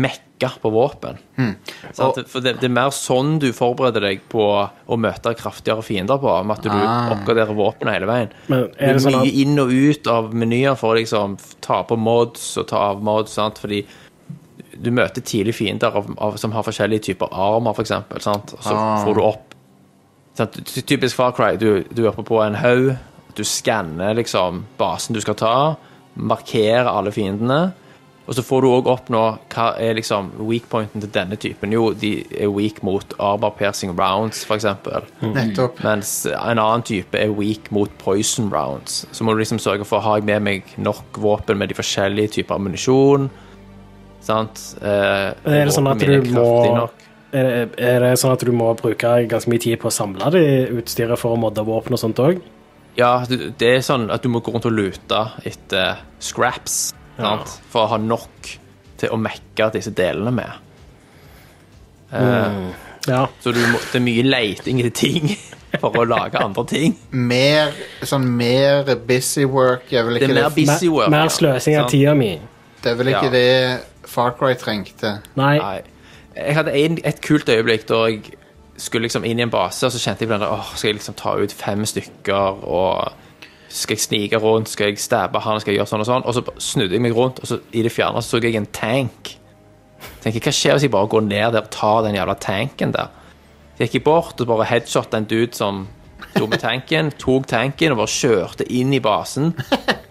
mekke på våpen. Sant? For det, det er mer sånn du forbereder deg på å møte kraftigere fiender på, med at du oppgraderer våpenet hele veien. Men er det det er sånn mye at- inn og ut av menyer for å liksom, ta på mods og ta av mods, sant? fordi du møter tidlig fiender av, av, som har forskjellige typer armer, for eksempel, sant? og så får du opp Sant, ty- Typisk Far Cry. Du, du er oppe på en haug. Du skanner liksom basen du skal ta. Markerer alle fiendene. Og så får du òg opp nå hva er liksom weak pointen til denne typen. Jo, de er weak mot armor piercing rounds, for eksempel. Mm. Nettopp. Mens en annen type er weak mot poison rounds. Så må du liksom sørge for har jeg med meg nok våpen med de forskjellige typer ammunisjon. Sant? Eh, Er det sånn at våpen mine er du kraftig må nok. er det, er det sånn at du må bruke ganske mye tid på å samle det utstyret for å modde våpen og sånt òg? Ja, du- det er sånn at du må gå rundt og lute etter scraps sant? for å ha nok til å mekke disse delene med. Ja. Så du må, det er mye leiting etter ting <laughs> for å lage andre ting. Mer sånn mer busy work er vel Det ikke er det, mer busy Mer, work. ja, mer sløsing av sant? tida mi. det, er vel ikke Ja. det Far Cry trengte. Nei. Nei. Jeg hadde en, et kult øyeblikk da jeg skulle liksom inn i en base, og så kjente jeg på den der Åh, skal jeg liksom ta ut fem stykker, og skal jeg snike rundt, skal jeg stabbe han, skal jeg gjøre sånn og sånn? Og så bare snudde jeg meg rundt, og så i det fjerne så så jeg en tank. Tenkte jeg, hva skjer hvis jeg bare går ned der og tar den jævla tanken der? Så gikk jeg bort og bare headshot en dude som sto med tanken, <laughs> tok tanken og bare kjørte inn i <laughs> basen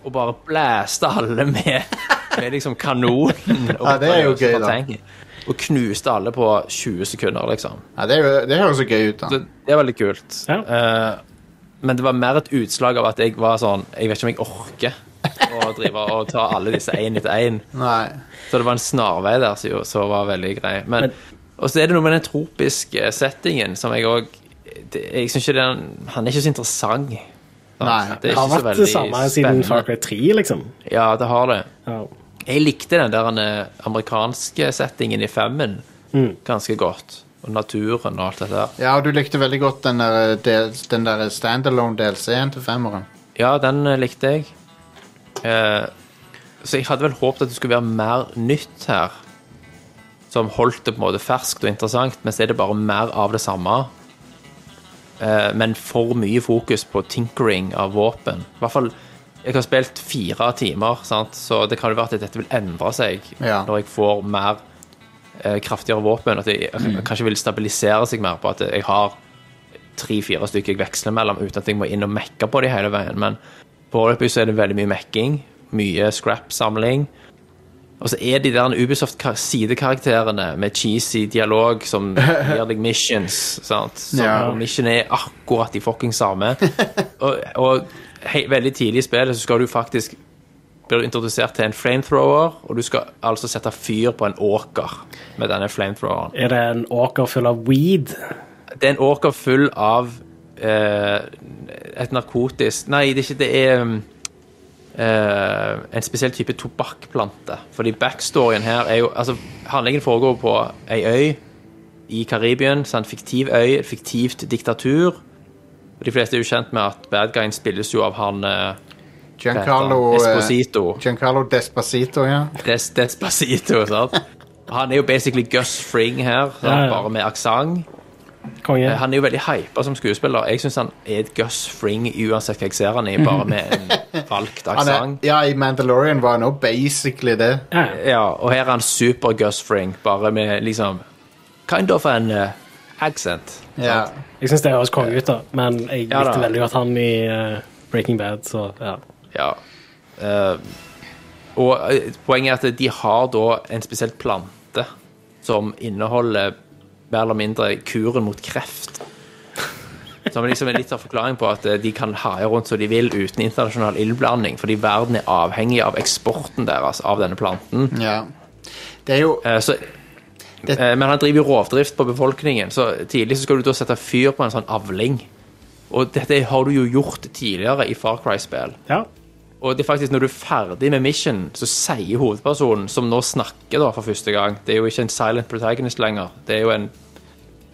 og bare blæste alle med, med liksom <laughs> kanonen. Og Ja, det er jo gøy, da. tanken. Og knuste alle på 20 sekunder, liksom. Ja, det, er jo- det høres jo gøy ut, da. Så det var litt kult. Ja. Eh, men det var mer et utslag av at jeg var sånn Jeg vet ikke om jeg orker å drive og ta alle disse én etter én. Nei. Så det var en snarvei der som jo- som var veldig grei. Men, og så er det noe med den tropiske eh, settingen som jeg òg Jeg syns ikke den Han er ikke så interessant. Nei. Det er Det har ikke så vært det samme veldig siden Far spennende. Cry 3, liksom. Ja, det har det. Ja. Mm. Jeg likte den der eh, amerikanske settingen i femmen ganske godt. Og naturen og alt det der. Ja, og du likte veldig godt den der, eh, del, den der standalone DLC-en til femmeren. Ja, den eh, likte jeg. Eh, så jeg hadde vel håpet at det skulle være mer nytt her. Som holdt det på en måte ferskt og interessant, mens er det bare mer av det samme. Eh, men for mye fokus på tinkering av våpen. I hvert fall jeg har spilt fire timer, sant? så det kan jo være at dette vil endre seg Ja. når jeg får mer eh, kraftigere våpen. At jeg, jeg kanskje vil stabilisere seg mer på at jeg har tre-fire stykker jeg veksler mellom, uten at jeg må inn og mekke på de hele veien. Men foreløpig så er det veldig mye mekking, mye scrap-samling. Og så er de der Ubisoft-sidekarakterene med cheesy dialog som gir deg missions. sant? Som Ja. og mission er akkurat de fucking samme. Og, og hei, veldig tidlig i spillet så skal du faktisk blir du introdusert til en flamethrower, og du skal altså sette fyr på en åker med denne flamethroweren. Er det en åker full av weed? Det er en åker full av eh, et narkotisk Nei, det er ikke det er um, eh, en spesiell type tobakkplante. Fordi backstoryen her er jo Altså, handlingen foregår på ei øy i Karibien. En fiktiv øy, et fiktivt diktatur. Og de fleste er jo kjent med at bad guyen spilles jo av han eh, Giancarlo, Peter. eh, Esposito. Giancarlo Despacito, ja. Des, Despacito, <laughs> sant? Han er jo basically Gus Fring her, sant? Ja, ja. bare med aksent. Konge. Eh, Han er jo veldig hypa som skuespiller. Jeg syns han er et Gus Fring uansett hva jeg ser han i, bare med <laughs> en valgt Han er, aksent. ja, i Mandalorian var han òg basically det. Ja. Ja, og her er han super Gus Fring, bare med liksom kind of an eh, accent. Ja. Jeg syns det høres konge ut, da, men jeg Ja, da. likte veldig godt han i eh, Breaking Bad, så ja. Ja. Eh, og eh, poenget er at de har da en spesiell plante som inneholder mer eller mindre kuren mot kreft. Som liksom er litt av forklaring på at eh, de kan haie rundt som de vil uten internasjonal innblanding, fordi verden er avhengig av eksporten deres av denne planten. ja. Det er jo <laughs> Eh, så, Det- eh, men han driver jo rovdrift på befolkningen, så tidlig så skal du da sette fyr på en sånn avling. Og dette har du jo gjort tidligere i Far Cry-spill. ja. Og det er faktisk når du er ferdig med mission, så sier hovedpersonen, som nå snakker da for første gang Det er jo ikke en silent protagonist lenger. Det er jo en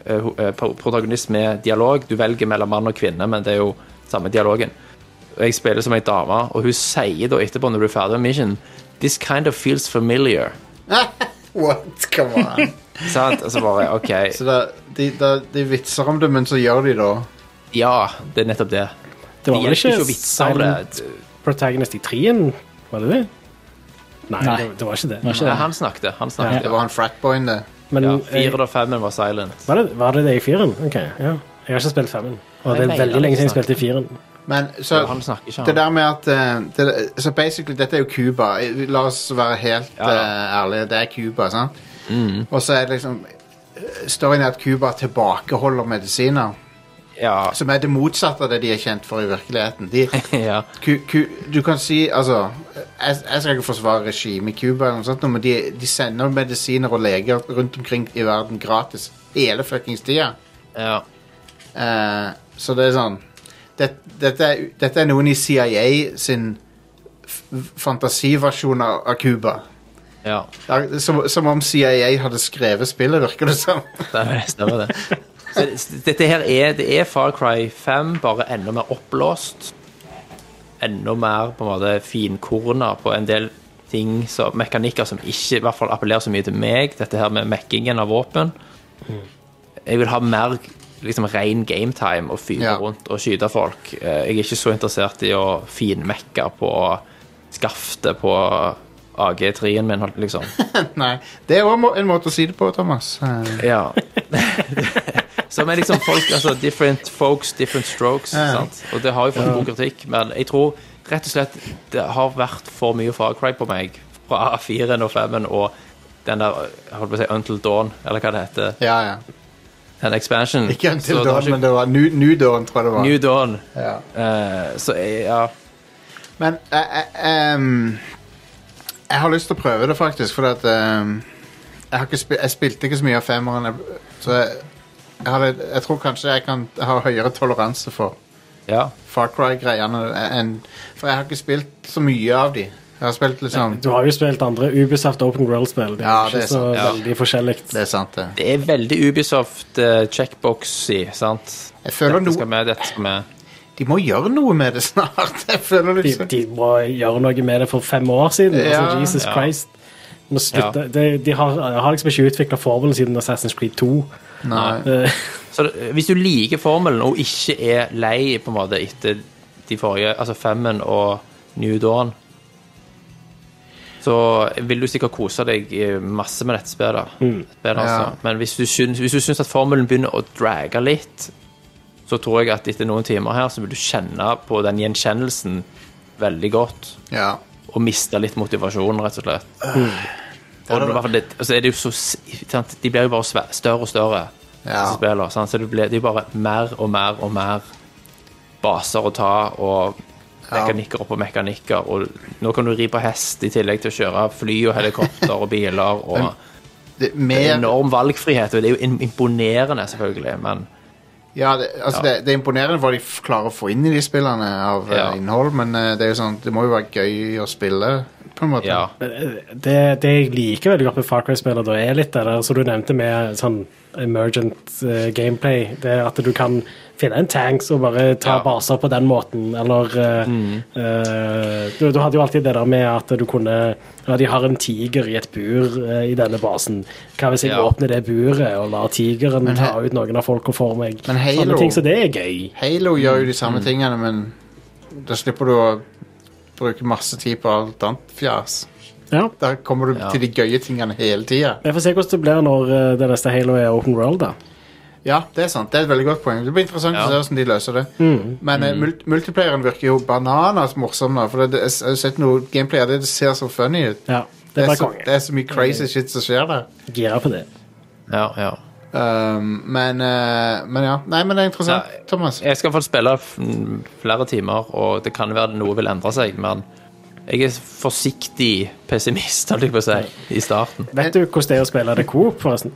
eh, ho- eh, pro- protagonist med dialog. Du velger mellom mann og kvinne, men det er jo samme dialogen. Og jeg spiller som ei dame, og hun sier da etterpå, når du er ferdig med mission This kind of feels familiar. What? Come on. Sant? Altså bare OK. Så det, de, de, de vitser om det, men så gjør de det. Ja, det er nettopp det. Det var vel Det hjelper ikke å ikke vitse om Silent det. Protagonist i trien, var det det? Nei, Nei. Det, det var ikke det. Ikke Nei, det. han snakket. Han snakket. Det var han fratboyen, det. Men Ja, jeg, Fire av femmen var silent. var, det, var det det i firen? OK, ja. Jeg har ikke spilt femmen. Og det Nei, er veldig nei, lenge siden jeg nei. spilte firen. Men Ja, så Han snakker ikke, Det han. der med at eh, det, Så basically, dette er jo Cuba. Eh, La oss være helt Ja, Mm. ja. eh, ærlige. Det er Cuba, sant? Og så er det liksom eh, Storyen er at Cuba tilbakeholder medisiner. Ja. <laughs> Som er det motsatte av det de er kjent for i virkeligheten. De, ja. ku, ku, du kan si Altså, jeg, jeg skal ikke forsvare regimet i Cuba, eller noe sånt, men de, de sender medisiner og leger rundt omkring i verden gratis hele fuckings tida. ja. Eh, så det er sånn det, dette, er- dette er noen i CIA sin f- fantasiversjon av av Cuba. ja. Det er Som, som om CIA hadde skrevet spillet, virker det som. <laughs> Stemmer det. Stemmer det. Så s- dette her er, det er Far Cry 5, bare enda mer oppblåst. Enda mer på en måte finkorna på en del ting, som- mekanikker som ikke i hvert fall appellerer så mye til meg. Dette her med mekkingen av våpen. Jeg vil ha mer liksom ren gametime og fyre Ja. rundt og skyte folk. Eh, Jeg er ikke så interessert i å finmekke på skaftet på AG3-en min, liksom. Nei, Det er òg en måte å si det på, Thomas. Eh, Ja. <laughs> Som er liksom folk, altså different folks, different strokes. Sant? Og det har jo fått god kritikk, men jeg tror rett og slett det har vært for mye Far Cry på meg fra 4-en og 5-en og den der jeg holdt på å si Until Dawn, eller hva det heter. ja, ja. Den expansion. Ikke Så Until det har Dawn, ikke- men det var New, New Dawn, tror jeg det var. New Dawn. ja. Eh, så jeg, ja. Men eh, eh, em, jeg har lyst til å prøve det, faktisk, fordi at em, jeg, har ikke spil jeg spilte ikke så mye av femmeren. jeg- Så jeg, jeg, hadde, jeg tror kanskje jeg kan ha høyere toleranse for ja. Far Cry-greiene enn For jeg har ikke spilt så mye av de. Jeg har spilt liksom Du har jo spilt andre Ubisoft Open World-spill. Det er Ja, ikke det er så sant, ja. veldig forskjellig. Det er sant, det. Det er veldig Ubisoft eh, checkbox-y, sant? Jeg føler dette no- skal med, dette skal med. De må gjøre noe med det snart. <laughs> Jeg føler De, liksom de må gjøre noe med det for fem år siden. Ja, altså, Jesus ja. Christ. De, må slutte. De, de har, har liksom ikke utvikla formelen siden Assassin's Creed 2. Nei. Eh, Så det, hvis du liker formelen og ikke er lei på en måte etter de forrige, altså Femmen og New Dawn, så vil du sikkert kose deg eh, masse med dette spillet. Spillet, Ja. altså. Men hvis du, syns, hvis du syns at formelen begynner å drage litt, så tror jeg at etter noen timer her, så vil du kjenne på den gjenkjennelsen veldig godt. Ja. og miste litt motivasjon, rett og slett. Og Øh. det, er i hvert fall litt- altså er det jo så, s- sant? De blir jo bare svæ- større og større, Ja. disse spillene. Sant? Så det, blir, det er jo bare mer og mer og mer baser å ta, og mekanikker opp og mekanikker. Og nå kan du ri på hest i tillegg til å kjøre fly og helikopter og biler. Og Det, det er mer, enorm valgfrihet, og det er jo im- imponerende, selvfølgelig, men ja, det, altså det, det er imponerende hva de f- klarer å få inn i de spillene av eh, Ja. innhold, men eh, det er jo sånn, det må jo være gøy å spille, på en måte. ja. eh, det, det jeg liker veldig godt med Far Cry-spillere, da, er litt det der som du nevnte med sånn emergent eh, gameplay. Det er at du kan finne en tanks og bare ta Ja. baser på den måten, eller eh, Mm. eh, du, du hadde jo alltid det der med at du kunne Ja, de har en tiger i et bur eh, i denne basen. Hva hvis jeg Ja. åpner det buret og lar tigeren Men he- ta ut noen av folka for meg? Men Halo- Sånne ting, så det er gøy. Halo gjør jo de Mm. samme tingene, men da slipper du å bruke masse tid på alt annet fjas. Ja. Da kommer du Ja. til de gøye tingene hele tida. Jeg får se hvordan det blir når eh, det neste Halo er open world, da. Ja, det er sant. Det er et veldig godt poeng. Det blir interessant Ja. Mm. å se hvordan de løser det. Men eh, mul multiplayeren virker jo bananas morsom nå, for det, det, jeg har sett noe gameplay av det, det ser så funny ut. Ja, Det det er, blir så, det konge. er så mye Mm. crazy shit som skjer der. Gira på det. ja, ja. Um, men, eh, men ja. Nei, men det er interessant, Nei. Thomas. Jeg skal i hvert fall spille f- m, flere timer, og det kan være noe vil endre seg, men jeg er forsiktig pessimist, holdt jeg på å si, i starten. Vet du hvordan det er å spille det coop, forresten?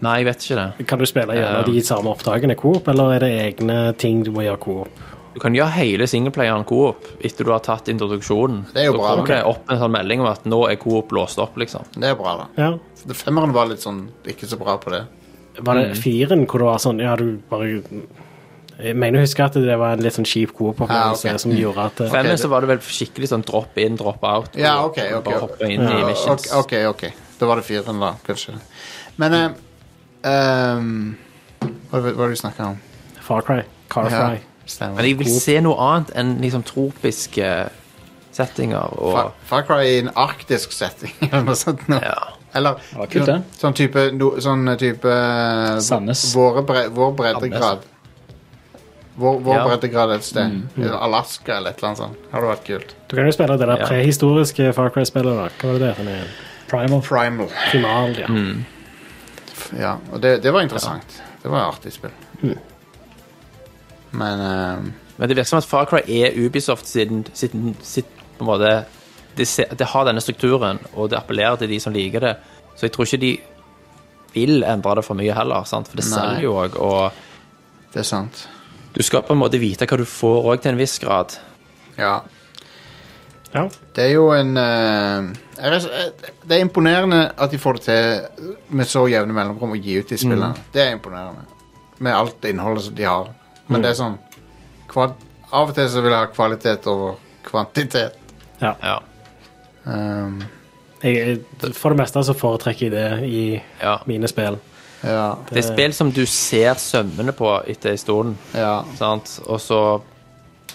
Nei, jeg vet ikke det. Kan du spille gjennom de samme opptakene coop, eller er det egne ting du må gjøre coop? Du kan gjøre hele singleplayeren coop etter du har tatt introduksjonen. Det er jo Så bra, kommer da. det opp en sånn melding om at nå er coop låst opp, liksom. Det er bra, da. Ja. Det Femmeren var litt sånn ikke så bra på det. Var Mm. det firen hvor det var sånn Ja, du bare Jeg mener å huske at det var en litt sånn kjip coop-opplevelse Ja, Ah, ok. som gjorde at For Ok, meg det- så var det vel skikkelig sånn drop in, drop out. Ja, og ok, ok, Bare ok. hoppe inn i missions. Ok, ok. ok. Da var det fireren, da, kanskje. Men eh, um, hva, hva var det du snakka om? Far Cry, Car Ja, Fry stemmer. Men jeg vil se noe annet enn liksom tropiske settinger og Far, Far Cry i en arktisk setting, <laughs> eller noe sånt. nå. Ja. Eller Ja, kult, det. sånn type, no, sånn type eh, Sandnes. Våre bre, vår breddegrad. Vår, vår Ja. breddegrad et sted. Mm. Alaska eller et eller annet sånt. Hadde vært kult. Du kan jo spille det der Ja. prehistoriske Far Cry-spillet, da. Hva var det det het igjen? Primal. Primal. Final, ja. Mm. Ja, og det, det var interessant. Det var et artig spill. Mm. Men eh, Men det virker som at Far Cry er Ubisoft sin, sitt, sitt på en måte det, se- det har denne strukturen, og det appellerer til de som liker det. Så jeg tror ikke de vil endre det for mye heller, sant? for det Nei. selger jo òg. Og det er sant. du skal på en måte vite hva du får òg, til en viss grad. Ja. ja. Det er jo en eh, jeg vet- jeg- Det er imponerende at de får det til med så jevne mellomrom å gi ut de Mm. spillene. Det er imponerende. Med alt innholdet som de har. Mm. Men det er sånn kva- Av og til så vil jeg ha kvalitet over kvantitet. ja. Ja. Um, Jeg, for det meste så foretrekker jeg det i Ja. mine spill. ja, Det er spill som du ser sømmene på etter en stund, ja. sant? og så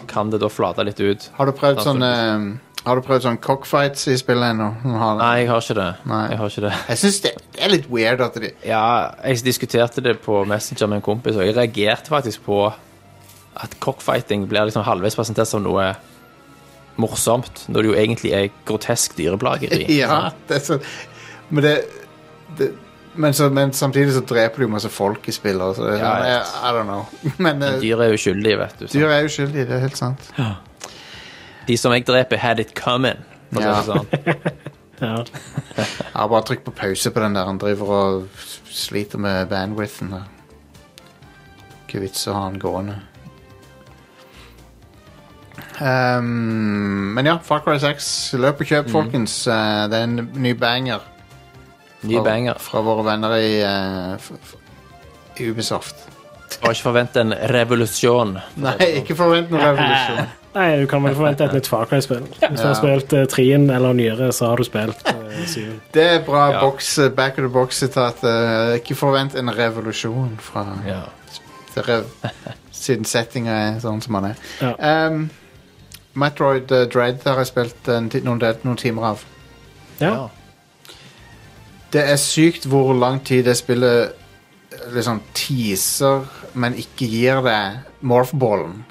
kan det da flate litt ut. Har du prøvd Absolutt. sånn Har du prøvd sånn cockfights i spillet ennå? Som har- Nei, jeg har ikke det. Nei. Jeg har ikke det. Jeg syns det, det er litt weird at de Ja, jeg diskuterte det på Messenger med en kompis, og jeg reagerte faktisk på at cockfighting blir liksom halvveis presentert som noe morsomt, når det jo egentlig er grotesk dyreplageri. <laughs> Ja, det er så Men det, det men, så, men samtidig så dreper du masse folk i spillet. Så det, er Ja, sånn, jeg jeg, vet. I don't know. <laughs> Men eh, Dyr er uskyldige, vet du. sant? dyr er uskyldige, det er helt sant. De som jeg dreper, had it coming. for å Ja. si det Sånn. Ja. Jeg har bare trykk på pause på den der. Han driver og s- sliter med bandwidthen. der. Ikke vits å ha han gående. Ehm, men ja, Far Cry 6. Løp og Mm. kjøp, folkens. Eh, det er en ny banger Ny fra, banger. fra våre venner i, eh, f f i Ubisoft. Må ikke forvente en revolusjon. Nei, ikke forvent noen revolusjon. Nei, du kan vel forvente et nytt Far Cry-spill. Hvis du har Ja. spilt eh, trien eller nyere, så har du spilt eh, syven. Det er bra Ja. boks, eh, back of the box-sitat. eh, ikke forvent en revolusjon fra Ja. det rev Siden settinga er sånn som den er. Ja. Ehm, Metroid eh, Dread har jeg spilt en ti- noen, del- noen timer av. Ja. Ja. Det er sykt hvor lang tid det spillet eh, liksom teaser, men ikke gir deg morphballen.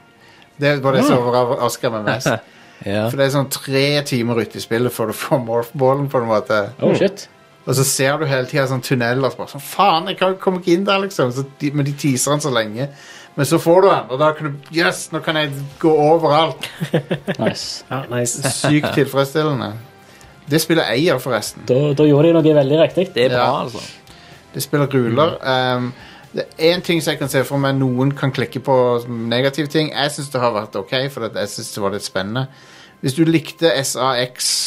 Det var det som overraska meg mest. <laughs> Ja. For det er sånn tre timer ute i spillet før du får morphballen, på en måte. Oh, shit. Og så ser du hele tida sånn tunneler og så bare sånn Faen, jeg kan- kommer ikke inn der, liksom. Så de, men de teaser den så lenge. Men så får du den, og da kan du Yes, nå kan jeg gå overalt. Nice. ja, nice. Sykt tilfredsstillende. Det spiller eier, forresten. Da, da gjorde de noe veldig riktig. Det er bra, Ja. altså. Det spiller ruler. Um, det er én ting som jeg kan se for meg noen kan klikke på som negative ting. Jeg syns det har vært ok, for at jeg synes det var litt spennende. Hvis du likte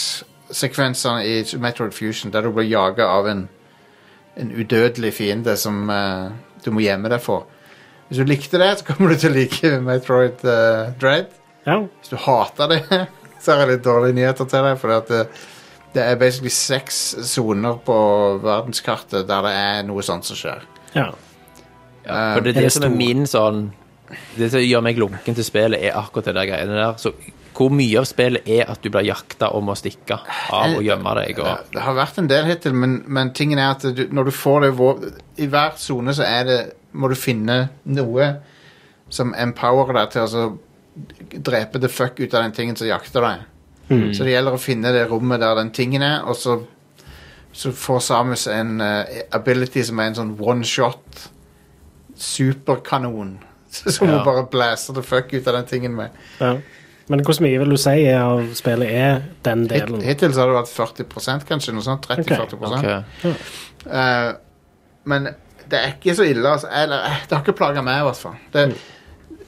SAX-sekvensene i Metroid Fusion, der du ble jaga av en, en udødelig fiende som eh, du må gjemme deg for Hvis du likte det, så kommer du til å like Metroid eh, Dread. Ja. Hvis du hater det, <laughs> så har jeg litt dårlige nyheter til deg. For det, det er basically seks soner på verdenskartet der det er noe sånt som skjer. ja. Ja, for det er Er det det som er stor? min sånn Det som gjør meg lunken til spillet, er akkurat det der greiene der. Så hvor mye av spillet er at du blir jakta om å stikke av å gjemme deg Det, og det har vært en del hittil, men, men tingen er at du, når du får det vå- I hver sone så er det må du finne noe som empowerer deg til å så drepe the fuck ut av den tingen som jakter deg. Så det gjelder å finne det rommet der den tingen er, og så, så får Samus en eh, ability som er en sånn one shot superkanon. <laughs> Som hun Ja. bare blaster the fuck ut av den tingen med. ja. Men hvor mye vil du si er av spillet er den Hitt, delen? hittil så har det vært 40 kanskje. noe sånt, 30-40 Ok. Eh, men det er ikke så ille, altså. Eller, eh, det har ikke plaga meg, i hvert fall. Det,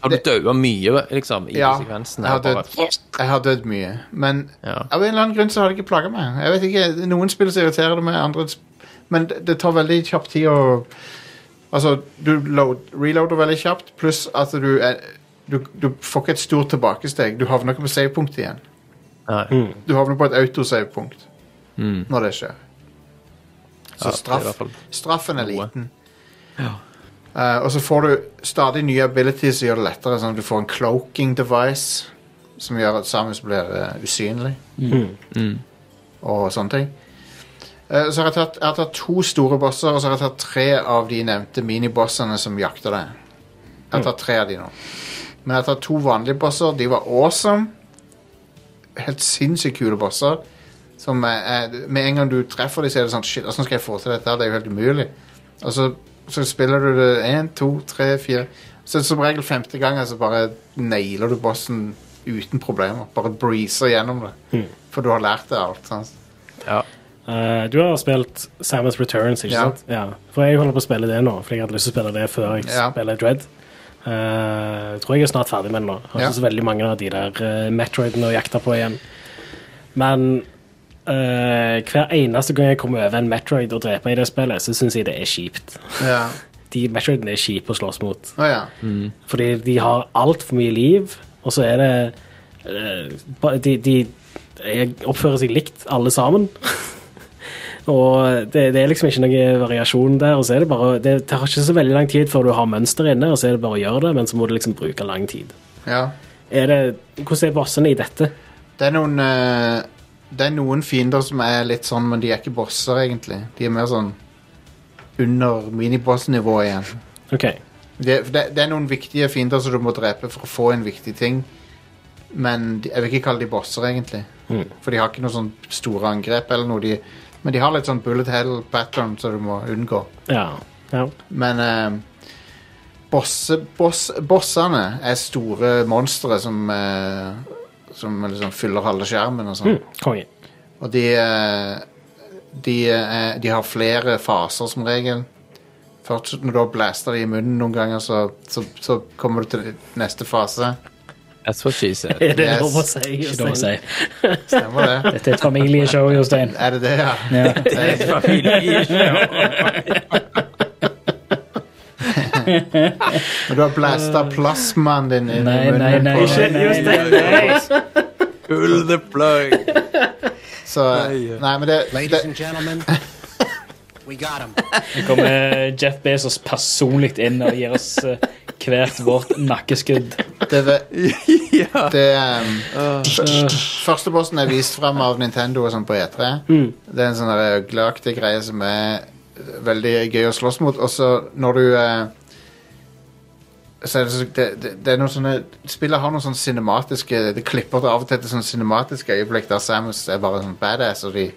Har du daua mye, liksom, i ja, sekvensen? jeg har, Bare- dødd, jeg har dødd mye. Men Ja. av en eller annen grunn så har det ikke plaga meg. Jeg vet ikke, Noen spill så irriterer det meg, andre sp- Men det, det tar veldig kjapp tid å Altså, du load, reloader veldig kjapt, pluss at du, er, du Du får ikke et stort tilbakesteg. Du havner ikke på savepunktet igjen. Nei. Du havner på et autosavepunkt når det skjer. Så Mm. Ja, det er i straff, hvert fall straffen er noe. liten. Eh, og så får du stadig nye abilities som gjør det lettere. Sånn at du får en cloaking device som gjør at Samus blir eh, usynlig. Mm. Og sånne ting. Eh, så har jeg, tatt, jeg har tatt to store bosser, og så har jeg tatt tre av de nevnte minibossene som jakter deg. Jeg har tatt tre av de nå. Men jeg har tatt to vanlige bosser. De var awesome. Helt sinnssykt kule bosser. Som eh, eh, med en gang du treffer dem, så er det sånn Shit, hvordan skal jeg få til dette? her? Det er jo helt umulig. Og så, så spiller du det én, to, tre, fire Så som regel femte gangen så bare nailer du bossen uten problemer. Bare breezer gjennom det. For du har lært det alt. Sant? Ja. Eh, du har spilt Samus Returns, ikke Ja. sant? Ja. For jeg holder på å spille det nå, fordi jeg hadde lyst til å spille det før jeg Ja. spiller Dread. Eh, jeg tror jeg er snart ferdig med den nå. Jeg har Ja. ikke så veldig mange av de der eh, Metroidene å jakte på igjen. Men eh, hver eneste gang jeg kommer over en Metroid og dreper i det spillet, så syns jeg det er kjipt. Ja. De Metroidene er kjipe å slåss mot. Å ja. Fordi de har altfor mye liv, og så er det eh, ba- De, de er- oppfører seg likt, alle sammen. <laughs> og det, det er liksom ikke noe variasjon der. Og så er det bare Det tar ikke så veldig lang tid før du har mønster inne, og så er det bare å gjøre det, men så må du liksom bruke lang tid. ja. Er det, hvordan er bossene i dette? Det er noen eh, Det er noen fiender som er litt sånn, men de er ikke bosser, egentlig. De er mer sånn under miniboss-nivå igjen. OK. Det, for det, det er noen viktige fiender som du må drepe for å få en viktig ting. Men de, jeg vil ikke kalle de bosser, egentlig. For de har ikke noe sånn store angrep eller noe. De, men de har litt sånn bullet hell pattern som du må unngå. Ja. ja. Men eh, bosse, boss, bossene er store monstre som, eh, som liksom fyller halve skjermen og sånn. Mm, Konge. Og de, eh, de, eh, de har flere faser som regel. Først når du har blaster de i munnen noen ganger, så, så, så kommer du til neste fase. That's what she said. <laughs> Er det Yes. lov å si? Ikke lov å si. Stemmer <laughs> det. Dette er et familieshow, Jostein. Er <laughs> det det, ja? Ja. <laughs> <laughs> Men du har blasta plasmaen din inn Nei, i munnen nei, nei. på nei, nei, nei, nei. Pull the plug. <laughs> Så, Nei, men det, det Ladies and gentlemen, we got him. Så kommer Jeff Bezos personlig inn og gir oss eh, hvert vårt nakkeskudd. Det, det, det um, Første bossen er vist frem av Nintendo og sånn på E3. Det er en sånn der gløaktig greie som er veldig gøy å slåss mot. Og så når du eh, så er det, så- det, det, det er noen sånne Spillet har noen sånne cinematiske Det klipper det av og til til sånne cinematiske øyeblikk der Samus er bare sånn badass, og de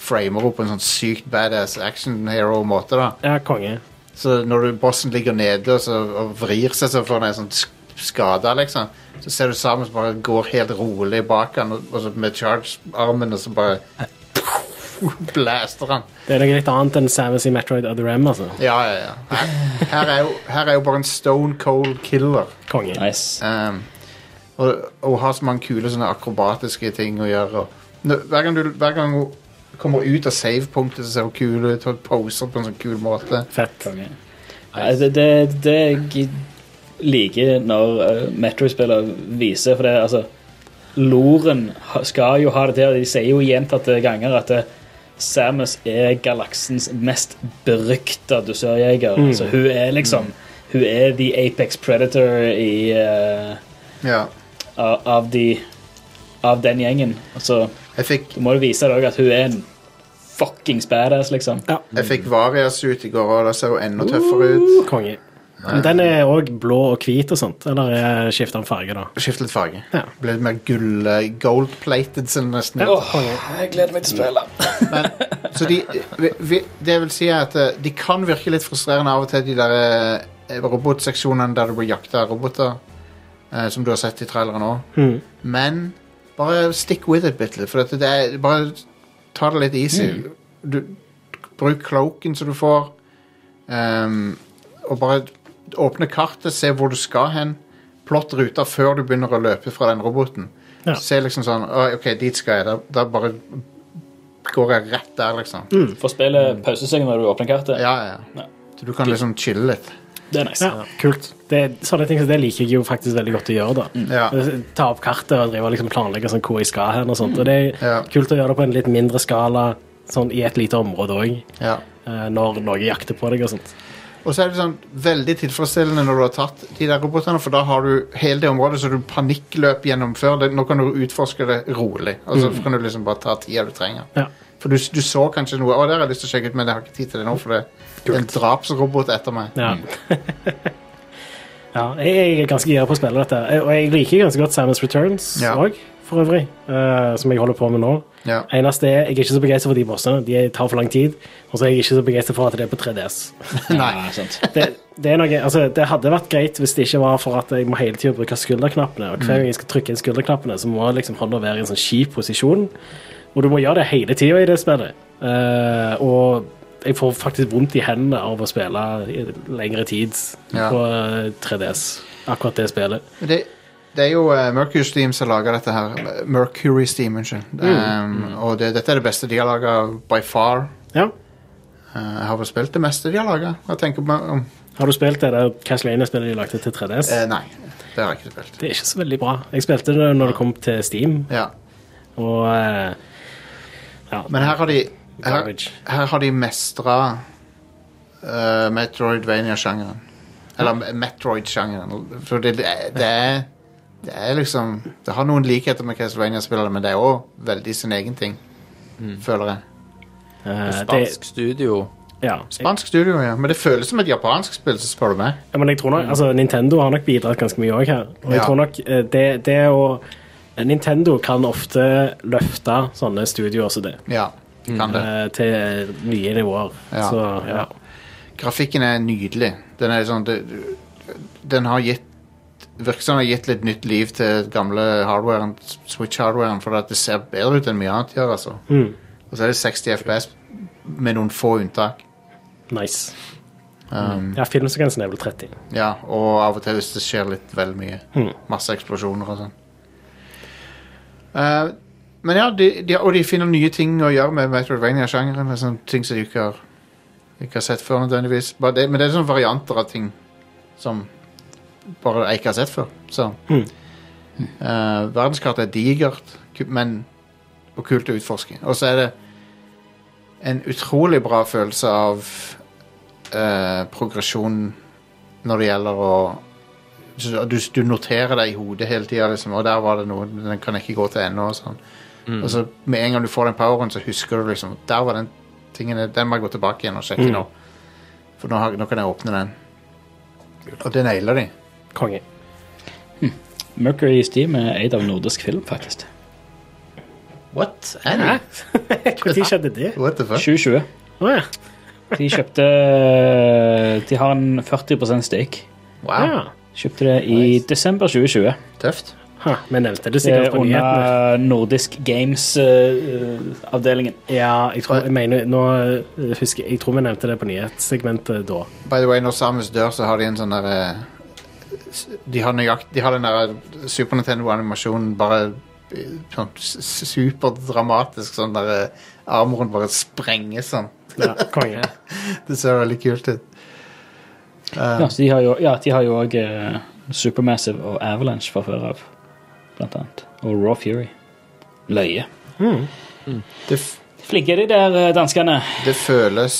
framer henne på en sånn sykt badass action hero-måte. da Ja, konge. så når du, bossen ligger nede og, så, og vrir seg så får han en sånn sk- skada, liksom, så ser du Samus bare går helt rolig bak han og, og så med charge-armen, og så bare <laughs> blaster han. Det er noe litt annet enn Samus i Metroid Other M, altså. Ja, ja, ja. Her, her, er, jo, her er jo bare en stone cold killer. Konge. Nice. Um, og, og har så mange kule sånne akrobatiske ting å gjøre. Og, Nå, hver, gang du, hver gang hun kommer ut av save-punktet, så ser hun kul ut og poser på en sånn kul måte. Fett. Konge. Nei, Det, det, det jeg liker når eh, Metroid-spillere viser, for det er altså Loren ha- skal jo ha det til, og de sier jo gjentatte ganger at eh, Samus er galaksens mest berykta dusørjeger. Så hun er liksom Hun er the Apex Predator i eh, Ja. av, av de Av den gjengen. Altså, Jeg fikk du må jo vise deg at hun er en fuckings badass, liksom. Jeg fikk Varias ut i går, og det ser jo enda tøffere ut. Konge. Men den er òg blå og hvit og sånt, eller eh, skifter den farge, da? Skift litt farge. Ja. Ble litt mer gull eh, gold-plated, sånn nesten. jeg gleder meg til å spille. Men, så de, vi, vi, det vil si at eh, de kan virke litt frustrerende av og til, de der eh, robotseksjonene der du blir jakta av roboter, eh, som du har sett i traileren òg. Men bare stick with it bitte litt, for dette, det er, bare ta det litt easy. Du, bruk cloaken som du får, ehm, og bare åpne kartet, se hvor du skal hen. Plott ruter før du begynner å løpe fra den roboten. Ja. Se liksom sånn «Å, OK, dit skal jeg. Da, da bare går jeg rett der, liksom. Få spille pausescenen når du åpner kartet. Ja, ja, ja. Så du kan liksom chille litt. Det er nice. Ja, kult. Mm. Det, sånne ting som det liker jeg jo faktisk veldig godt å gjøre, da. Altså, Ja. Ta opp kartet og drive og liksom planlegge sånn hvor jeg skal hen og sånt. Og det er Mm. Ja. kult å gjøre det på en litt mindre skala, sånn i et lite område òg, Ja. når noen jakter på deg og sånt. Og så er det sånn veldig tilfredsstillende når du har tatt de der robotene, for da har du hele det området som du panikkløp gjennom før. Det- Nå kan du utforske det rolig, og så kan du liksom bare ta tida du trenger. Ja. For du, du så kanskje noe Å, der har jeg lyst til å sjekke ut, men jeg har ikke tid til det nå, for det det er en drapsrobot etter meg. Ja. Mm. <laughs> ja, jeg er ganske gira på å spille dette. Jeg- Og jeg liker ganske godt Samus Returns Ja. òg, for øvrig. eh, som jeg holder på med nå. Ja. Eneste er, Jeg er ikke så begeistra for de bossene. De tar for lang tid. Og så er jeg ikke så begeistra for at det er på 3DS. Nei. Ja, sant. Det, det, er noe, altså, det hadde vært greit hvis det ikke var for at jeg må hele tiden bruke skulderknappene. Og hver gang jeg skal trykke inn skulderknappene, så må jeg liksom hånda være i en sånn kjip posisjon. Og du må gjøre det hele tida i det spillet. Eh, og jeg får faktisk vondt i hendene av å spille i lengre tid Ja. på eh, 3DS. Akkurat det spillet. Men Det, det er jo eh, Mercury Steam som lager dette her. Mercury Steam, unnskyld. Um, og det, dette er det beste de har laga by far. Ja. Eh, Jeg har vel spilt det meste de har laga. Hva tenker du om Har du spilt det der Castlevania-spillet de lagde til 3DS? Eh, Nei, det har jeg ikke spilt. Det er ikke så veldig bra. Jeg spilte det når det kom til Steam, Ja. og eh, ja. Men her har de Her, Garbage. her har de mestra eh, Metroidvania-sjangeren. Eller Metroid-sjangeren. For det, det, er- det er Det er liksom Det har noen likheter med Castlevania-spillerne, men det er òg veldig sin egen ting. Føler jeg. Eh, det, Spansk studio. ja. Spansk studio, ja. Men det føles som et japansk spill, så spør du meg. Ja, men jeg tror nok, altså, Nintendo har nok bidratt ganske mye òg her. Og jeg Ja. tror nok eh, det, det å Nintendo kan ofte løfte sånne studioer som det Ja, kan det. eh, til nye nivåer. Ja. Så ja. Grafikken er nydelig. Den er sånn det, Den har gitt Virker som den har gitt litt nytt liv til gamle hardwaren, Switch-hardwaren, for at det ser bedre ut enn mye annet gjør, altså. Og så er det 60 FPS med noen få unntak. Nice. Um, Ja, filmsekvensen er vel 30. ja, og av og til hvis det skjer litt vel mye. Masse eksplosjoner og sånn. Eh, men ja, de, de, og de finner nye ting å gjøre med Metroidvania-sjangeren. med sånne Ting som de ikke har, ikke har sett før nødvendigvis. Bare det, men det er sånne varianter av ting som bare jeg ikke har sett før. Så. Eh, verdenskartet er digert, ku- men og kult å utforske. Og så er det en utrolig bra følelse av eh, progresjon når det gjelder å så du, du noterer deg i hodet hele tida, liksom, og der var det noe Den kan jeg ikke gå til ennå. Og sånn. Og så med en gang du får den poweren, så husker du liksom Der var den tingen Den må jeg gå tilbake igjen og sjekke nå. For nå, har, nå kan jeg åpne den. Og det nailer de. Konge. Mercury Steam er eid av nordisk film, faktisk. What? Annie? Når skjedde det? <laughs> What the fuck? 2020. Å ja. De kjøpte eh, De har en 40 stake. Wow. ja. Kjøpte det i desember 2020. Tøft. Ha, vi nevnte det Det er sikkert på nyhetene. under Nordisk eh, Games-avdelingen. Ja, jeg tror, jeg, mener, nå, eh, husker, jeg tror vi nevnte det på nyhetssegmentet da. By the way, når Samus dør, så har de en sånn der eh, s- De har nøyakt, De har den der eh, Super Nintendo-animasjonen bare eh, sånn s- superdramatisk, sånn der eh, armoren bare sprenger sånn. Ja, konge. Det ser veldig kult ut. Eh, Ja, så de har jo- ja, de har jo òg Supermassive og Avalanche fra før av, blant annet. Og Raw Fury. Løye. Det, f Flinke er de der eh, danskene. det føles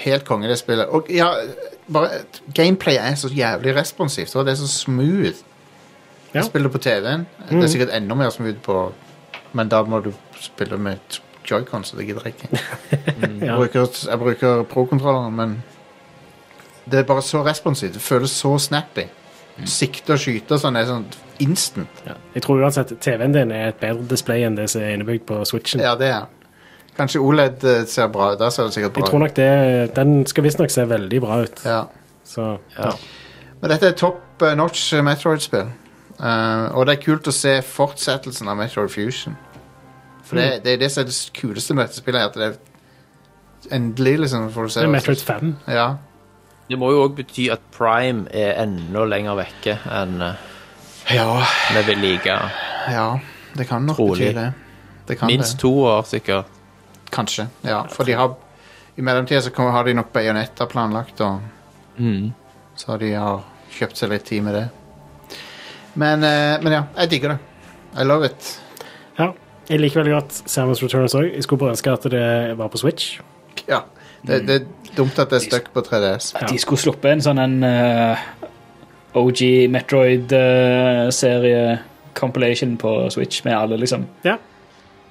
helt konge, det spillet. Og ja, bare Gameplay er så jævlig responsivt, og det er så smooth. Ja. Mhm. Jeg spiller på TV-en. Det er sikkert enda mer smooth på Men da må du spille med joycon, så det gidder jeg ikke. Ja. Jeg bruker, jeg bruker pro-kontrolleren, men det er bare så responsivt. Det føles så snappy. Mm. Sikte og skyte og sånn er sånn instant. Ja. Jeg tror uansett TV-en din er et bedre display enn det som er innebygd på Switchen. Ja, det er Kanskje OLED eh, ser bra ut. Der ser det sikkert Jeg tror bra ut. nok det, Den skal visstnok se veldig bra ut. Ja. Så Men dette er topp eh, notch eh, Metroid-spill. Eh, og det er kult å se fortsettelsen av Metroid Fusion. For det, det er det som er det kuleste med dette spillet, er at det er endelig liksom får du se det er hva Metroid slags- 5. Ja. Det må jo òg bety at Prime er enda lenger vekke enn eh, ja. vi vil like. Ja. Det kan nok Trolig. bety det. det kan det. Minst to år, sikkert. Kanskje, ja. For de har I mellomtida så kommer- har de nok bajonetter planlagt, og så de har kjøpt seg litt tid med det. Men, eh, men ja, jeg digger det. I love it. Ja. Jeg liker veldig godt Samus Returns òg. Jeg skulle bare ønske at det var på Switch. Ja, det, det er dumt at det er stuck på 3DS. At de skulle sluppe en sånn en eh, OG Metroid-serie compilation på Switch med alle, liksom. Ja.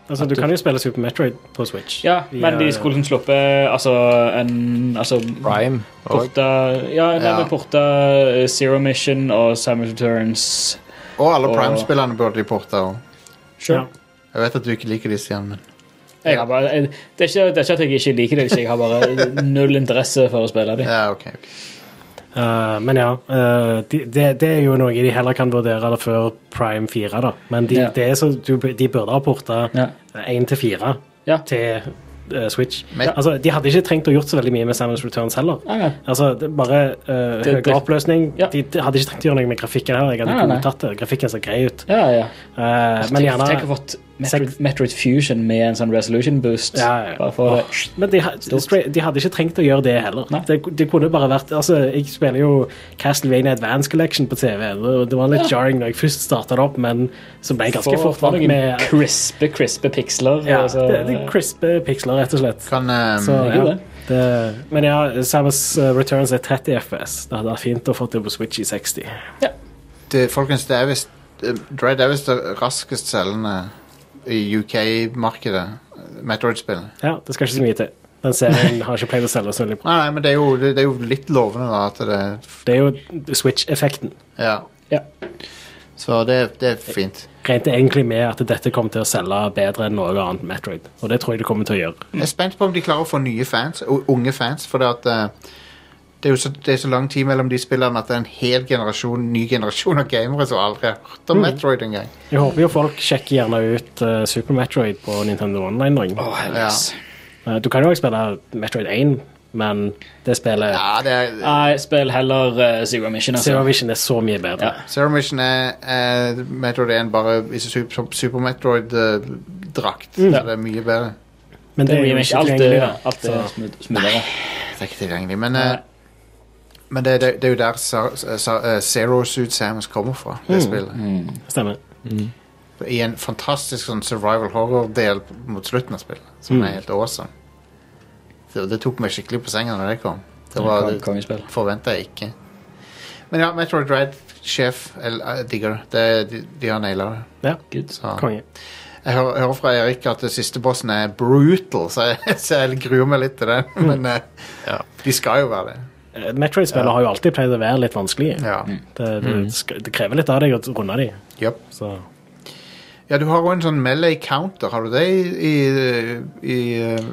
Altså, du kan jo spille Super Metroid på Switch. eh, Ja, men de skulle liksom sluppe altså en altså, Prime. Og, Porta, ja, nei, Ja. men porta eh, Zero Mission og Samus Returns. Og alle Og- Prime-spillerne burde de porte òg. Sure. Jeg vet at du ikke liker disse igjen, men Jeg har bare, jeg, det, er ikke, det er ikke at jeg ikke liker det, jeg har bare eh, null interesse for å spille det. ja, ok. ok. Eh, men ja, eh, de, det, det er jo noe de heller kan vurdere det før Prime 4, da. Men de, Ja. det er så, du, de burde ha porta Ja. 1 til 4 Ja. til eh, Switch. Men- Altså, de hadde ikke trengt å gjort så veldig mye med Samus Returns heller. Nei, nei. Altså, det, er bare eh, Det- det- høyere oppløsning. Ja. De, de hadde ikke trengt å gjøre noe med grafikken heller. Jeg hadde Nei, nei. godtatt det. Grafikken ser grei ut. Ja, ja. Eh, men tenk, tenk å gjerne ha fått Metroid, Metroid Fusion med en sånn resolution boost. Ja, ja. Bare for Åh, Men de, ha- stra- de hadde ikke trengt å gjøre det heller. Nei. Det, det kunne bare vært Altså, Jeg spiller jo Castlevania Advance Collection på TV, og det var litt jarring når jeg først starta det opp, men så ble jeg ganske for- fort for vant noen med crispe, crispe piksler. ja, altså. det, det er crispe piksler, rett og slett. Kan, ehm, Så, det er ja, det. det, men ja, Samus eh, Returns er 30 FPS. Det hadde vært fint å få det på Switch i 60. det, folkens, det er visst eh, Dread er visst det raskest selgende i UK-markedet. Metroid-spillet. Ja, Det skal ikke så mye til. Den serien har ikke pleid å selge så veldig bra. Nei, nei, men det er, jo, det, det er jo litt lovende da at det Det er jo Switch-effekten. Ja. Ja. Så det, det er fint. Regnet egentlig med at dette kom til å selge bedre enn noe annet Metroid, og det tror jeg det kommer til å gjøre. Jeg er spent på om de klarer å få nye fans, u- unge fans, for det at eh, det er jo så, det er så lang tid mellom de spillerne at det er en hel generasjon, ny generasjon av gamere som aldri har hørt om Metroid engang. Jeg håper jo folk sjekker gjerne ut eh, Super Metroid på Nintendo Online. nå. Åh, Ja. helvetes. Eh, du kan jo også spille Metroid 1 men det spillet Ja, det er, Nei, spill heller eh, Zero Mission. Altså. Zero Vision er så mye bedre. Ja. Zero Mission er, er Metroid 1 bare i Super, Super Metroid-drakt. Ja. Så det er mye bedre. Men det er jo Remake, ikke alt tilgjengelig, er, da. alt er Så- smooth- smoothere. Det er ikke tilgjengelig. Men, Nei. eh, men det, det, det er jo der Sa- Sa- eh, Zero Suit Samus kommer fra, det spillet. Stemmer. I en fantastisk sånn survival horror-del mot slutten av spillet, som er helt awesome. Det, det tok meg skikkelig på senga når det kom. Det var Kong- det Kongespill. forventa jeg ikke. Men ja, Metroid Dread-sjef eh, digger det. det. De, de har naila det. Ja, Good. Så. konge. Jeg hører, hører fra Erik at det siste bossen er brutal, så jeg, <laughs> så jeg gruer meg litt til det. Men eh, Ja. de skal jo være det. Eh, Metroid-spillere har jo alltid pleid å være litt vanskelige. Ja. Det, det, sk- det krever litt av deg å runde de. Yep. Så Ja, du har jo en sånn melee counter, har du det i, i, i eh,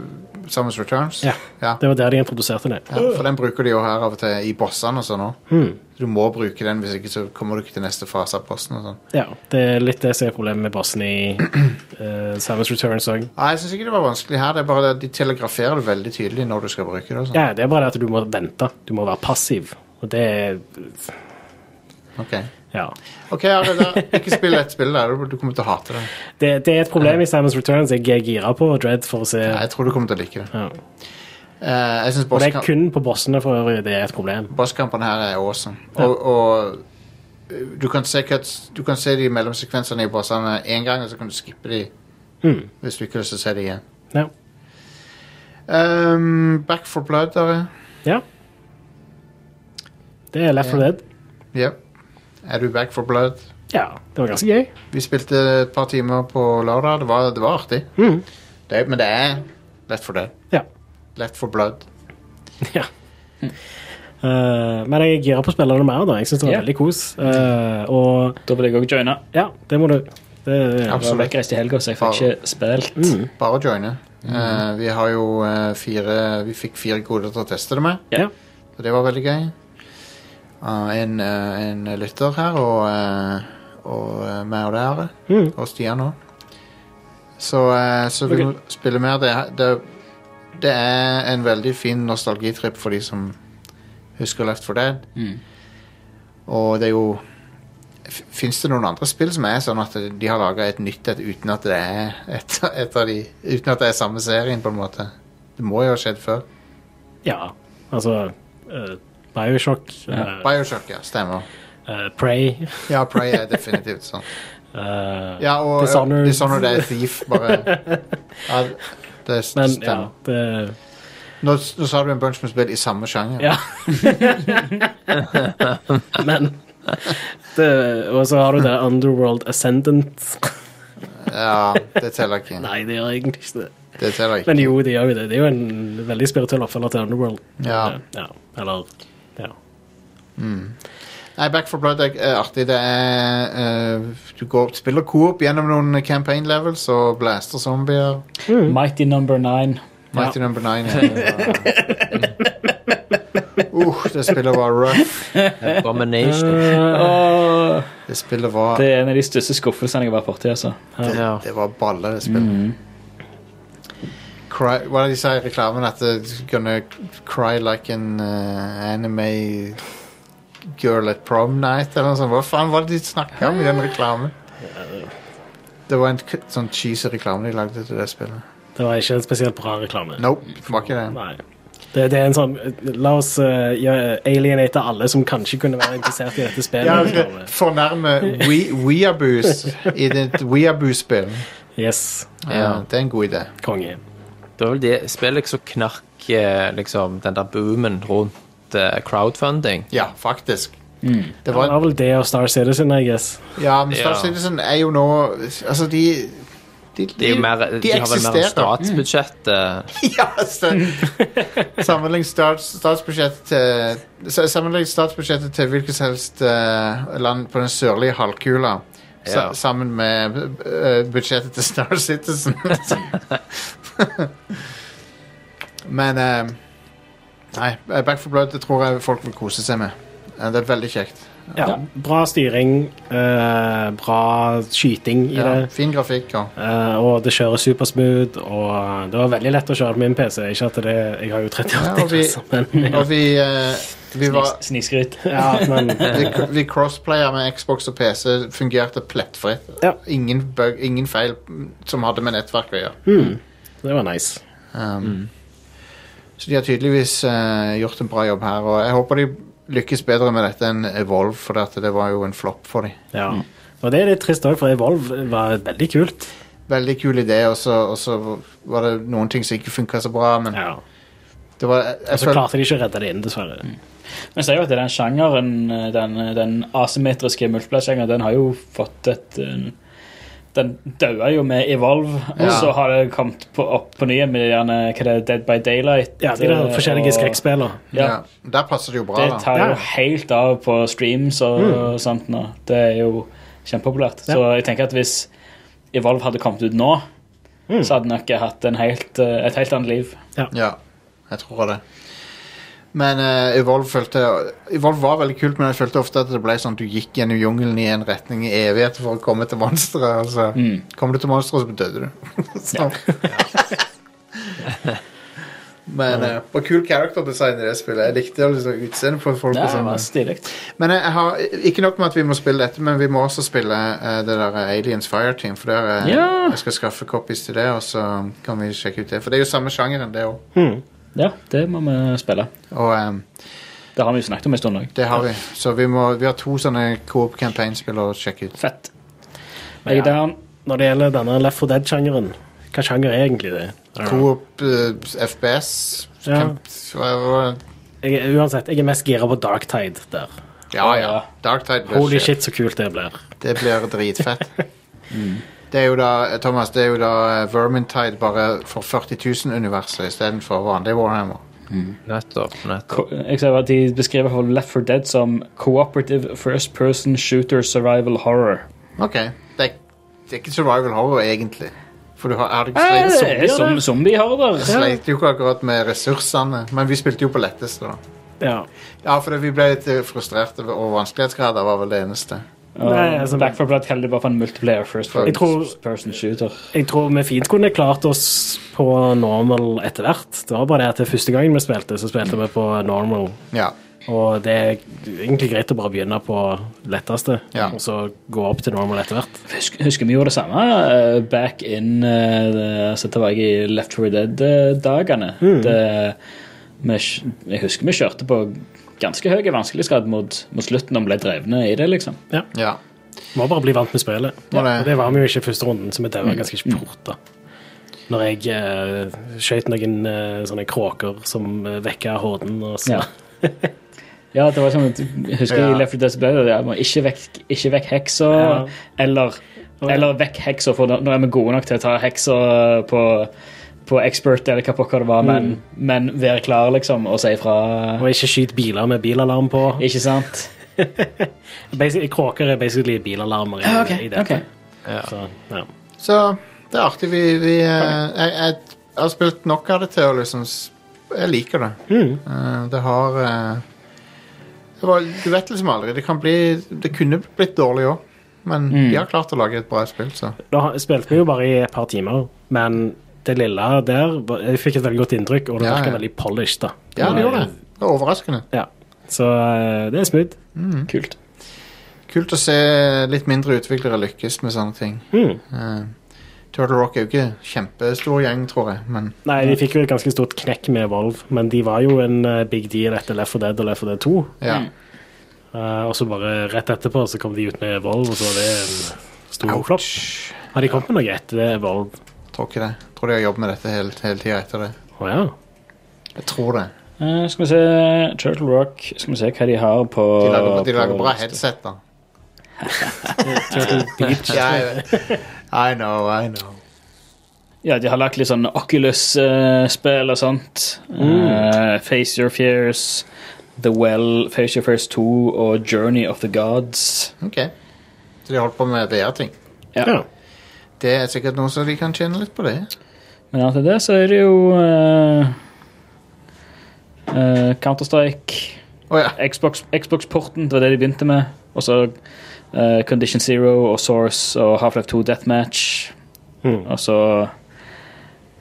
Samus Returns? Ja. ja. det var der de introduserte det. Ja, for den bruker de jo her av og til i bossene og sånn òg. Hmm. Du må bruke den, hvis ikke så kommer du ikke til neste fase av bossen og sånn. Ja, det er litt det som er problemet med bossen i eh, Samus Returns òg. Nei, jeg syns ikke det var vanskelig her, det er bare det at de telegraferer det veldig tydelig når du skal bruke det og sånn. Ja, det er bare det at du må vente. Du må være passiv. Og det er Ok, Ja. Ok, ja, det der. ikke spill ett spill der, du- du kommer til å hate det. Det, det er et problem i Samus Returns. Jeg er gira på Dread for å se Nei, Jeg tror du kommer til å like det. ja. Eh, jeg syns Og det er bosskamp kun på bossene for øvrig det er et problem. bosskampene her er awesome. Og, og eh, du kan se cuts Du kan se de mellomsekvensene i bossene én gang, og så kan du skippe de Hmm. hvis du ikke har lyst til å se de igjen. Ja. Um, Back for blood, der er ja. Det er Left 4 Dead. Yep. Er du back for blood? Ja, det var ganske gøy. Vi spilte et par timer på lørdag. Det var, det var artig. Det, men det er lett for det. Ja. Lett for blood. ja. Eh, men jeg er gira på å spille det mer, da. Jeg syns det var Ja. veldig kos. Eh, og Da vil jeg òg joine. ja, det må du. Det, Ja. Jeg var vekkreist i helga, så jeg fikk ikke spilt. Mm. Bare joine. Eh, vi har jo eh, fire Vi fikk fire koder til å teste det med, ja. og det var veldig gøy. Av en, eh, en lytter her, og, eh, og eh, meg og dere, og Stian òg. Så, eh, så vi Ok. må spille mer. Det, det, det er en veldig fin nostalgitripp for de som husker Left for Dead. Og det er jo Fins det noen andre spill som er sånn at de har laga et nytt et uten at det er et, et av de Uten at det er samme serien, på en måte? Det må jo ha skjedd før. Ja, altså eh, Bioshock, eh, Bioshock, ja. Stemmer. eh, Prey Ja, Prey er definitivt sånn. <laughs> eh, Ja, og Dishonored. Dishonored, Dishonored er Thief, bare. <laughs> Ja, det Men stemmer. ja, det Nå, nå sa du en bunch med spill i samme sjanger. Ja. Men det, Og så har du det Underworld Ascendant. <laughs> Ja, det teller ikke. Nei, det gjør egentlig ikke det. Det teller ikke. Men jo, det gjør jo det. Det er jo en veldig spirituell oppfølger til Underworld. Eh, Ja. ja. Eller ja. Nei, Back for Blood er er artig. Det er eh, Du går, spiller coop gjennom noen campaign levels og blaster zombier. Mm. Mighty Number Nine. Mighty number nine. ja, det var- Uh, det spillet var rough. <laughs> Abomination. Eh. Åh, Det spillet var det Det, er en av de største skuffelsene jeg har vært borti. Altså. Ja. var balle, det spillet. Cry, hva er det de sier i reklamen? At it's gonna cry like an eh, anime girl at prom night? Eller noe sånt. Hva faen var det de snakka om i den reklamen? Det var en k sånn cheesy reklame de lagde til det spillet. Det var ikke en spesielt bra reklame. Nope, det var ikke det. Nei. Det, det er en sånn La oss eh, gjøre- alienate alle som kanskje kunne være interessert i dette spillet. Ja, det- fornærme we- weeaboos i ditt weeaboo-spill. Yes. Ja, Eh, det er en god idé. Konge. Det var vel det spillet som knakk eh, liksom, den der boomen rundt eh, crowdfunding. Ja, faktisk. Det Det var, var vel det og Star Citizen, I guess. ja, men Star Ja. Citizen er jo nå Altså, de De, de, Det er jo mer, de, har vel mer statsbudsjett. eh, <laughs> ja, sta- sammenlign stats, statsbudsjettet til sa- Sammenlign statsbudsjettet til hvilket som helst eh, land på den sørlige halvkula. Sa, Ja. Sammen med eh, budsjettet til Star Citizen. <laughs> Men eh, Nei, Back for Blood det tror jeg folk vil kose seg med. Eh, Det er veldig kjekt. Ja, bra styring, eh, bra skyting i Ja, det. fin grafikk og Eh, og det kjører supersmooth, og det var veldig lett å kjøre på min PC. Ikke at det, Jeg har jo altså. 38 Ja, og vi- klasser, men, Og vi, eh, vi var Sniskryt. ja, men vi, vi crossplayer med Xbox og PC fungerte plettfritt. Ja. Ingen, bug, ingen feil mm, som hadde med nettverk å gjøre. hmm, det var nice. Um, Så de har tydeligvis eh, gjort en bra jobb her, og jeg håper de lykkes bedre med dette enn Evolve, for at det var jo en flopp for dem. Ja. Og det er litt trist òg, for Evolve var veldig kult. Veldig kul idé, og så, og så var det noen ting som ikke funka så bra, men Ja. Altså det var jeg, Og jeg så føl, Mm. klarte de ikke å redde det inn, dessverre. Men ser jo at den sjangeren, eh, den, den asymmetriske multiplayer-sjangeren, den har jo fått et eh, Den daua jo med Evolve, og Ja. så har det kommet på, opp på ny igjen med de gjerne, hva det er, Dead by Daylight. Ja, de der eh, forskjellige og- skrekkspillene. ja. Ja, Der passer det jo bra, det da. tar Ja. Mm. jo helt av på streams og, og sånt nå. Det er jo kjempepopulært. Ja. Så jeg tenker at hvis Evolve hadde kommet ut nå, Mm. så hadde den nok hatt en helt, eh, et helt annet liv. Ja, jeg tror det. Men eh, Evolve følte Evolve var veldig kult, men jeg følte ofte at det ble sånn du gikk gjennom jungelen i en retning i evigheter for å komme til monsteret. og Mm. så Kom du til monsteret, så døde du. <laughs> så. <laughs> Men eh, og kul character design i det spillet. Jeg likte liksom utseendet på folk. og Det sånn. var stilig. Men jeg, jeg har, ikke nok med at vi må spille dette, men vi må også spille eh, det der eh, Aliens Fireteam. For der, eh, Ja. jeg skal skaffe copies til det, og så kan vi sjekke ut det. For det er jo samme sjangeren, det òg. Ja, det må vi spille. Og eh, Det har vi jo snakket om en stund òg. det har vi. Så vi, må, vi har to sånne coop campaign-spill å sjekke ut. Fett. Jeg er down. Når det gjelder denne Left 4 Dead-sjangeren, hva sjanger er egentlig det? Coop eh, FPS Ja. camp, hva- hva- Jeg, er- uansett, jeg er mest gira på Darktide der. ja, ja. Darktide blir Holy shit. shit, så kult det blir. Det blir <laughs> dritfett. Mm. Det er jo da, eh, Thomas, det er jo da eh, Vermintide bare for 40 000-universet istedenfor vanlig Warhammer. Nettopp. nettopp. Ko- eh, Jeg ser at De beskriver for Left 4 Dead som cooperative first person shooter survival horror. Ok, det er, det er ikke survival horror egentlig For du har, har du ikke Eh, Det sleit, er som zombie-horror. sleit jo ikke akkurat med ressursene Men vi spilte jo på letteste da Ja. Ja, for det, vi ble litt eh, frustrerte Og vanskelighetsgrader var vel det eneste Nei, altså- Back 4 Blood kaller det bare for en multiplayer first Jeg tror- person shooter. Jeg tror vi fint kunne klart oss på normal etter hvert. Det var bare det at det første gangen vi spilte, så spilte vi på normal. Ja, Og det er egentlig greit å bare begynne på letteste, Ja. og så gå opp til normal etter hvert. Husker, husker vi gjorde det samme eh, back in eh, det- altså tilbake i Left eh, 4 Dead-dagene. Jeg husker vi kjørte på ganske høy vanskelighetsgrad mot, mot slutten og ble drevne i det, liksom. ja, Må bare bli vant med spillet. Må det. Mm. Og det var vi jo ikke i første runden, så vi daua ganske fort. da. Når jeg eh, skjøt noen eh, sånne kråker som eh, vekka horden og så Ja. <laughs> Ja, det var sånn at, jeg husker Ja. i Left 4 Dead så ble det det, at man ikke vekk, ikke vekk heksa, Ja. eller, ja. eller vekk heksa, for nå nå er vi gode nok til å ta heksa på, på expert eller hva pokker det var, men, men vær klar, liksom, og si ifra. Og ikke skyt biler med bilalarm på. <laughs> Ikke sant? Basic, kråker er basically bilalarmer. Ah, i, i dette. Så, ja. så det er artig Vi, vi eh, jeg, jeg, jeg har spilt nok av det til å liksom s- Jeg liker det Eh, Det har eh, det var, Du vet liksom aldri Det, kan bli, det kunne blitt dårlig også Men de har klart å lage et bra spill så. Da har- spilte vi jo bare i et par timer, men det lille der var- Jeg fikk et veldig godt inntrykk, og det Ja, virka ja. veldig polished. da. Ja, det gjorde det Det var overraskende Mm. Ja. Så eh, det er smooth. Kult. Kult å se litt mindre utviklere lykkes med sånne ting. Mm. Eh, Turtle Rock er jo ikke kjempestor gjeng, tror jeg, men Nei, de fikk jo et ganske stort knekk med Evolve, men de var jo en eh, big deal etter Left 4 Dead og Left 4 Dead 2. ja. Eh, og så bare rett etterpå så kom de ut med Evolve, og så var det en stor flopp. Har de kommet med noe etter det, Evolve? Tror ikke det. Tror de har jobbet med dette hele, hele tida etter det. Å ja. Jeg tror det. Eh, skal vi se Turtle Rock Skal vi se hva de har på De lager, de lager på- bra headset, <laughs> da. Turtle Beach. Ja, jeg vet. I know, I know. Ja, de har lagt litt sånn Oculus-spill og sånt. Eh, Face Your Fears, The Well, Face Your Fears 2 og Journey of the Gods. Ok. Så de har holdt på med VR-ting. Ja. Det er sikkert noe som de kan tjene litt på, det. Men annet enn det så er det jo eh, eh, Counter-Strike, Å ja. Xbox- Xbox-porten, det var det de begynte med. Og så eh, Condition Zero og Source og Half-Life 2 Deathmatch. Hmm. Og så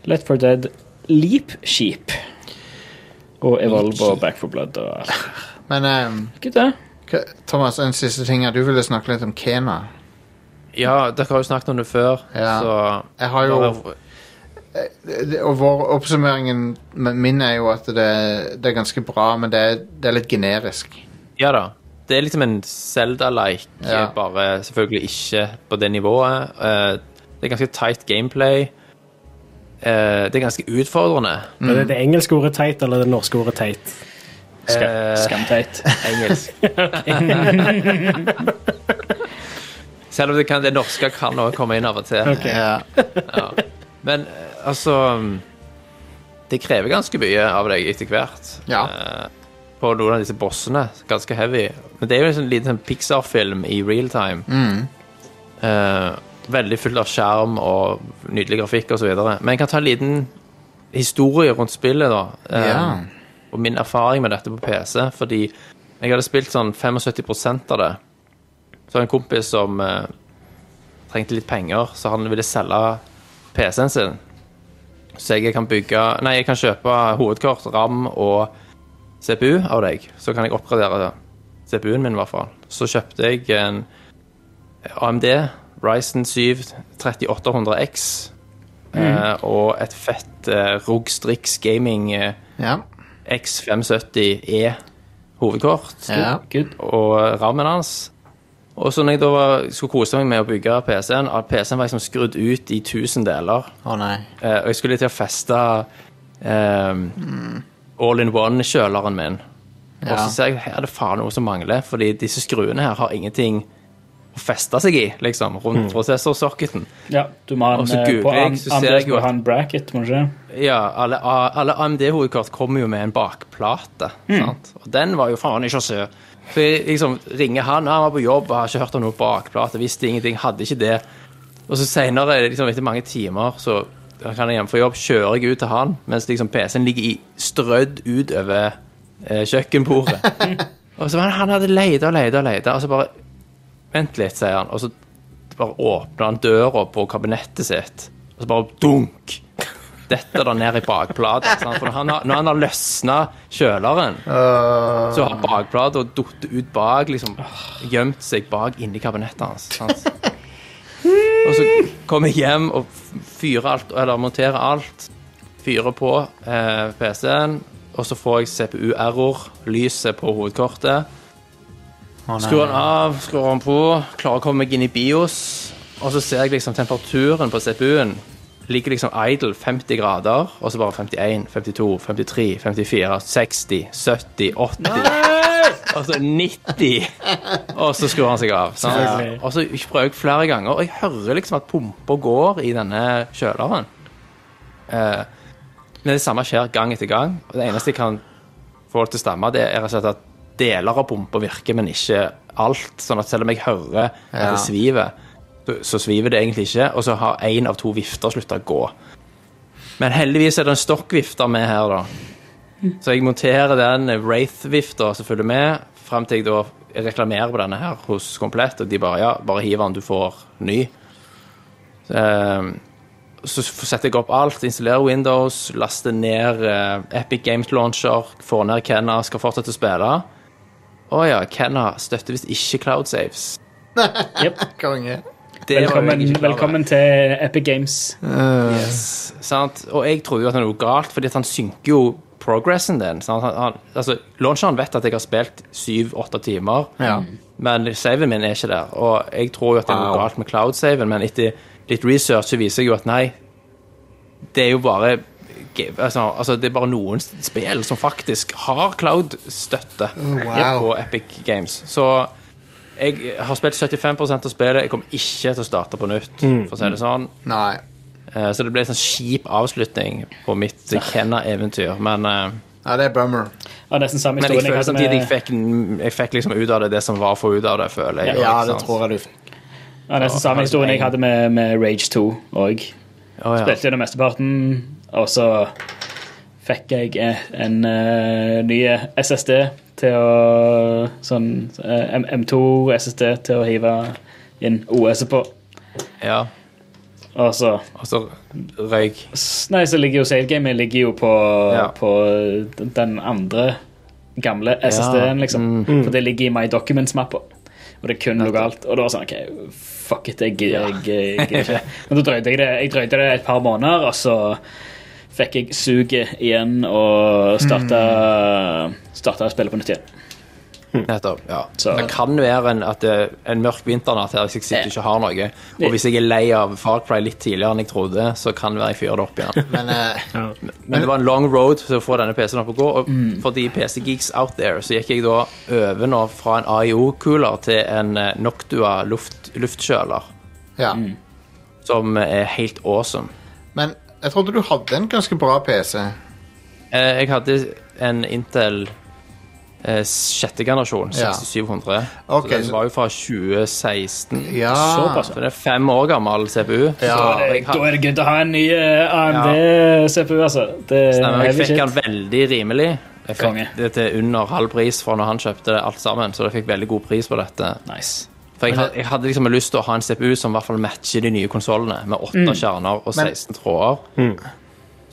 Let for Dead, Leap Sheep. Og Evolve og Back for Blood og alt. Men ehm, Ikke det? hva- Thomas, en siste ting her. Du ville snakke litt om Kena. Ja, dere har jo snakket om det før, Ja. så Jeg har jo det- Og vår oppsummeringen men min er jo at det, det er ganske bra, men det er, det er litt generisk. Ja da. Det er liksom en Zelda-like, Ja. bare selvfølgelig ikke på det nivået. Eh, Det er ganske tight gameplay. Eh, Det er ganske utfordrende. Mm. Er det det engelske ordet teit eller det norske ordet teit? Skam, Eh, skamteit. Engelsk. <laughs> Selv om det, kan, det norske kan også komme inn av og til. Ja. Men eh, altså Det krever ganske mye av deg etter hvert. Ja. Eh, På noen av disse bossene. Ganske heavy. Men det er jo en sånn liten sånn Pixar-film i real time. Eh, veldig full av skjerm og nydelig grafikk osv. Men jeg kan ta en liten historie rundt spillet, da. Eh, Ja. Og min erfaring med dette på PC. Fordi jeg hadde spilt sånn 75 av det. Så en kompis som eh, trengte litt penger, så han ville selge PC-en sin. Så jeg kan bygge Nei, jeg kan kjøpe hovedkort, RAM og CPU av deg. Så kan jeg oppgradere CPU-en min, i hvert fall. Så kjøpte jeg en AMD Ryzen 7 3800X eh, og et fett eh, ROG Strix Gaming eh, Ja. X570E E hovedkort ja. Good. og rammen hans. Og så når jeg da var, skulle kose meg med å bygge PC-en, at PC-en var liksom skrudd ut i tusen deler. Å nei. Eh, og jeg skulle til å feste eh, all-in-one-kjøleren min. Og Ja. så ser jeg her er det faen noe som mangler, fordi disse skruene her har ingenting å feste seg i, liksom, rundt prosessorsocketen. Ja, du må ha en, Og så eh, på googler jeg, an- så ser andre jeg skal du jo ha en bracket, må du ikke? Ja, alle, alle AMD-hovedkort kommer jo med en bakplate, sant? Og den var jo faen ikke sø. Så jeg liksom ringer han, han var på jobb, og har ikke hørt om noen bakplate, visste ingenting, hadde ikke det. Og så senere, liksom etter mange timer, så kan jeg hjemme fra jobb, kjører jeg ut til han, mens liksom PC-en ligger i strødd utover eh, kjøkkenbordet. og så var han, han hadde leita og leita og leita, og så bare Vent litt, sier han. Og så bare åpner han døra på kabinettet sitt, og så bare dunk! Detter det ned i bakbladet. sant? For når han har, når han har løsna kjøleren, så har bakbladet datt ut bak, liksom gjemt seg bak inni kabinettet hans. sant? Og så kommer jeg hjem og f- fyrer alt, eller monterer alt. Fyrer på eh, PC-en, og så får jeg CPU-error. Lyset på hovedkortet. Skrur den av, skrur den på, klarer å komme meg inn i BIOS, og så ser jeg liksom temperaturen på CPU-en ligger liksom idle 50 grader, og så bare 51, 52, 53, 54, 60, 70, 80, og så 90, og så skrur han seg av. Sant? Og så prøver jeg flere ganger, og jeg hører liksom at pumpa går i denne kjøleren. Eh, men det samme skjer gang etter gang, og det eneste jeg kan få det til å stemme, det er rett og slett at deler av pumpa virker, men ikke alt. Sånn at selv om jeg hører at Ja. det sviver, så, så sviver det egentlig ikke. Og så har én av to vifter slutta å gå. Men heldigvis er det en stokkvifte med her, da. Så jeg monterer den Wraith-vifta som følger med, fram til jeg da reklamerer på denne her hos Komplett, og de bare ja, bare hiv den, du får ny. Eh, så f- setter jeg opp alt, installerer Windows, laster ned eh, Epic Games Launcher, får ned Kenna, skal fortsette å spille. Å ja, Kenna støtter visst ikke cloud saves. Konge. Det var jo Velkommen, jeg ikke klar over. velkommen til Epic Games. Yes, sant? Og jeg trodde jo at det var noe galt, fordi at han synker jo progressen din. Sant? Han, han, altså, launcheren vet at jeg har spilt 7-8 timer, Ja. men saven min er ikke der. Og jeg tror jo at det er noe Wow. galt med cloud-saven, men etter litt research så viser jeg jo at nei, det er jo bare ge- Altså, altså det er bare noen spill som faktisk har cloud-støtte på Mm, Wow. Epic Games. Så jeg har spilt 75 av spillet. Jeg kommer ikke til å starte på nytt, Mm. for å si det sånn. Nei. Eh, Så det ble en sånn kjip avslutning på mitt Kenna-eventyr. Men, eh, Ja, det er bummer. Og nesten samme men jeg historien jeg føler hadde samtidig eh, jeg med, fikk, jeg fikk liksom ut av det det som var å få ut av det, føler jeg. Ja, det tror jeg du fikk. ja, nesten samme historien jeg hadde med, med Rage 2 òg. ja. Spilte gjennom mesteparten, e, og så fikk jeg eh, en eh, ny SSD til å sånn eh, M- M2 SSD til å hive inn OS på. Ja, Og så og så røyk. s- Nei, så ligger jo savegamet ligger jo på, Ja. på d- den andre gamle SSD-en, liksom. Mm. For det ligger i My Documents-mappa. Og det er kun lokalt. Og da var sånn OK, fuck it, jeg gidder jeg <laughs> gidder ikke. Men da drøyde jeg det Jeg drøyde det et par måneder, og så fikk jeg suget igjen og starta Mm. Starta å spille på nytt igjen. Mm. Nettopp. ja. Så- Det kan være en, at det, en mørk vinternatt her hvis jeg sitter og ikke har noe. Og hvis jeg er lei av Far Cry litt tidligere enn jeg trodde, så kan det være jeg fyrer det opp igjen. Men <laughs> eh, Men det var en long road til å få denne PC-en opp og gå, og Mm. for de PC-geeks out there, så gikk jeg da over nå fra en AIO-kuler til en eh, Noctua luft, luftkjøler, ja. Mm. som eh, er helt awesome. Men jeg trodde du hadde en ganske bra PC. Eh, Jeg hadde en Intel eh, sjette generasjon, Ja. 6700. Ok, så så- den var jo fra 2016. Ja. Såpass, Så det er fem år gammel CPU. Ja. så Da jeg, er det- Da har, er det good å ha en ny eh, AMD-CPU, altså. Det Stemmer, er jeg heavy fikk den shit. veldig rimelig. Jeg fikk Konge. det til under halv pris fra når han kjøpte det alt sammen, så jeg fikk veldig god pris på dette. Nice. For jeg, had- jeg hadde liksom lyst til å ha en CPU som i hvert fall matcher de nye konsollene, med åtte kjerner og Mm. Men- 16 tråder.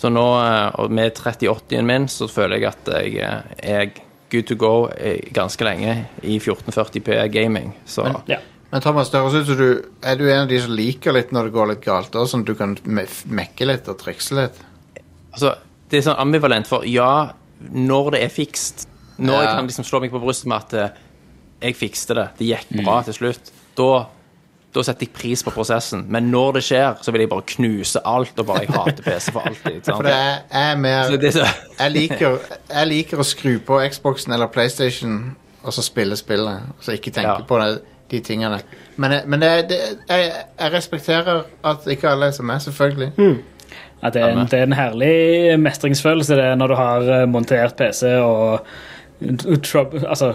Så nå, eh, og med 3080-en min, så føler jeg at jeg eh, er good to go eh, ganske lenge i 1440p gaming. Så Ja. Men Thomas, det høres ut som du er du en av de som liker litt når det går litt galt, da, sånn at du kan me mekke litt og trikse litt? altså, det er sånn ambivalent, for ja, når det er fikst, når jeg Ja. kan liksom slå meg på brystet med at eh, jeg fikste det, det gikk Mm. bra til slutt, da da setter jeg pris på prosessen, men når det skjer, så vil jeg bare knuse alt og bare jeg hater PC for alltid. sant? For det er, jeg er mer Så det er så- jeg liker, jeg liker å skru på Xboxen eller PlayStation og så spille spillet. Og så ikke tenke Ja. på det, de tingene. Men, jeg- men det, det, jeg, jeg respekterer at ikke alle er som meg, selvfølgelig. Ja, det, er en, det er en herlig mestringsfølelse det er når du har eh, montert PC og trub- Altså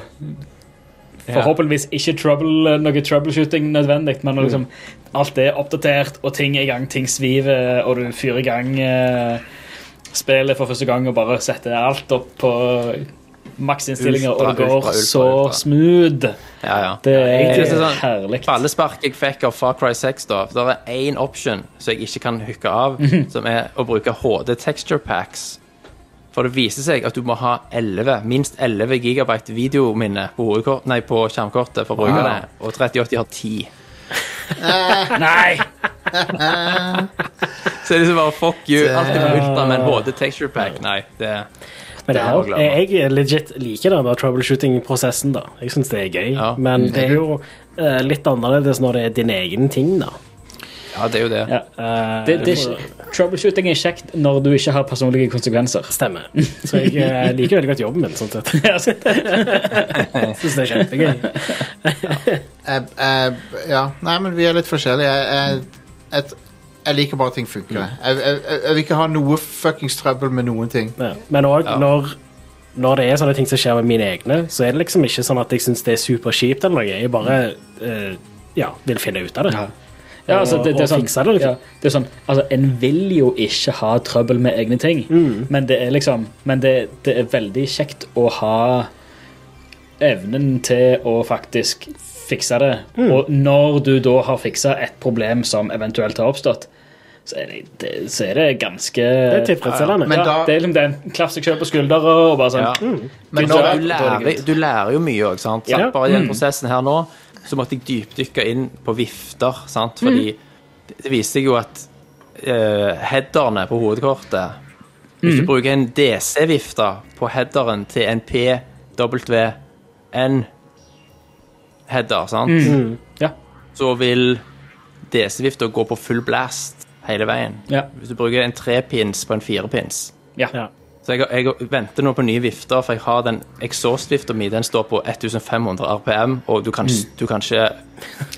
Forhåpentligvis ikke trouble, eh, noe troubleshooting nødvendig, men når Mm. liksom, alt er oppdatert, og ting er i gang, ting sviver, og du fyrer i gang eh, spillet for første gang og bare setter alt opp på maksinnstillinger, og Ultra, det går ultra, ultra, så ultra. smooth. Ja, ja. Det Jeg er synes det er sånn- herlig. Ballespark jeg fikk av Far Cry 6, da. Det er én option som jeg ikke kan hooke av, som er å bruke HD texture packs. For det viser seg at du må ha 11, minst 11 gigabyte videominne på, hovedkort, nei, på skjermkortet for brukerne, og 3080 har <laughs> 10. Nei! Så det er liksom bare fuck you. Alt er på ultra, men HD texture pack, nei. Det, Men det Det må er, jeg glemme. jeg jeg legit liker den der troubleshooting-prosessen, da. Jeg syns det er gøy. Ja. Men det er jo eh, litt annerledes når det er din egen ting, da. ja, det er jo det. Ja. Eh, Det, det, er ikke- troubleshooting er kjekt når du ikke har personlige konsekvenser. <laughs> Stemmer. Så jeg eh, liker veldig godt jobben min, sånn sett. Altså, Syns det er kjempegøy. Jeg, jeg, Eh, ja. Nei, men vi er litt forskjellige. Jeg, jeg, jeg, jeg liker bare at ting funker. Mm. Jeg, jeg, jeg, jeg vil ikke ha noe fuckings trøbbel med noen ting. Ja. Men òg Ja. når, når det er sånne ting som skjer med mine egne, så er det liksom ikke sånn at jeg syns det er superkjipt eller noe. Jeg bare eh, ja, vil finne ut av det. ja, altså, det, det er Og sånn, fikse det, liksom. ja, det er sånn altså, En vil jo ikke ha trøbbel med egne ting, Mm. men det er liksom Men det, det er veldig kjekt å ha evnen til å faktisk fikse det. Mm. Og når du da har fiksa et problem som eventuelt har oppstått, så er det, det, så er det ganske Det er tilfredsstillende. Men ja, da- det er liksom det er en klaff seg sjøl på skuldra og bare sånn Ja. Mm. Men Good når, job. du lærer, du lærer jo mye òg, sant? Ja. sant? Bare i den prosessen her nå, så måtte jeg dypdykke inn på vifter, sant? Fordi det- det viste seg jo at eh, headerne på hovedkortet Hvis du bruker en DC-vifte på headeren til en PWN-header, sant? Ja. Så vil DC-vifta gå på full blast hele veien. Ja. Hvis du bruker en trepins på en firepins. ja. Ja. Så jeg, jeg venter nå på nye vifter, for jeg har den exhaust-vifta mi. Den står på 1500 RPM, og du kan, du kan ikke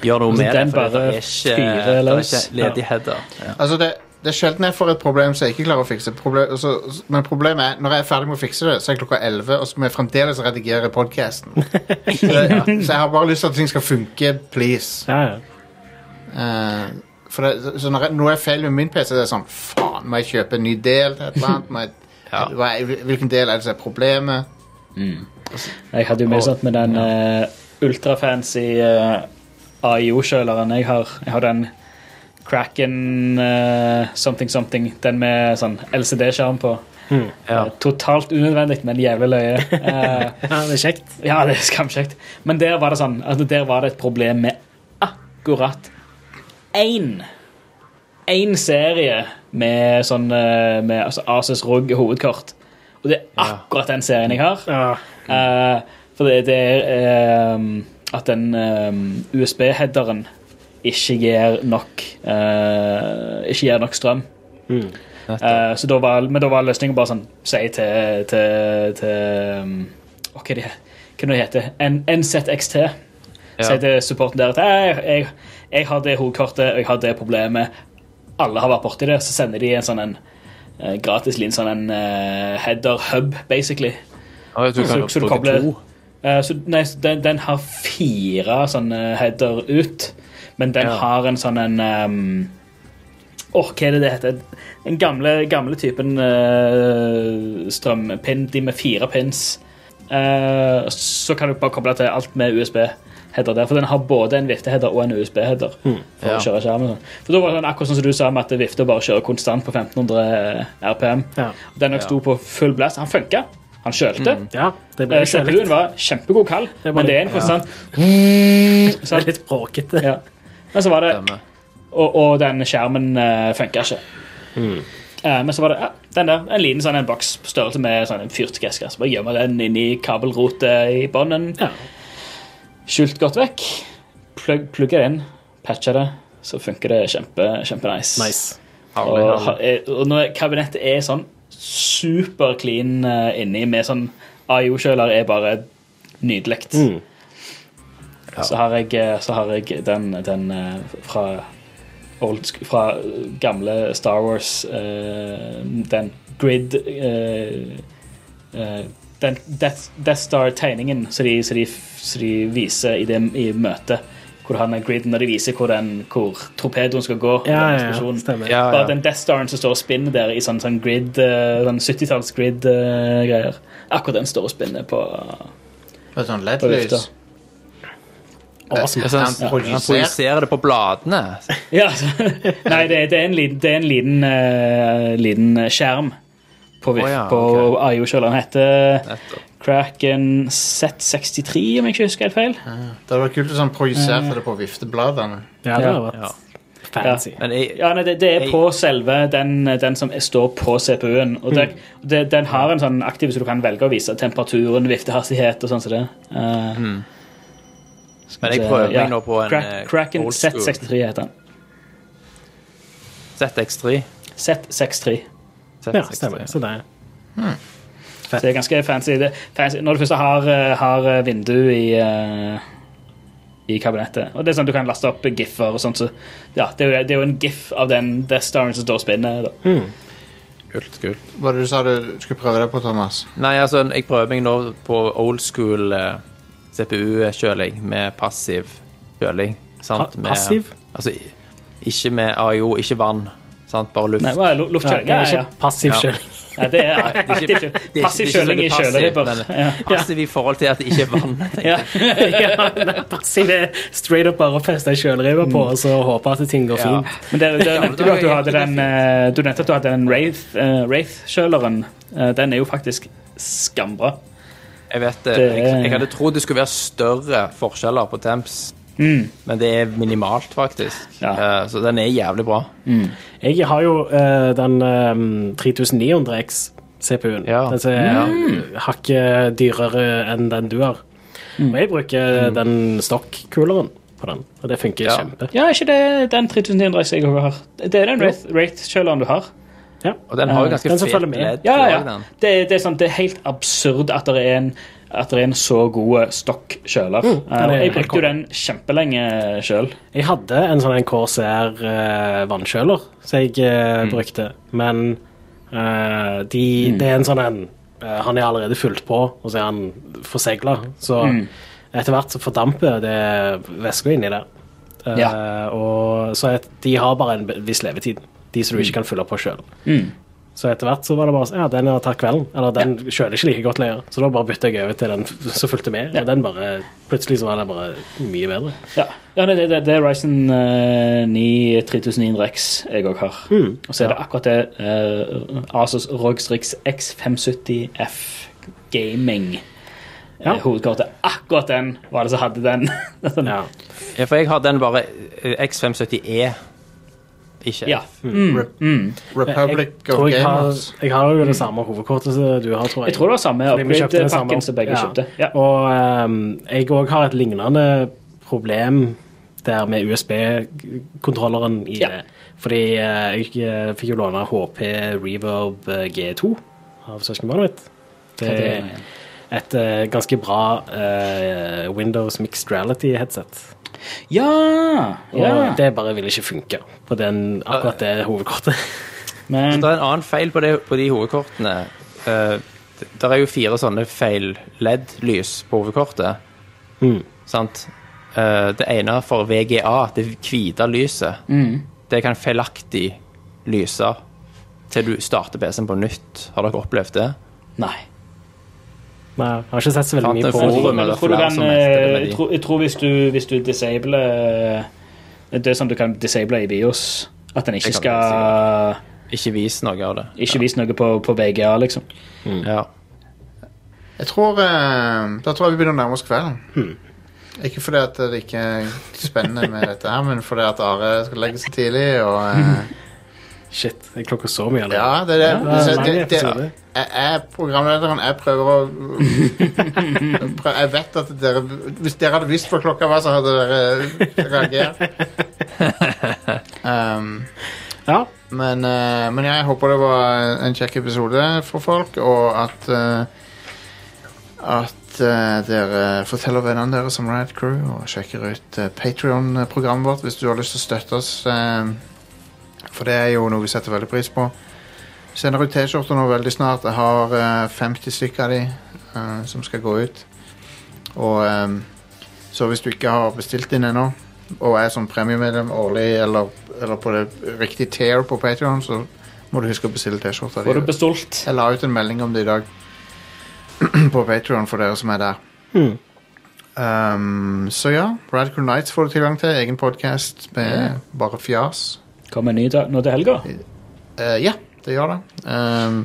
gjøre noe med det. Mm. fordi Altså, den bare det er ikke, fyrer det er løs. ikke ledig header. Ja. Altså, det, det er sjelden jeg får et problem som jeg ikke klarer å fikse. Proble- altså, men problemet er, når jeg er ferdig med å fikse det, så er klokka 11, og så må jeg fremdeles redigere <laughs> podcasten. så, så jeg har bare lyst til at ting skal funke, please. Ja, ja. Eh, for det, så når jeg, når jeg feiler med min PC, det er sånn, faen, må jeg kjøpe en ny del til et eller annet? Må jeg, Ja. hva er- Hvilken del er det som er problemet? Jeg hadde jo mye Og- sånt med den eh, ultrafancy eh, AIO-kjøleren jeg har. Jeg har den Kraken eh, something something, den med sånn LCD-skjerm på. Hmm. Ja. Eh, Totalt unødvendig, men jævlig løye. <laughs> Ja, Eh, det er kjekt. ja, det er skamkjekt. Men der var det sånn altså Der var det et problem med akkurat én Én serie med sånn eh, Med altså Asus ROG hovedkort. Og det er akkurat den serien jeg har. Ja. Eh, for det, det er ehm, at den ehm, USB-headeren ikke gir nok eh, Ikke gir nok strøm. Eh, så da var, men da var løsningen bare sånn Si til, til, til um, Hva er det hva er det heter En NZXT. Si Ja. til supporten der at jeg, jeg, jeg har det hovedkortet, og jeg har det problemet. Alle har vært borti det. Så sender de en sånn en eh, gratis liten sånn en eh, header hub, basically. Å, jeg tror jeg Så, kan så du bruke kobler to. Eh, så, nei, så den, den har fire sånne header ut, men den Ja. har en sånn en ehm, Åh, hva er det det heter? Den gamle, gamle typen eh, strømpinn, de med fire pins. Eh, så kan du bare koble til alt med USB-header der, for den har både en vifteheader og en USB-header. For Ja. å kjøre skjermen sånn. For da var det sånn, akkurat sånn som du sa, med at vifta bare kjører konstant på 1500 RPM. Ja. Den jeg sto på full blast. Han funka. Han kjølte. Ja, det blir Eh, kjekt. CPU-en var kjempegod kall, er bare men det er en litt- konstant Det er litt bråkete. ja. Men så var det Stemmer. Og, og den skjermen uh, funka ikke. Eh, men så var det ja, den der, en liten sånn en boks på størrelse med sånn en fyrt gesskass. Bare gjemme den inni kabelrotet i bånden. Ja. Skjult godt vekk. Plugg, plugger det inn, patcher det, så funker det kjempe, kjempenice. Nice. Herlig, Og, herlig. ha- eh, og når kabinettet er sånn super clean eh, inni, med sånn AIO-kjøler, er bare nydelig. Mm. Så, har jeg, eh, så har jeg den, den eh, fra old, sk- fra eh, gamle Star Wars eh, Den grid eh, eh, Den Death, Death Star-tegningen som de, som de, som de viser i, det, i møtet. Hvor han er grid, når de viser hvor, den, hvor torpedoen skal gå. Ja, den ja, ja, eksplosjonen. stemmer. Ja, Bare ja. den Death Staren som står og spinner der i sånn, sånn grid, eh, sånn 70-talls grid-greier. Akkurat den står og spinner på Med sånn På vifta. LED-lys. Awesome. Jeg synes- Han Han projiserer. projiserer det på bladene. Ja, <laughs> altså. Nei, det, det er en liten, det er en liten, eh, liten skjerm på, vif, Å ja, på ok. IO-kjøleren. heter Nettopp. Kraken Z63, om jeg ikke husker helt feil. Det hadde vært kult hvis han Mm. projiserte det på viftebladene. Ja, det har vært Ja. fancy. Men jeg, Ja, nei, det, det er på selve den, den som står på CPU-en. Og det, Mm. det, den har en sånn aktiv så du kan velge å vise temperaturen, viftehastighet og sånn som det. Eh, Mm. men jeg så, prøver ja. meg nå på en Crack, eh, Kraken old school. Z63 heter den. ZX3. Z63. Ja, eh, stemmer. Så det er Så det er ganske fancy. Det, fancy. Når du først har, eh, har eh, vindu i, eh, i kabinettet. Og det er sånn Du kan laste opp giffer og sånt. Så, ja, det, er jo, det er jo en gif av den Death Staren som står og spinner. Da. Kult, kult. Hva var det du sa du skulle prøve det på, Thomas? Nei, altså, jeg prøver meg nå på old school eh, CPU-kjøling med passiv kjøling. Sant? Pa- Med- passiv? Altså, i- ikke med AIO, ikke vann. Sant? Bare luft. Nei, hva er lu- ja, luftkjøling? Det Ja, er ja, ikke passiv Ja. kjøling. ja. Det er <laughs> aktiv Det er ikke- det er ikke- det er kjøling. Passiv ikke så kjøling i veldig passiv, kjøleribber. men- Ja. Passiv i forhold til at det ikke er <laughs> vann. tenker jeg. ja, det er <laughs> passiv er straight up bare å feste en kjølerive på og så håpe at ting går Mm. Ja. fint. Men det, det nevnte du at du Ja, hadde det er den eh, Du nevnte at du hadde den Wraith, eh, Wraith-kjøleren. Eh, den er jo faktisk skambra. Jeg vet det. Det er- Jeg, jeg hadde trodd det skulle være større forskjeller på temps, men det er minimalt, faktisk. Mm. Ja. Eh, Så den er jævlig bra. Jeg har jo eh, den eh, 3900X CPU-en. Ja. Mm. Den som er hakket dyrere enn den du har. Og jeg bruker den stokk-cooleren på den, og det funker Mm. Ja. kjempe. Ja, er ikke det den 3900 jeg har? Det er den Wraith- Wraith-kjøleren du har. Ja. Og den har jo Ja, ganske den som fet følger med. ledd. Ja, ja, også, ja. den. Det, det, er sånn, det er helt absurd at det er en, at det er en så god stokkjøler. Mm. Eh, og jeg helt brukte jo den kjempelenge sjøl. Jeg hadde en sånn en KCR eh, vannkjøler som jeg eh, Mm. brukte, men eh, de, det er en sånn en eh, Han er allerede fylt på, og så er han forsegla. Så Mm. etter hvert så fordamper det væska inni der. Eh, Ja. Mm. og, så et, de har bare en viss levetid, de som du ikke kan fylle på sjøl. Så etter hvert så var det bare sånn, ja, den har tatt kvelden. Eller den kjøler ikke like godt lenger. Så da bare bytta jeg over til den f- som fulgte med, Ja. og den bare Plutselig så var den bare mye bedre. Ja, ja nei, det, det, det er Ryzen eh, 9 3900X jeg òg har. Og så er det akkurat det eh, Asus ROG Strix X570F Gaming. Ja. Ja. Hovedkortet. Akkurat den var det som hadde den. Det er sånn, Ja. Ja, for jeg har den bare eh, X570E. Ikke ja. Mm. Rep- Republic Mm, Jeg tror of jeg har, Gamers. jeg har jo det samme hovedkortet som du har, tror jeg. Jeg tror det var samme Fordi vi kjøpte den samme. upgrade-pakken som begge Ja. kjøpte. Ja. Og ehm, jeg òg har et lignende problem der med USB-kontrolleren i Ja. det. Fordi eh, jeg eh, fikk jo låne HP Reverb eh, G2 av søskenbarnet mitt. Det det er igjen? et eh, ganske bra eh, Windows Mixed Reality-headset. ja. Og ja. det bare vil ikke funke på den, akkurat det hovedkortet. <laughs> Men Det er en annen feil på, det, på de hovedkortene. Eh, d- der er jo fire sånne feil LED-lys på hovedkortet. Mm. Sant? Eh, det ene for VGA, det hvite lyset, det kan feilaktig lyse til du starter PC-en på nytt. Har dere opplevd det? nei. Nei, jeg har ikke sett så veldig Fant mye på en Jeg forum det. tror, men eller jeg tror, du flere kan, som meldte det med eh, de. jeg tror, jeg tror hvis du, hvis du disabler eh, Det er sånn du kan disable i BIOS. At den ikke Det kan skal Ikke vis noe av det. Ikke vis noe på, på VGA, liksom. <laughs> Ja. Jeg tror eh, Da tror jeg vi begynner å nærme oss kvelden. Ikke fordi at det ikke er spennende med dette, her, men fordi at Are skal legge seg tidlig. Og, <laughs> eh, Shit, jeg klokker så mye. eller? ja, det er det. det er Så mange det, det, episoder. jeg er programlederen. Jeg prøver å <laughs> prø- Jeg vet at dere Hvis dere hadde visst hva klokka var, så hadde dere reagert. Um, Ja. men, eh, men jeg håper det var en kjekk episode for folk, og at eh, At eh, dere forteller vennene deres om Riot Crew, og sjekker ut uh, Patrion-programmet vårt hvis du har lyst til å støtte oss. eh, for det er jo noe vi setter veldig pris på. Sender ut T-skjorter nå veldig snart. Jeg har eh, 50 stykker av de eh, som skal gå ut. Og eh, så hvis du ikke har bestilt inn ennå, og er som premiemedlem årlig eller, eller på det riktige tier på Patreon, så må du huske å bestille T-skjorta Får du di. bestolt? Jeg la ut en melding om det i dag <clears throat> på Patreon for dere som er der. Hmm. Um, så ja, Radical Nights får du tilgang til. Egen podkast med bare fjas. Kommer en ny dag nå til helga? Eh, ja, det gjør det. Ehm,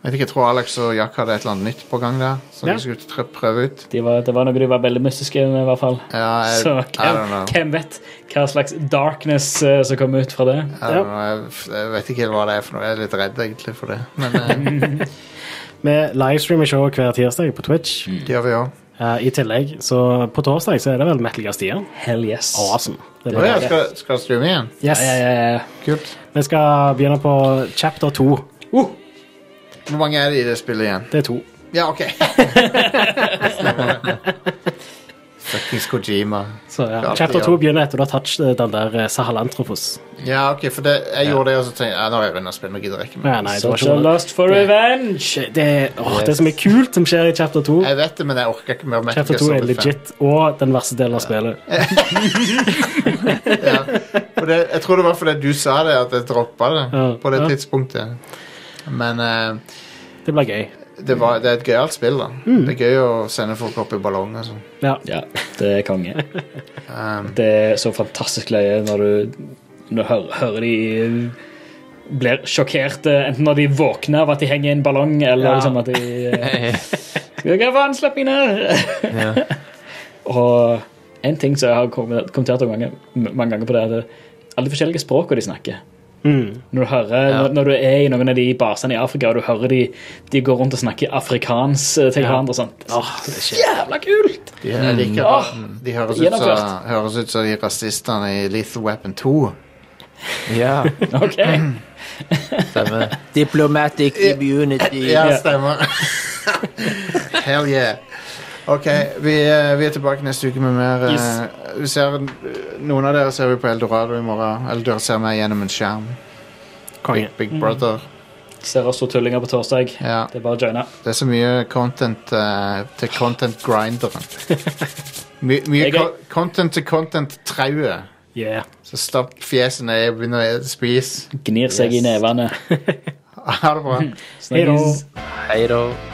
jeg vet ikke, jeg tror Alex og Jack hadde et eller annet nytt på gang der. Som Ja. de skulle tre- prøve ut. De var, det var noe de var veldig mystiske med, i hvert fall. Ja, jeg, <laughs> Så I don't hvem, know. hvem vet hva slags darkness eh, som kom ut fra det? I don't know. Jeg, f- jeg vet ikke helt hva det er for noe. Jeg er litt redd egentlig for det. Men Mm. eh, Vi livestreamer showet hver tirsdag på Twitch. det gjør vi òg. Eh, I tillegg, så på torsdag så er det vel Metal Gear Stian. Hell yes. Awesome. Det Å blir ja, bra. skal, skal jeg streame igjen? Yes. Ja, ja, ja. Kult. Vi skal begynne på chapter to. Hvor mange er det i det spillet igjen? Det er to. Ja, <laughs> OK. Stemmer det. Fuckings Kojima. Så, ja. Klart, Chapter ja. to begynner etter du har touched eh, den der eh, Sahalanthropus. Ja, OK, for det, jeg gjorde det, og så tenkte jeg ja, nå har jeg runda spillet, nå gidder jeg ikke mer. Ja, nei, det, var Such a ikke noe- lust for revenge. Shit, det, er- åh, det er så mye kult som skjer i chapter to. Jeg vet det, men jeg orker ikke mer. Metal Chapter Gear to er Solid fem. legit og den verste delen av spillet. For det, jeg tror det var fordi du sa det, at jeg droppa det Ja. på det Ja. tidspunktet. Men eh, Det blir gøy. det, var, det er et gøyalt spill, da. Mm. Det er gøy å sende folk opp i ballong og sånn. Ja. Ja, det er konge. Um, Det er så fantastisk løye når du, når du hører, hører de eh, blir sjokkerte, enten når de våkner av at de henger i en ballong, eller Ja. liksom at <laughs> de eh, Hva faen, slipp meg ned! Og en ting som jeg har kommet- kommentert mange, mange ganger på, det er at det- alle de forskjellige språkene de snakker. Mm. Når, du hører, når, når du er i noen av de basene i Afrika, og du hører de, de går rundt og snakker afrikansk eh, til Ja. hverandre og sånt. Det er Åh, det er så shit. Jævla <laughs> kult! de, jeg liker, Åh, mm, de høres ut, som, gjennomført. høres ut som de rasistene i Lethal Weapon 2. ja. Ok. Stemmer. Diplomatic immunity. Ja, stemmer. <laughs> Hell yeah. OK, vi, eh, vi er tilbake neste uke med mer. eh, Yes. vi ser, noen av dere ser vi på Eldorado i morgen. Eller dere ser meg gjennom en skjerm. Big, Konge. Big Brother. Mm. Ser oss to tullinger på torsdag. Ja. Det er bare å joine. Det er så mye content eh, til content <laughs> grinderen. My, mye Jeg er- co- content til content trauet. Yeah. Så stapp fjeset ned og begynn å spise. <laughs> Gnir seg i nevene. Ha det bra. Hei da. <laughs> Snakkes. Hei da.